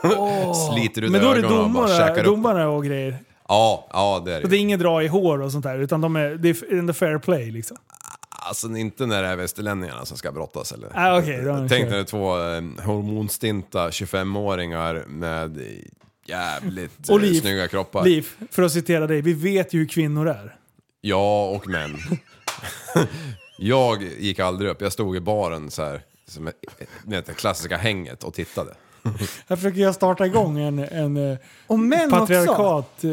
Åh. Sliter ut Men då är det ögonen och bara domare, käkar upp. domare och grejer. Ja, ja det är Så det. det är ju. inget dra i hår och sånt där, utan de är, det är in the fair play liksom. Alltså inte när det är västerlänningarna som ska brottas eller? Ah, okej, då är det Tänk kört. när det är två eh, hormonstinta 25-åringar med jävligt eh, Liv, snygga kroppar. Liv, för att citera dig, vi vet ju hur kvinnor är. Ja, och män. jag gick aldrig upp, jag stod i baren så här, som ett- ni vet, det klassiska hänget och tittade. Här försöker jag starta igång en, en eh, Och män också. patriarkat eh,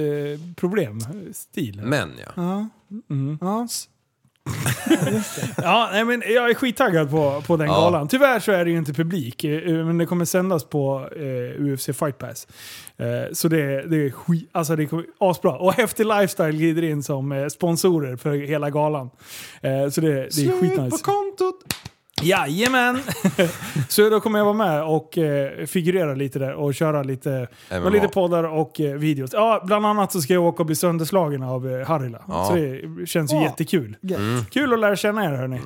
problem, stil. Män ja. Ja. Mm. Ja. Ja, nej, men jag är skittaggad på, på den Ja. galan. Tyvärr så är det ju inte publik, eh, eh, men det kommer sändas på eh, UFC Fight Pass. Eh, så det, det är skit, alltså det kommer asbra. Och Häftig Lifestyle glider in som eh, sponsorer för hela galan. Eh, så det, det är skitnice. kontot! Jajamän! så då kommer jag vara med och eh, figurera lite där och köra lite, MMA. med lite poddar och eh, videos. Ja, bland annat så ska jag åka och bli sönderslagen av eh, Harila. Ja. Så det känns ju Ja. jättekul. Gött. Mm. Kul att lära känna er hörni.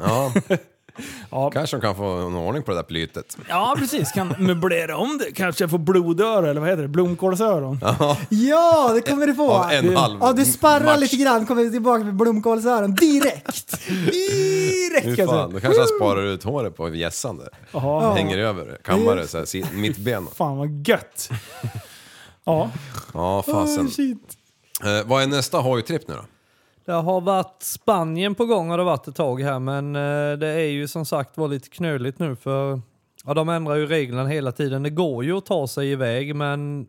Ja. Kanske de kan få någon ordning på det där plytet. Ja, precis. Kan möblera om det. Kanske få blodöra, eller vad heter det? Blomkålsöron. Ja. Ja, det kommer du få! Mm. Av en halv ja, du sparrar match. lite grann, kommer tillbaka med blomkålsöron direkt. Hur Direkt! fan, Alltså. då kanske han sparar ut håret på gässan där. Jaha. Hänger över, kammar det så här, si- mittbena. Fan vad gött. Ja. Ja, fasen. Eh, vad är nästa hojtripp nu då? Det har varit Spanien på gång har det varit ett tag här men eh, det är ju som sagt var lite knöligt nu för ja, de ändrar ju reglerna hela tiden. Det går ju att ta sig iväg men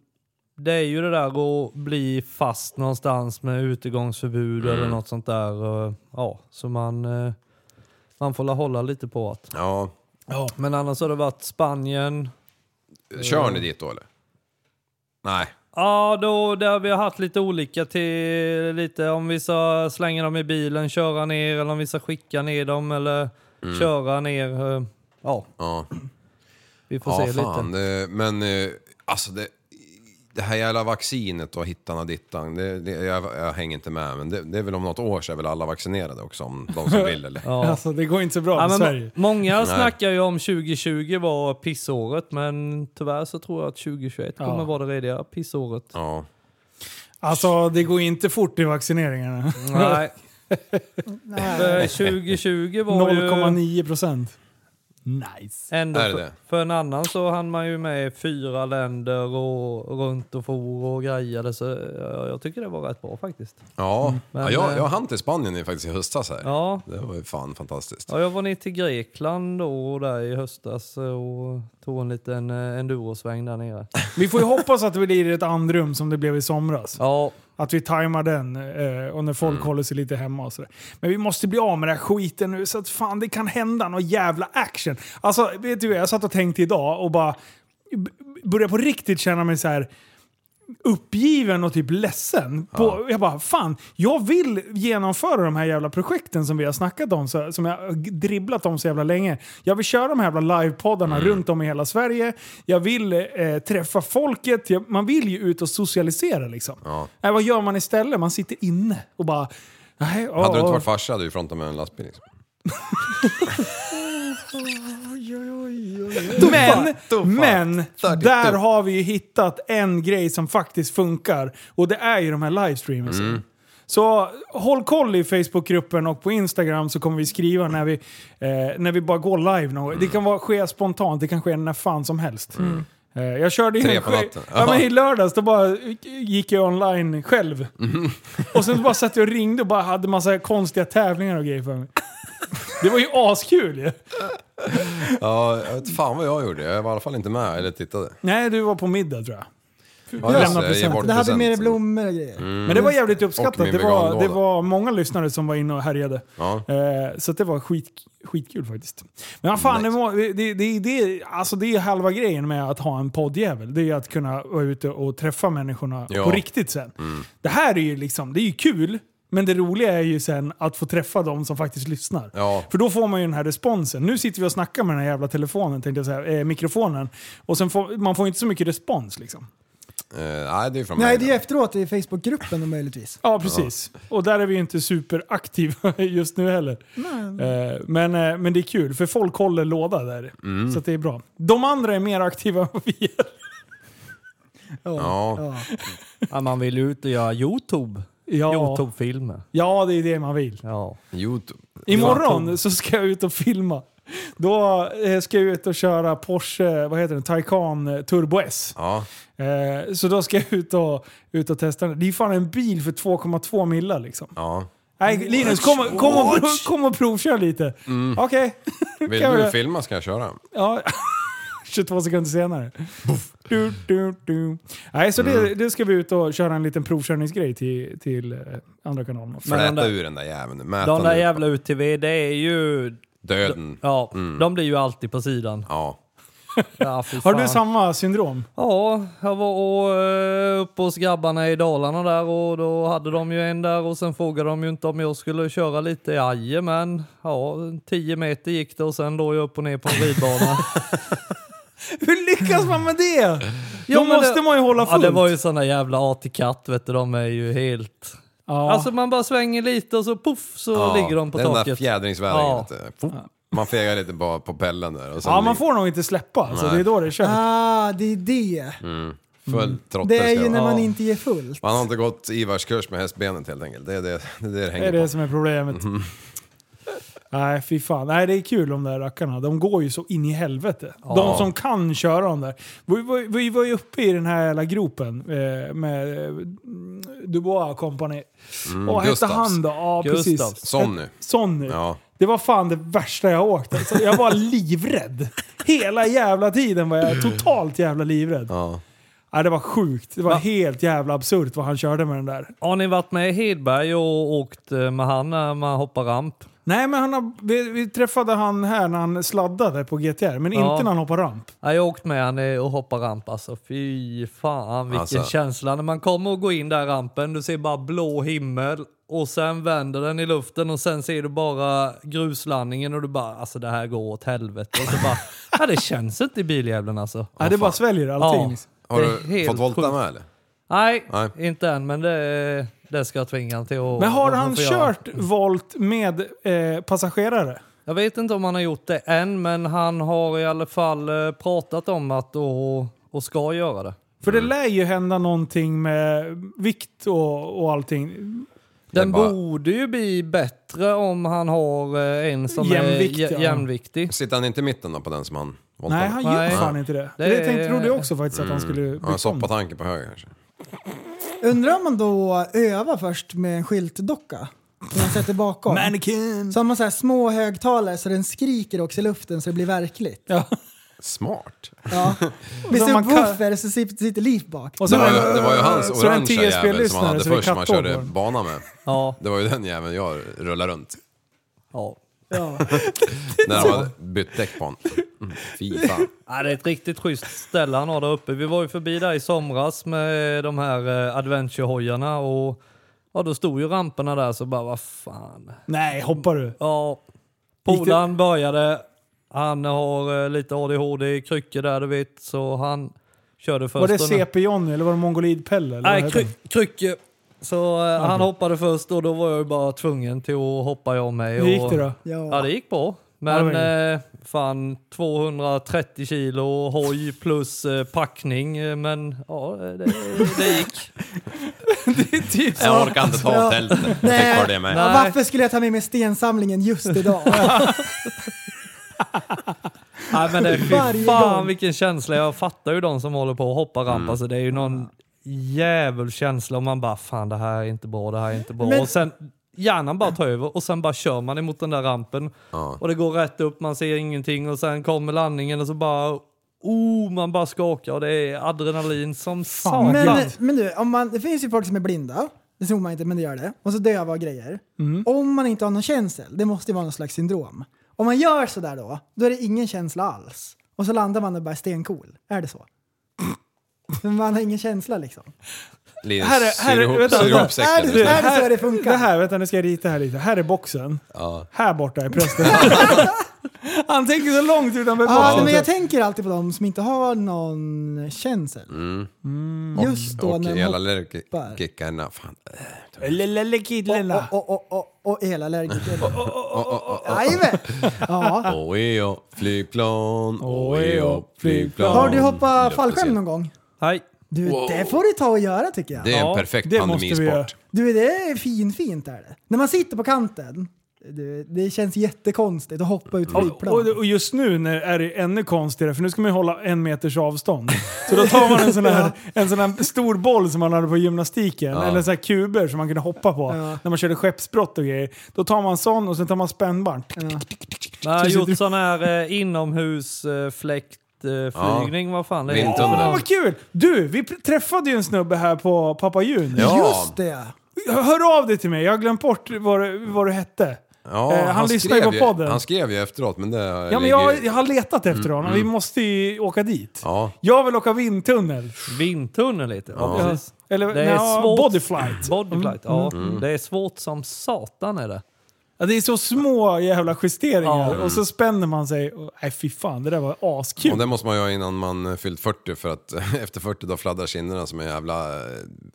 det är ju det där att bli fast någonstans med utegångsförbud Mm. eller något sånt där. och, Ja, så man, eh, man får la hålla lite på att. Ja, Men annars har det varit Spanien. kör Eh. ni dit då eller? Nej. Ja, då, där vi har haft lite olika till lite om vi ska slänga dem i bilen, köra ner eller om vi ska skicka ner dem eller Mm. köra ner. eh, Ja, Ja. vi får ja, se fan. lite. Det, men eh, alltså det, det här jävla vaccinet och hittan och dittan, det, det, jag, jag hänger inte med. Men det, det är väl om något år så är väl alla vaccinerade också, om de som vill eller? Ja. Alltså, det går inte så bra Ja, för men Sverige. må- många Nej. snackar ju om 2020 var pissåret, men tyvärr så tror jag att 2021 Ja. kommer vara det rediga pissåret. Ja. Alltså, det går inte fort i vaccineringarna. Nej. För 2020 Eh, var ju... 0,9 procent. Nice. Ändå Är det för, det? för en annan så hann man ju med i fyra länder och runt och for och grejade så jag, jag tycker det var rätt bra faktiskt. Ja, Men, ja jag, eh, jag hann till Spanien nu faktiskt i höstas här. Ja. Det var ju fan fantastiskt. Ja, jag var ner till Grekland då och där i höstas och tog en liten eh, endurosväng där nere. Vi får ju hoppas att det blir ett andrum som det blev i somras. Ja, Att vi tajmar den eh, och när folk håller sig lite hemma och sådär. Men vi måste bli av med den här skiten nu så att fan det kan hända någon jävla action. Alltså vet du jag satt och tänkte idag och bara b- började på riktigt känna mig så här uppgiven och typ ledsen. På, Jag bara, fan, jag vill genomföra de här jävla projekten som vi har snackat om, så, som jag har dribblat om så jävla länge. Jag vill köra de här jävla livepoddarna Mm. runt om i hela Sverige. Jag vill eh, träffa folket. Jag, man vill ju ut och socialisera liksom. Ja. Nej, vad gör man istället? Man sitter inne och bara... Nej, ja, Hade du inte ja. varit farsa hade du ju frontat med en lastbil. Liksom. Men, men där Mm. har vi ju hittat en grej som faktiskt funkar. Och det är ju de här livestreamersen. Så håll koll i Facebookgruppen och på Instagram så kommer vi skriva när vi, eh, när vi bara går live. någon gång. Det kan vara, ske spontant, det kan ske när fan som helst. Mm. Eh, Jag körde ju Tre en på ske- natten. Ja, men I lördags då bara gick jag online själv. Mm. Och sen bara satt jag och ringde och bara hade massa konstiga tävlingar och grejer för mig. Det var ju askul ju. Ja, jag vet fan vad jag gjorde. Jag var i alla fall inte med eller tittade. Nej, du var på middag tror jag. Ja, just det. Jag ger present. bort Det hade present. mer blommor och grejer. Mm. Men det var jävligt Och uppskattat. min Det var, det veganlåda. var många lyssnare som var inne och härjade. Ja. Eh, så att det var skit, skitkul faktiskt. Men vad fan, det, var, det, det, det, alltså det är ju halva grejen med att ha en poddjävel. Det är ju att kunna vara ute och träffa människorna Ja. på riktigt sen. Mm. Det här är ju liksom, det är ju kul, men det roliga är ju sen att få träffa de som faktiskt lyssnar. Ja. För då får man ju den här responsen. Nu sitter vi och snackar med den här jävla telefonen, tänkte jag säga, eh, mikrofonen. Och sen får, man får ju inte så mycket respons liksom. Eh, nej, det är från Nej, mig. det är ju efteråt i Facebookgruppen då, möjligtvis. Ja, precis. Och där är vi ju inte superaktiva just nu heller. Eh, Men, eh, men det är kul, för folk håller låda där. Mm. Så att det är bra. De andra är mer aktiva än vad vi är. Ja. ja. Man vill ju ut och göra Youtube. Ja. Youtube-filmer. Ja, det är det man vill. Ja. Youtube. Imorgon så ska jag ut och filma. Då eh, ska jag ut och köra Porsche, vad heter den, Taycan eh, Turbo S. Ja. Eh, Så då ska jag ut och, ut och testa den. Det är fan en bil för 2,2 millar liksom. Ja. Nej, Linus, kom, och- kom, och, prov- kom och provkör lite. Mm. Okej. Vill Kan du vi- filma ska jag köra. Ja, 22 sekunder senare. Du, du, du. Nej, så det, Mm. det ska vi ut och köra en liten provkörningsgrej till, till eh, andra kanalen. också. Men den Fläta där- ur den där jäveln. Mäta De där nu. jävla UTV, det är ju... Döden. Ja, Mm. de blir ju alltid på sidan. Ja. fy Har du fan. samma syndrom? Ja, jag var och, eh, uppe hos grabbarna i Dalarna där och då hade de ju en där och sen frågade de ju inte om jag skulle köra lite. Jajamän, ja, 10 meter gick det och sen låg jag upp och ner på en ridbana. Hur lyckas man med det? Ja, Då men måste det- man ju hålla Ja, fullt. det var ju såna jävla AT-katt, vet du, de är ju helt... Ja. Alltså man bara svänger lite och så poff så Ja, ligger de på det är Den där taket. fjädringsvägen. Ja. vet du. Fop. Man fegar lite på, på pellen där. Och sen ja, man får nog inte släppa. Så Nej. det är då det är kört. Ah, det är det. Mm. Full trotter Det är ska ju det när vara. man inte ger fullt. Man har inte gått Ivars kurs med hästbenet helt enkelt. Det är det det, är det, det Det hänger är det på. Mhm. som är problemet. Nej, fy fan. Nej, det är kul de där rackarna. De går ju så in i helvete. Ja. De som kan köra de där. Vi, vi, vi var ju uppe i den här jävla gropen eh, med eh, Dubois Company. Mm, Vad hette Gustavs. han då? Ja, precis. Gustavs. Sonny. Ett- Sonny. Ja. Det var fan det värsta jag åkt. Alltså, jag var livrädd. Hela jävla tiden var jag totalt jävla livrädd. Ja. Nej, det var sjukt. Det var helt jävla absurt vad han körde med den där. Har ni varit med i Hedberg och åkt eh, med han när man hoppar ramp? Nej, men han har, vi, vi träffade han här när han sladdade på GTR, men Ja. inte när han hoppade ramp. Ja, jag har åkt med han eh, och hoppar ramp alltså. Fy fan vilken Alltså. känsla. När man kommer och går in där rampen, du ser bara blå himmel och sen vänder den i luften och sen ser du bara gruslandningen och du bara alltså det här går åt helvete. Och så bara, ja, det känns inte i biljäveln alltså. Ja, det bara sväljer allting. Har det är du helt fått volta sjukt. med eller? Nej, Nej. inte än men det, det ska jag tvinga han till att Men har att han få göra. kört volt med eh, passagerare? Jag vet inte om han har gjort det än men han har i alla fall eh, pratat om att och, och ska göra det. För det lär ju hända någonting med vikt och, och allting. Den borde ju bli bättre om han har eh, en som Jämvikt, är ja. jä- jämviktig. Sitter han inte i mitten då på den som han voltade? Nej, han gör fan inte det. Det, Det tänkte, är- trodde jag också faktiskt att han Mm. skulle... Ja, soppatanke på höger kanske. Undrar om man då övar först med en skyltdocka? Som man sätter bakom. Mannequin! Så har man så här små högtalare så den skriker också i luften så det blir verkligt. Ja. Smart. Ja. Med så man kan- subwoofer så sit- sitter Liv bak. Och det, var, ju- det var ju hans eh, så är det en orangea jävel som TSB-lyssnare han hade så det är först som han kattår på körde den. bana med. Ja. Det var ju den jäveln jag rullade runt. Ja. Ja. När han hade bytt däck på honom. Mm, Fy fan. Ja, det är ett riktigt schysst ställe han har där uppe. Vi var ju förbi där i somras med de här eh, adventure-hojarna och ja, då stod ju ramperna där så bara vad fan. Nej, hoppar du? Ja. Polaren började. Han har eh, lite ADHD, kryckor där du vet, så han körde först. Var det och nu- CP-Johnny eller var det Mongolid-Pelle? eller vad Nej, heter kry han? krycke. Så eh, Okej. han hoppade först och då var jag ju bara tvungen till att hoppa jag med. Hur gick och, det då? Ja. det gick bra. Ja, det Men var eh, fan, 230 kilo hoj plus eh, packning. eh, Men ja, det, det gick. det är typ så. Jag orkar inte ta Ja. tältet. Tänk Nej. vad det är med. Varför skulle jag ta med mig stensamlingen just idag? Nej men det är fy Varje fan gång. vilken känsla. Jag fattar ju de som håller på att hoppa ramp. Mm. Alltså, det är ju någon jävul känsla och man bara fan det här är inte bra, det här är inte bra. Men- Och sen hjärnan bara tar över och sen bara kör man emot den där rampen. Och det går rätt upp, man ser ingenting och sen kommer landningen och så bara oh, man bara skakar och det är adrenalin som satan. Men, men du, om man, det finns ju folk som är blinda. Det tror man inte, men det gör det. Och så döva och grejer. Om man inte har någon känsel, det måste ju vara någon slags syndrom. Om man gör sådär då, då är det ingen känsla alls. Och så landar man och bara är stencool. Är det så? Men man har ingen känsla liksom. Linus, Här är, här syr är, ihop, vänta, syr vänta. ihop säcken. Du, Är det så här- det funkar? Det här, Äh, vänta nu ska jag rita här lite. Här är boxen. Ja. Här borta är prästen. Han tänker så långt utanför Ja, boxen. men jag tänker alltid på de som inte har någon känsel. Mm. Just då och, när och de hela hoppar. lärkickarna. Fan. Lille killarna. Och, och, och, och, och elallergiker. Oh, oh, oh, oh. Jajamän! Ja. Oe, oh, flygplan, oe, oh, flygplan. Har du hoppat fallskärm någon gång? Nej. Du, det får du ta och göra tycker jag. Det är en Ja, perfekt det måste vi pandemisport. göra. Du, det är fin, fint är det. När man sitter på kanten, det, det känns jättekonstigt att hoppa ut flygplan. Och, och just nu när är det ännu konstigare, för nu ska man ju hålla en meters avstånd. Så då tar man en sån här, en sån här stor boll som man hade på gymnastiken, Ja. eller så här kuber som man kunde hoppa på när man körde skeppsbrott och grejer. Då tar man sån och sen tar man spännbarn. Jag har Så Alltså, sitter gjort sån här eh, inomhusfläktflygning, eh, flygning, vad fan det heter. Åh, vad kul! Du, vi pr- träffade ju en snubbe här på Pappa Jun. Ja. Just det! Hör av dig till mig, jag har glömt bort vad, du- vad du hette. Ja, Eh, han lyssnar ju skrev på podden. Han skrev ju efteråt, men det Ja, men ligger ju- jag, jag har letat efter Mm, honom, vi mm. måste ju åka dit. Ja. Jag vill åka vindtunnel. Vindtunnel lite. Ja, Ja. precis. Eller Det är nja, svårt. bodyflight. Bodyflight, ja. Mm. Mm. Det är svårt som satan är det. Ja, det är så små jävla justeringar Ja. och så spänner man sig. Och, nej fy fan, det där var askul. Och det måste man göra innan man eh, fyllt 40 för att efter 40 då fladdrar kinderna som en jävla eh,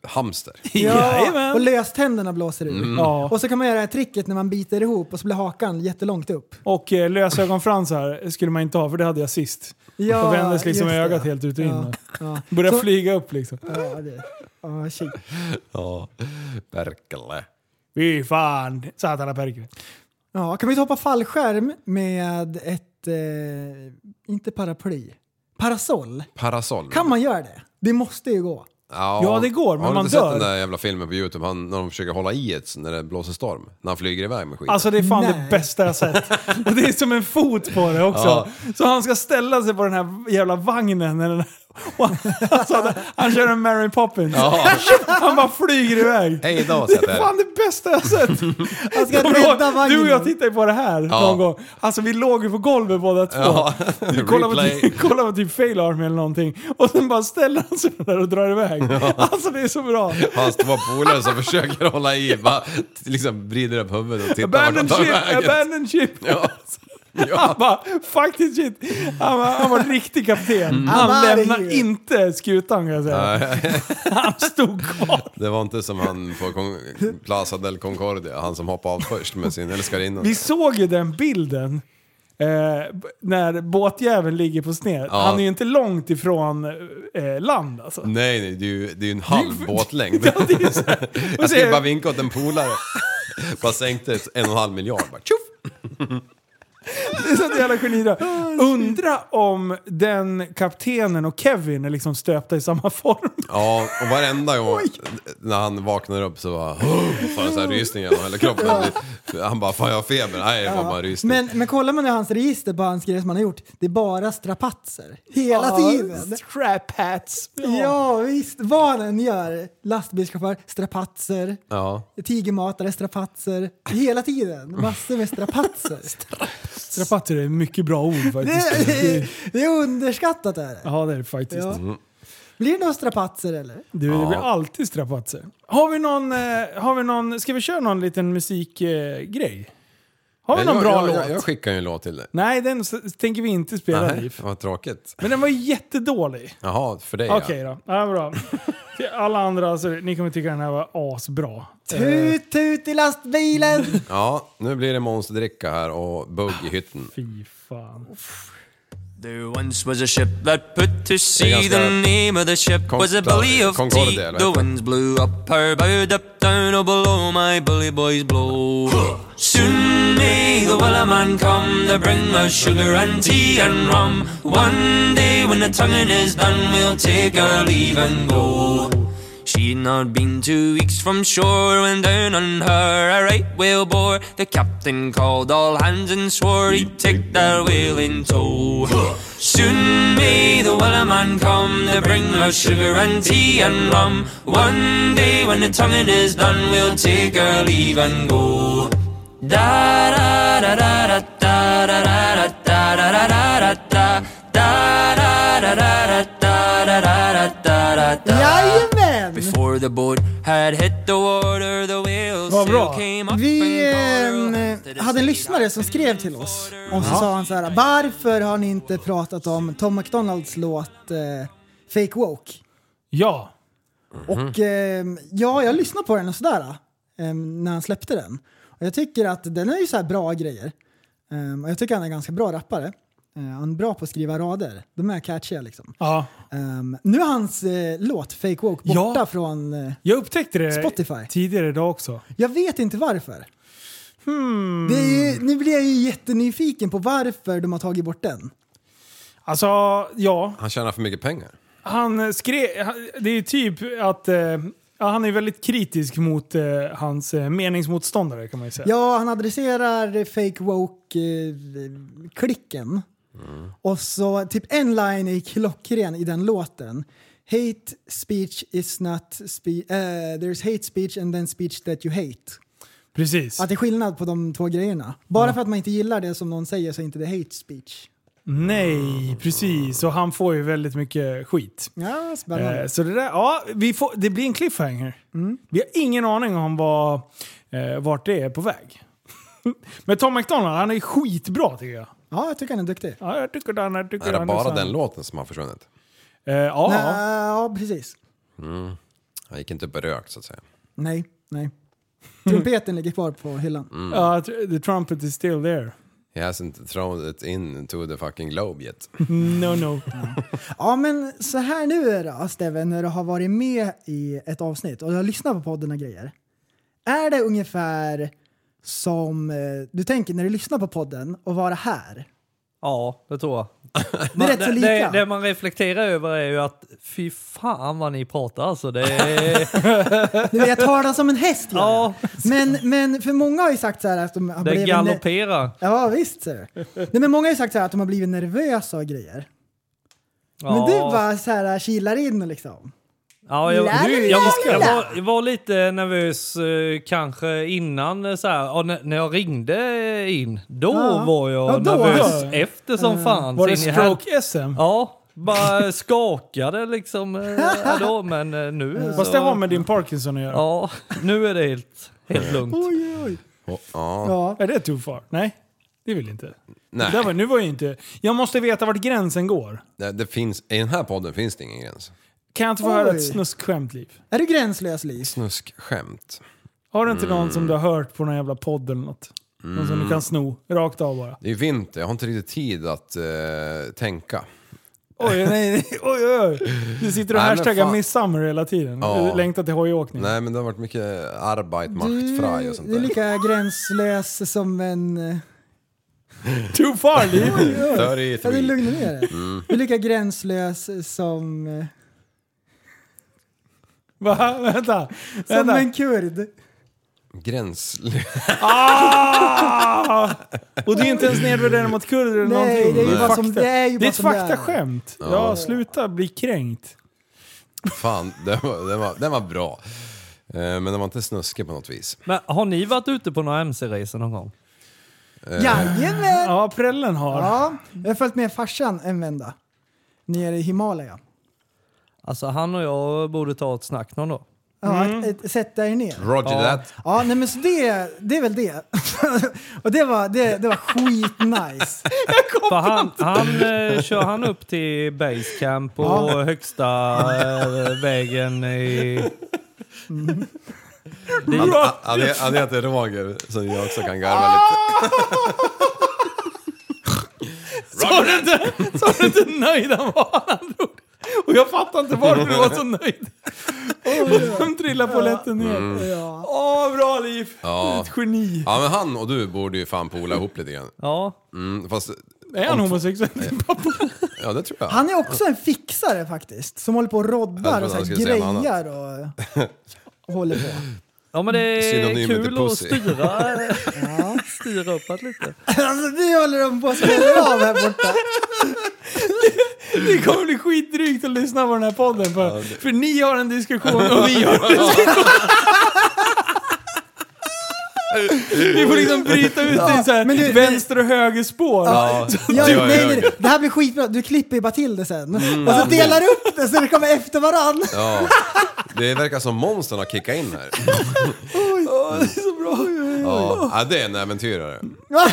hamster. Ja, och löständerna blåser ur. Mm. Ja. Och så kan man göra det här tricket när man biter ihop och så blir hakan jättelångt upp. Och eh, lösögonfransar skulle man inte ha för det hade jag sist. Ja, Då vändes liksom just det. ögat helt ut och in. Ja, och ja. Började Så- flyga upp liksom. Ja, det, ja, shit. Ja, perkele. Fy fan, satana perkele. ja, kan vi inte hoppa fallskärm med ett, eh, inte paraply, parasoll? Parasoll. Kan man göra det? Det måste ju gå. Ja, det går, men Har du man inte dör. sett den där jävla filmen på Youtube han, när de försöker hålla i ett när det blåser storm? När han flyger iväg med skiten. Alltså det är fan Nej. det bästa jag sett. Och det är som en fot på det också. Ja. Så han ska ställa sig på den här jävla vagnen. Eller, den- och han, alltså, han kör en Mary Poppins. Ja. Han bara flyger iväg. Hej då, det är Säter. fan det bästa jag sett. Han ska Kommer du ihåg? rädda vagnen. Du och jag tittade ju på det här Ja. någon gång. Alltså vi låg ju på golvet båda två. Ja. Vi kollade på, Replay. typ- kollade på typ fail arm eller någonting. Och sen bara ställer han sig där och drar iväg. Ja. Alltså det är så bra. Hans två polare som försöker hålla i bara liksom vrider upp huvudet och tittar vart de Abandon tar ship, vägen. abandon ship. Ja. Han bara, fuck this shit. Han var, han var riktig kapten. Mm. Han, I'm outta lämnar here. inte skutan kan jag säga. Nej. Han stod kvar. Det var inte som han på Con Plaza del Concordia, han som hoppade av först med sin älskarinna. Vi såg ju den bilden. Eh, b- när båtjäveln ligger på sned. Ja. Han är ju inte långt ifrån eh, land alltså. Nej, nej, det är ju, det är ju en halv båtlängd. Och Jag så är- skulle bara vinka åt en polare. Bara sänkte en och en halv miljard. Bara, tjoff! Det är sånt jävla geni Ah, där. Undra om den kaptenen och Kevin är liksom stöpta i samma form. Ja, och varenda gång när han vaknar upp så bara... "Åh", Får han så här rysningar genom hela kroppen. Han bara, fan jag har feber. Nej, det var bara rysning. Men, men kollar man i hans register på hans grejer som han har gjort, det är bara strapatser. Hela Ja, tiden. Strapats. Ja. visst. Vad han än gör. Lastbilschaufför, strapatser. Ja. Tigermatare, strapatser. Hela tiden. Massor med strapatser. Strapatser är ett mycket bra ord det, faktiskt. det, det är underskattat är det. Ja det är det faktiskt. Ja. Blir det några strapatser eller? Du, det blir alltid strapatser. Har vi någon, eh, har vi någon, ska vi köra någon liten musikgrej? Eh, grej? Har vi någon jag, bra jag, låt? Jag, jag skickar ju en låt till dig. Nej, den s- tänker vi inte spela. Nej, Vad tråkigt. Men den var ju jättedålig. Jaha, för dig Okej då. Ja, bra. Till alla andra, alltså, ni kommer tycka den här var asbra. Eh, Tut, tut i lastbilen! ja. Ja, nu blir det monsterdricka här och bugg i hytten. Fy fan. There once was a ship that put Det to är sea. ganska The name of the ship Con- was a bully of Concordia, tea. eller vad The heter det? winds blew up her bow, up down or below. My bully boys blow. Soon may the willow man come to bring us sugar and tea and rum. One day when the tonguing is done, we'll take our leave and go. She'd not been two weeks from shore when down on her a right whale bore. The captain called all hands and swore he'd take that whale in tow. Soon may the willow man come to bring us sugar and tea and rum. One day when the tonguing is done, we'll take our leave and go. Da da da da da da da da da da da da da da da da da da da da da da da. Jajamän! Before the boat had hit the water, the whale Vad still bra. came up. Vi eh, hade en lyssnare som skrev till oss och så Ja. sa han så här, varför har ni inte pratat om Tom McDonalds låt eh, Fake Woke? Ja. Och ehm, ja, jag lyssnade på den och sådär ehm, när han släppte den. Och jag tycker att den är ju så här bra grejer. Ehm, och jag tycker han är en ganska bra rappare. Eh, han är bra på att skriva rader. De är catchiga liksom. Ja. Ehm, nu är hans eh, låt Fake Woke borta Ja. från... eh, Jag upptäckte det Spotify. tidigare idag också. jag vet inte varför. Hmm. Det är ju, nu blir jag ju jättenyfiken på varför de har tagit bort den. Alltså, ja. Han tjänar för mycket pengar. Han skrev... han- Det är ju typ att... Eh, ja, han är väldigt kritisk mot eh, hans eh, meningsmotståndare kan man ju säga. Ja, han adresserar fake woke-klicken. Mm. Och så typ en line är klockren i den låten. Hate speech is not spe- eh, There's hate speech and then speech that you hate. Precis. Att det är skillnad på de två grejerna. Bara för att man inte gillar det som någon säger så är inte det hate speech. Nej, precis. Och han får ju väldigt mycket skit. Ja, spännande. Eh, så det, där, ja, vi får, det blir en cliffhanger. Vi har ingen aning om vad, eh, vart det är på väg. Men Tom McDonald, han är skitbra tycker jag. Ja, jag tycker han är duktig. Ja, jag tycker han jag tycker Är det han bara sann. den låten som har försvunnit? Eh, ja. Nej, ja, precis. Mm. Han gick inte upp i rök så att säga. Nej, nej. Trumpeten ligger kvar på hyllan. Mm. Ja, tr- the trumpet is still there. He hasn't thrown it in to the fucking globe yet. No, no. Ja, men så här nu är det, Steven, när du har varit med i ett avsnitt och du har lyssnat på podden och grejer. Är det ungefär som eh, du tänker när du lyssnar på podden och vara här? Ja, det tror jag. Det är rätt så lika. Det, det man reflekterar över är ju att fy fan vad ni pratar alltså. Det är... Du vet, tala som en häst. Ja. Men, men för många har ju sagt så här att de har det blivit... galopperar. Ja, visst. ser du. Nej, men många har ju sagt så här att de har blivit nervösa och grejer. Men du bara så här äh, kilar in liksom. Ja, jag, La, la, jag, jag, la, jag, la. var, jag var lite nervös eh, kanske innan eh, så här, ja, när, när jag ringde in. Då Ja. var jag Ja, då, nervös ja. efter som Ja. fan. Var det Så in i hel- stroke-SM? Ja, bara skakade liksom. eh, ja, då, men eh, nu Fast det har med din Parkinson att göra. Ja, nu är det helt, helt lugnt. Oj, oj. Oh, ja. Ja. Är det too far? Nej, det vill inte. Nej. Det där var, nu var jag inte... Jag måste veta vart gränsen går. Det, det finns, I den här podden finns det ingen gräns. Kan jag inte få Oj. höra ett snuskskämt, Liv? Är du gränslös, Liv? Snuskskämt. Har du inte någon Mm. som du har hört på någon jävla podd eller något? Någon som Mm. du kan sno rakt av bara. Det är vinter, jag har inte riktigt tid att eh, Mm. tänka. Oj, nej, nej, oj, oj, oj. Du sitter och Nej, men hashtaggar fan. midsummer hela tiden. Ja. Du längtar till hojåkning. Nej men det har varit mycket arbeit, macht, Du, frei och sånt du är där. lika gränslös som en... eh, Too far, Oj, oj. Thirty Ja, three. du lugnar ner dig. Mm. Du är lika gränslös som... eh, Va? Vänta. Som vänta. en kurd. Gränslös. Ah! Och det är inte ens nedvärderande mot kurder eller Nej, någonting. det är ju ett bara som- fakta- det är ju det bara är ett som det är. faktaskämt. Ja. Ja. sluta bli kränkt. Fan, den var, den var, den var bra. Eh, men den var inte snuskig på något vis. Men har ni varit ute på några MC-resor någon gång? Eh, Jajamän! Ja, prällen har. Ja, jag har följt med farsan en vända. Nere i Himalaya. Alltså han och jag borde ta ett snack någon dag. Ja, Mm. att, att sätta er ner. Roger ja. that. Ja, nej men så det, det är väl det. och det var, det, det var skitnice. För han, han eh, kör han upp till basecamp och Ja. högsta eh, vägen i... Han, han, han heter Roger, så jag också kan garva lite. Sa du inte, sa du inte nöjd han var han drog? Och jag fattar inte varför du var så nöjd. Oh, de trillar polletten ner. Mm. Ja. Åh, bra liv! Ja. Ett geni. Ja men han och du borde ju fan pola ihop lite grann. Ja. Mm, fast... Är han homosexuell? Ja det tror jag. Han är också en fixare faktiskt, som håller på och Jag roddar trodde och så han här skulle säga något grejar och, och håller på. Ja men det är Synonymet är kul att pussy. styra, styra uppåt lite. Alltså det håller de på att spela av här borta. Det kommer bli skitdrygt att lyssna på den här podden. För, för ni har en diskussion och vi har en diskussion. Vi får liksom bryta ut Ja, i så här men du- vänster och höger spår. Ja, Så- ja, nej, nej, nej. Det här blir skitbra, du klipper ju bara till det sen. Mm. Och så delar du upp det så det kommer efter varann. Ja. Det verkar som monstern har kickat in här. Oj. det är så bra. Ja, ja det är en äventyrare. Åh,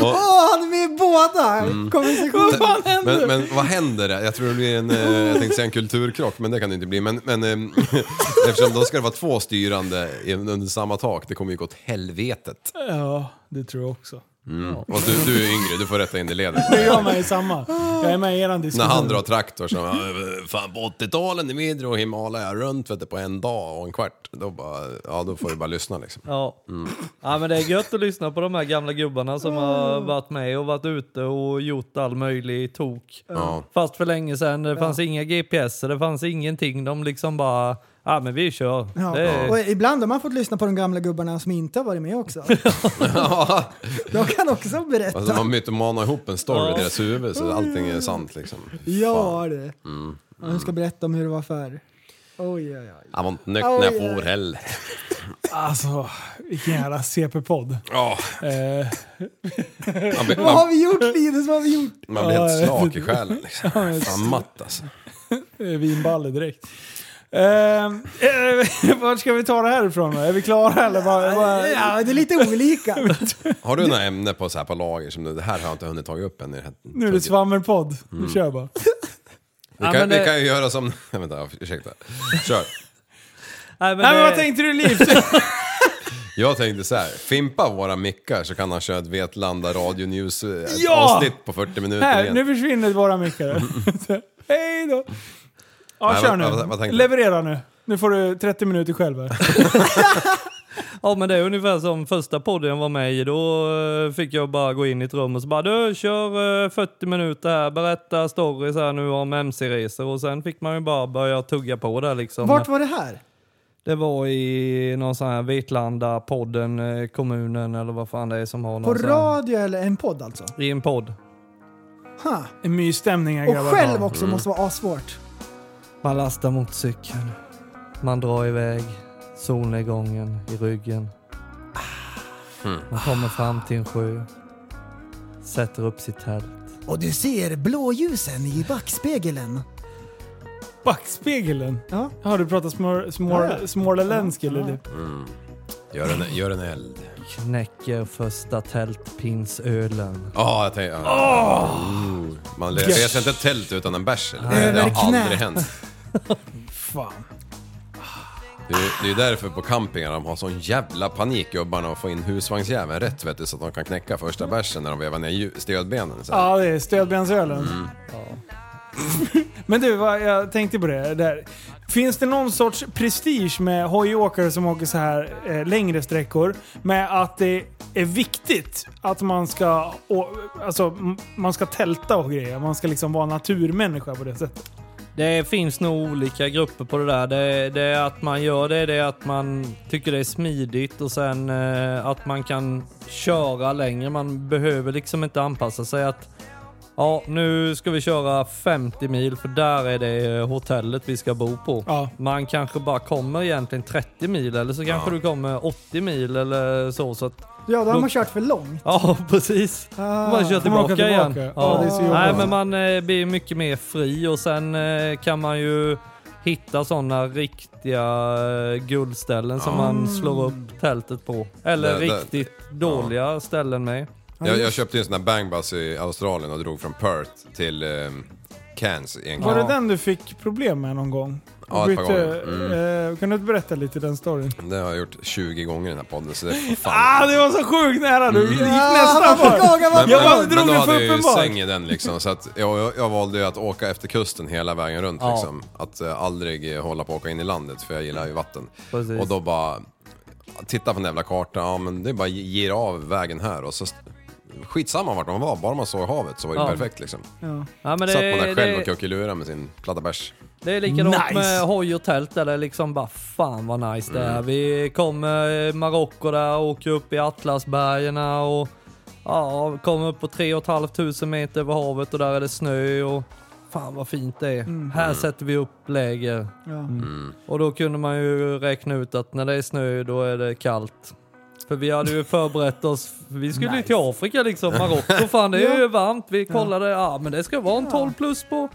Och, han är med i båda Mm. konversationerna. men, men vad händer? där? Jag tror det blir en, eh, jag tänkte säga en kulturkrock, men det kan det inte bli. Men, men eh, eftersom då ska det vara två styrande i- under samma tak, det kommer ju gå åt helvetet. Ja, det tror jag också. Mm. Och du, du är yngre, du får rätta in det i ledet. Nu är jag med i samma. Jag är med i eran När diskussion. han drar traktor så "Ja, fan på 80-talen i Midre och Himalaya runt vet du, på en dag och en kvart. Då, bara, ja, då får du bara lyssna liksom. Ja. Mm. ja, men det är gött att lyssna på de här gamla gubbarna som har varit med och varit ute och gjort all möjlig tok. Ja. Fast för länge sedan, det fanns inga GPS, det fanns ingenting. De liksom bara, ja men vi kör. Ja. Det är- Och ibland har man fått lyssna på de gamla gubbarna som inte har varit med också. Ja. De kan också berätta. Alltså, man mytomanar ihop en story Ja. i deras huvud så allting är sant liksom. Ja du. Mm. Ja, Du ska berätta om hur det var förr. Oj, oj, oj. Jag var inte nöjd när jag for heller. Alltså, vilken jävla CP-podd. Ja. Eh. Man blir, Vad har man, vi gjort Linus? Vad har vi gjort? man blir Ja, helt jag slak vet i inte. själen liksom. Ja, jag Fan vet. matt alltså. Eh, Vinballe direkt. Ehm, eh, Vart ska vi ta det här ifrån då? Är vi klara eller? Vad, vad? Ja, det är lite olika. Har du några ämne på, så här, på lager som du, det här har jag inte hunnit tagit upp än i det här. Nu är det svammelpodd. Nu Mm. kör bara. Vi Ja, kan, men vi det- kan ju göra som... Nej, vänta, ja, ursäkta. Kör. Nej, Nej, men det- vad tänkte du Liv? Jag tänkte så här, fimpa våra mickar så kan han köra ett Vetlanda Radio News eh, ett Ja! avsnitt på 40 minuter här, igen. Mm. nu försvinner våra mickar. Så, Hej då! Ja, Nej, kör vad- nu. vad- vad tänkte du? Leverera nu. Nu får du 30 minuter själv här. Ja men det är ungefär som första podden jag var med i. Då eh, fick jag bara gå in i ett rum och så bara du kör eh, 40 minuter här, berätta stories här nu om mc-resor och sen fick man ju bara börja tugga på där liksom. Vart var det här? Det var i någon sån här Vetlanda podden, eh, kommunen eller vad fan det är som har På någon Alltså. sån här, radio eller en podd alltså? I en podd. Ha. En mysstämning här Och grabbar. själv Mm. också måste vara assvårt. Man lastar motorcykeln. Man drar iväg. Solnedgången i ryggen. Man kommer fram till en sjö. Sätter upp sitt tält. Och du ser blåljusen i backspegeln. Backspegelen? Ja. Har du pratat smör, smör, Ja, ja. småländsk eller? Liv? Mm. Gör, en, gör en eld. Knäcker första tältpinsölen. Ja, jag tänkte... ja. Åh! Mm. Man Yes. reser inte ett tält utan en bärs. eller? Över Det har aldrig knät. hänt. Fan. Det är, det är därför på campingar de har sån jävla panik gubbarna att få in husvagnsjäveln rätt vet du, så att de kan knäcka första bärsen när de vevar ner ju- stödbenen. Så här. Ja, det är stödbensölen. Mm. Men du, vad, jag tänkte på det där. Finns det någon sorts prestige med hojåkare som åker så här eh, längre sträckor med att det är viktigt att man ska, å, alltså, m- man ska tälta och grejer? Man ska liksom vara naturmänniska på det sättet. Det finns nog olika grupper på det där. Det, det är att man gör det, det är att man tycker det är smidigt och sen eh, att man kan köra längre. Man behöver liksom inte anpassa sig. Att Ja, nu ska vi köra 50 mil för där är det eh, hotellet vi ska bo på. Man kanske bara kommer egentligen 30 mil eller så kanske Ja. du kommer 80 mil eller så. så att Ja, då har Då- man kört för långt. Ja, precis. Man kör Ah, Får man tillbaka, åka igen. tillbaka? Ja. Ja, det är så jobbigt. Nej, men man eh, blir mycket mer fri och sen eh, kan man ju hitta sådana riktiga eh, guldställen som Ah. man slår upp tältet på. Eller Det- det- riktigt dåliga ställen med. Jag, jag köpte ju en sån där bangbus i Australien och drog från Perth till eh, Cairns egentligen. Var det den du fick problem med någon gång? Ja, Du ett par bytte- gånger. Mm. eh, kan du inte berätta lite den storyn? Det har jag gjort 20 gånger i den här podden så det är fan. Ah, det var så sjukt nära! Du gick Mm. nästan bara. Jag bara drog men då det för hade jag ju säng uppenbart. i den liksom. Så att jag, jag, jag valde ju att åka efter kusten hela vägen runt Ja. liksom. Att eh, aldrig eh, hålla på att åka in i landet för jag gillar ju vatten. Precis. Och då bara, titta på den jävla kartan, ja men det är bara ge- ger av vägen här och så skitsamma vart man var, bara man såg havet så var det Ja. perfekt liksom. Ja. Ja, men det- Satt man där själv det- och kuckelurade med sin platta bärs. Det är likadant Nice. med hoj och tält där det är liksom bara fan vad nice det är. Mm. Vi kommer eh, Marocko där, åker upp i Atlasbergen och ja, kommer upp på 3 500 meter över havet och där är det snö och fan vad fint det är. Mm. Här Mm. sätter vi upp läger. Ja. Mm. Och då kunde man ju räkna ut att när det är snö då är det kallt. För vi hade ju förberett oss, vi skulle ju till Afrika liksom, Marocko fan det är ju Ja. varmt. Vi kollade, ja men det ska vara en 12 plus på,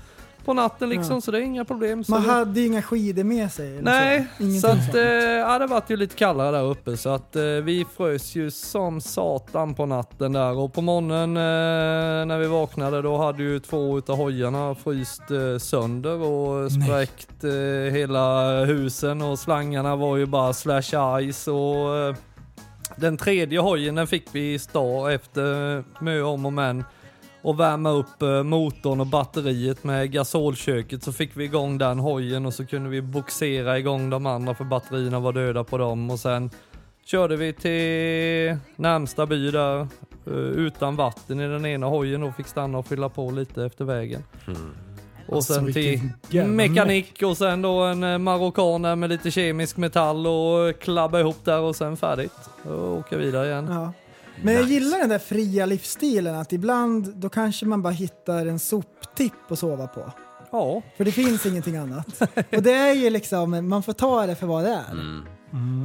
på natten liksom Ja. så det är inga problem. Så Man det- hade ju inga skidor med sig. eller Nej, Ingenting så att sånt. eh, ja, det vart ju lite kallare där uppe så att eh, vi frös ju som satan på natten där och på morgonen eh, när vi vaknade då hade ju två utav hojarna fryst eh, sönder och spräckt eh, hela husen och slangarna var ju bara slash ice och eh, den tredje hojen den fick vi i stad efter mö om och men och värma upp eh, motorn och batteriet med gasolköket så fick vi igång den hojen och så kunde vi boxera igång de andra för batterierna var döda på dem och sen körde vi till närmsta by där eh, utan vatten i den ena hojen och fick stanna och fylla på lite efter vägen. Och Alltså, sen till vilken jävla mekanik och sen då en eh, marockan där med lite kemisk metall och eh, klabba ihop där och sen färdigt. Och åka vidare igen. Ja. Men jag gillar den där fria livsstilen att ibland då kanske man bara hittar en soptipp att sova på. Ja. För det finns ingenting annat. Och det är ju liksom, man får ta det för vad det är.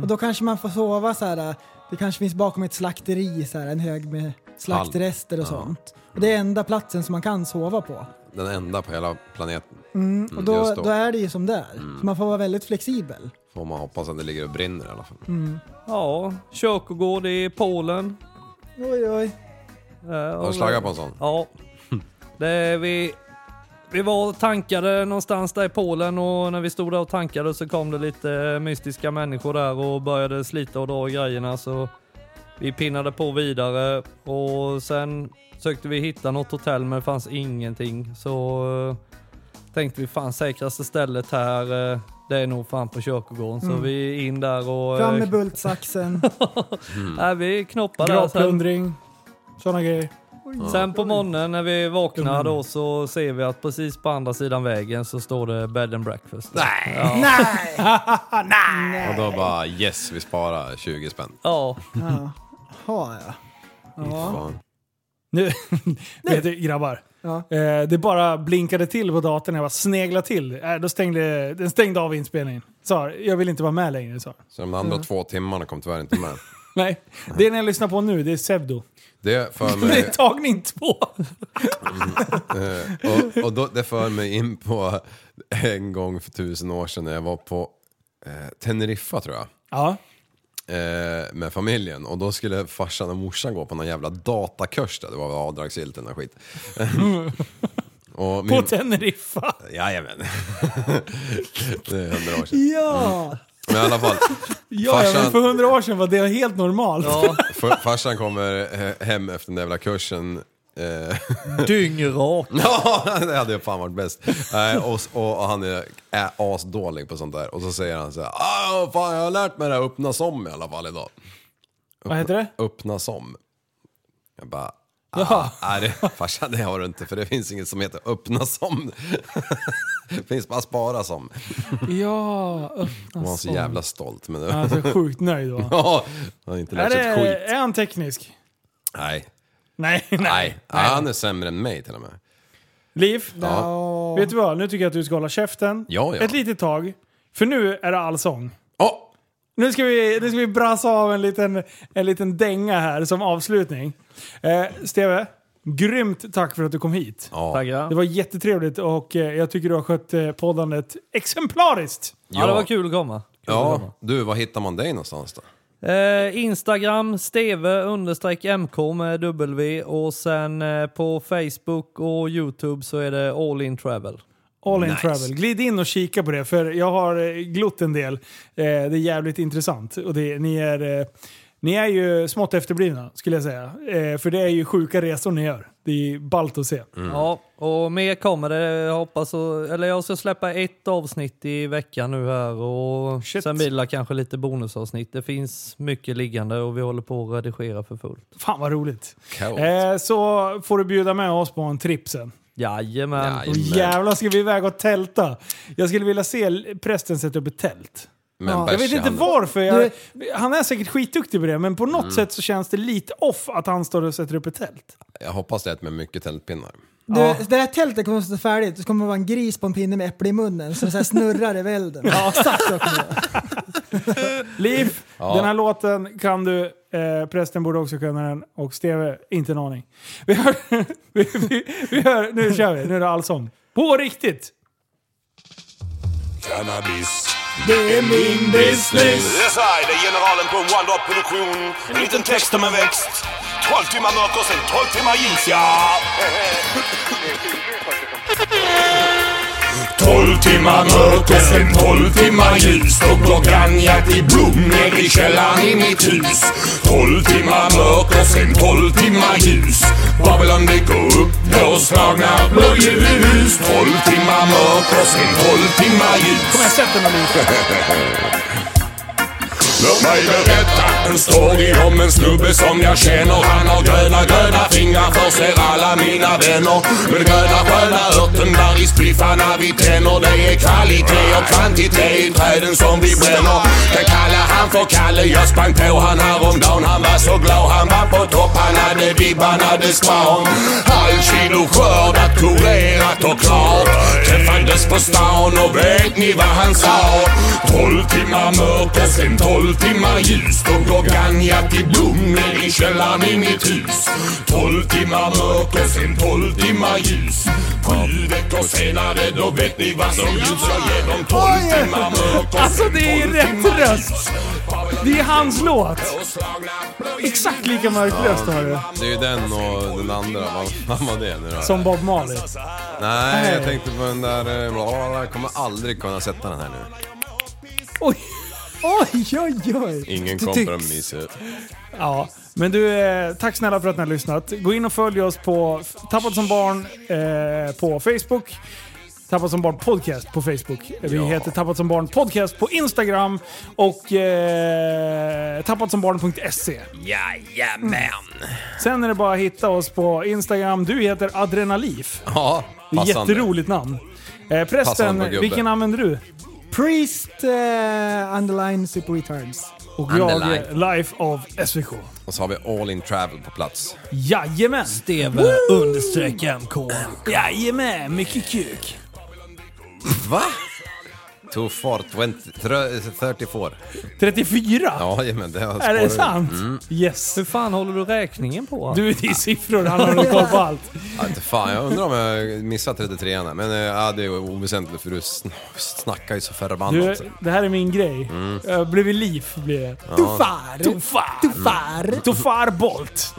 Och då kanske man får sova så här, det kanske finns bakom ett slakteri så här, en hög med slaktrester och Ja. sånt. Och det är enda platsen som man kan sova på. Den enda på hela planeten. Mm. Och Mm, då, Mm. just då är det ju som det är. Så man får vara väldigt flexibel. Får man hoppas att det ligger och brinner i alla fall. Ja, kyrkogård i Polen. Oj, oj. Har du slagit på en sån? Eh, Ja. Det är vi, vi var och tankade någonstans där i Polen och när vi stod där och tankade så kom det lite eh, mystiska människor där och började slita och dra i grejerna så vi pinnade på vidare och sen sökte vi hitta något hotell men det fanns ingenting så eh, tänkte vi fan säkraste stället här eh, det är nog fan på kyrkogården så Mm. vi in där och Fram eh, med bultsaxen. Nej, vi knoppade där Gravplundring, sådana grejer. sen. Sen på morgonen när vi vaknar då så ser vi att precis på andra sidan vägen så står det bed and breakfast. Nej! Ja. Och då bara yes, vi sparar 20 spänn. Ja. Jaha ja. ja. Fan. Nu, vet du, grabbar. Ja. Eh, det bara blinkade till på datorn. Jag bara sneglade till. Eh, då stängde, den stängde av inspelningen. Sa, jag vill inte vara med längre. Sa. Så de andra Ja. två timmarna kom tyvärr inte med. Nej, det är den jag lyssnar på nu, det är Sevdo. Det för Det mig... är tagning två. Eh, och och då, det för mig in på en gång för tusen år sedan när jag var på eh, Teneriffa tror jag. Ja. Eh, med familjen och då skulle farsan och morsan gå på någon jävla datakurs där. Det var väl avdragsgillt eller någon skit. och På Teneriffa. Jajamän. det är hundra år sedan. Ja! Men i alla fall. Ja, ja, men för hundra år sedan var det helt normalt. F- Farsan kommer eh, hem efter den där jävla kursen. eh, Dyngrak. ja, det hade ju fan varit bäst. Nej, och, s- och, och han är, är asdålig på sånt där. Och så säger han så här, "Ah, fan jag har lärt mig det här öppna som i alla fall idag. Vad heter det? Öppna som. Jag bara, Jaha. nej det, farsan det har du inte för det finns inget som heter öppna som. det finns bara spara som. Ja, öppna Och han var så sån. jävla stolt. Men det... Han är så sjukt nöjd va? ja, han har inte Är, lärt sig ett skit. det, är han teknisk? Nej. Nej, nej. Nej, han är sämre än mig till och med. Liv, Ja. vet du vad? Nu tycker jag att du ska hålla käften Ja, ja. ett litet tag. För nu är det allsång. Oh. Nu, ska vi, nu ska vi brassa av en liten, en liten dänga här som avslutning. Eh, Steve, grymt tack för att du kom hit. Tackar. Det var jättetrevligt och eh, jag tycker du har skött eh, poddandet exemplariskt. Ja, det var kul att komma. Ja, du, var hittar man dig någonstans då? Eh, Instagram, steve understreck mk med W och sen eh, på Facebook och Youtube så är det all in travel. All in Nice. travel. Glid in och kika på det för jag har eh, glott en del. Eh, det är jävligt intressant. Och det, ni, är, eh, ni är ju smått efterblivna skulle jag säga. Eh, för det är ju sjuka resor ni gör. Det är ballt att se. Mm. Ja, och mer kommer det. Jag hoppas och, eller jag ska släppa ett avsnitt i veckan nu här och sen blir det kanske lite bonusavsnitt. Det finns mycket liggande och vi håller på att redigera för fullt. Fan vad roligt. Eh, så får du bjuda med oss på en tripp sen. Jajamän. Och jävlar ska vi iväg och tälta. Jag skulle vilja se l- prästen sätta upp ett tält. Men jag vet bärs i inte handen. varför. Jag, han är säkert skitduktig på det, men på något sätt så känns det lite off att han står och sätter upp ett tält. Jag hoppas det är ett med mycket tältpinnar. Du, Det här tältet kommer att stå färdigt, det kommer att vara en gris på en pinne med äpple i munnen som så här snurrar i välden. Ja. Exakt så kommer det vara. Liv, Ja. den här låten kan du. Eh, prästen borde också kunna den. Och Steve, inte en aning. Vi hör, vi, vi, vi hör, nu kör vi. Nu är det allsång. På riktigt! Cannabis. Det är min business. Yes I, det är generalen på One Dot Produktion. En liten text om en växt. 12 timmar mörker, sen 12 timmar jeans, ja. 12 timmar mörker, sen 12 timmar ljus Då går granjat i blom ner i källaren i mitt hus 12 timmar mörker, sen 12 timmar ljus Babylon det går upp, då slagna blåljus 12 timmar mörker, sen 12 timmar ljus Kom igen, sätt dig Låt mig berätta en story om en snubbe som jag känner Han har gröna, gröna fingrar, förser alla mina vänner Med gröna, sköna örtenbär i spliffarna vi tänner Det är kvalitet och kvantitet i träden som vi bränner Kan kalla han för Kalle, jag sprang på han häromdagen Han var så glad, han var på topp, han hade vibb, han hade span Halv kilo skördat, kurerat och klart Träffades på stan och vet ni vad han sa? 12 timmar mörker, sen 12 timmar ljus Då går ganjat i blom ner i källaren i mitt hus 12 timmar mörker, sen 12 timmar ljus Sju veckor senare, då vet ni vad som gjorts Jag ger dem 12 timmar mörker, Alltså det är ju rätt röst! Det är hans låt! Exakt lika mörk röst har du. Det är ju den och den andra. Vad fan var det nu då? Som Bob Marley. Nej, jag tänkte på den där... eh, bla, bla, bla. Jag kommer aldrig kunna sätta den här nu. Oj, oj, oj! Ingen Du kompromiss. Ja, men du, eh, tack snälla för att ni har lyssnat. Gå in och följ oss på F- Tappat som barn eh, på Facebook. Tappat som barn podcast på Facebook. Vi Ja. heter Tappat som barn podcast på Instagram och eh, tappatsombarn.se. Jajamän. Mm. Sen är det bara att hitta oss på Instagram. Du heter Adrenalif. Ja, Det är passande. Jätteroligt namn. Eh, Passande på prästen, gubben. vilken använder du? Priest eh, underline super retards. Och jag Underline. är Life of SVK. Och så har vi All In Travel på plats. Jajamän! Steve understreck MK. Jajamän, mycket kuk. Va? Too far 20, tre- 34. 34? Ja, men det har Är det spårat- sant? Mm. Yes. Hur fan håller du räkningen på? Du, det är siffror. Han har nog koll på allt. Ja, inte fan, jag undrar om jag missat 33 an Men eh, ja, det är oväsentligt för du sn- snackar ju så Du, förbannat. det här är min grej. Mm. Jag blev i liv blir det. Ja. Tofar! Tofar. Tofar! Tofar Bolt!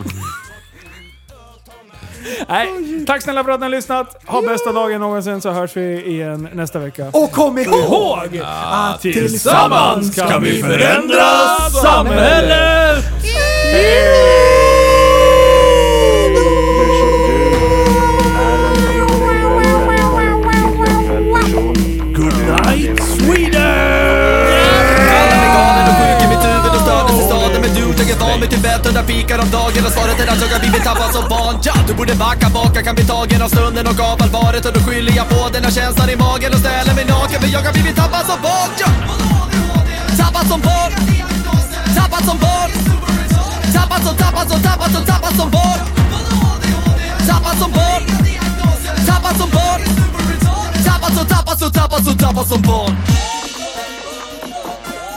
Nej, tack snälla för att ni har lyssnat. Ha bästa dagen någonsin så hörs vi igen nästa vecka. Och kom ihåg att tillsammans kan vi förändra samhället! Good night Sweden! Alla veganer och sjuk i mitt huvud och stördes i staden Men du, jag är van vid Tibet under fikar om dagen Och svaret är att jag har blivit tappad som barn ja, Du borde backa bak, jag kan bli tagen av stunden och av allvaret Och då skyller jag på den här känslan i magen och ställer mig naken För jag har blivit tappad som barn ja. Tappad som barn Tappad som barn Tappad som, tappad som, tappad som, tappad som barn Tappad som barn Tappad som barn tappad som barn.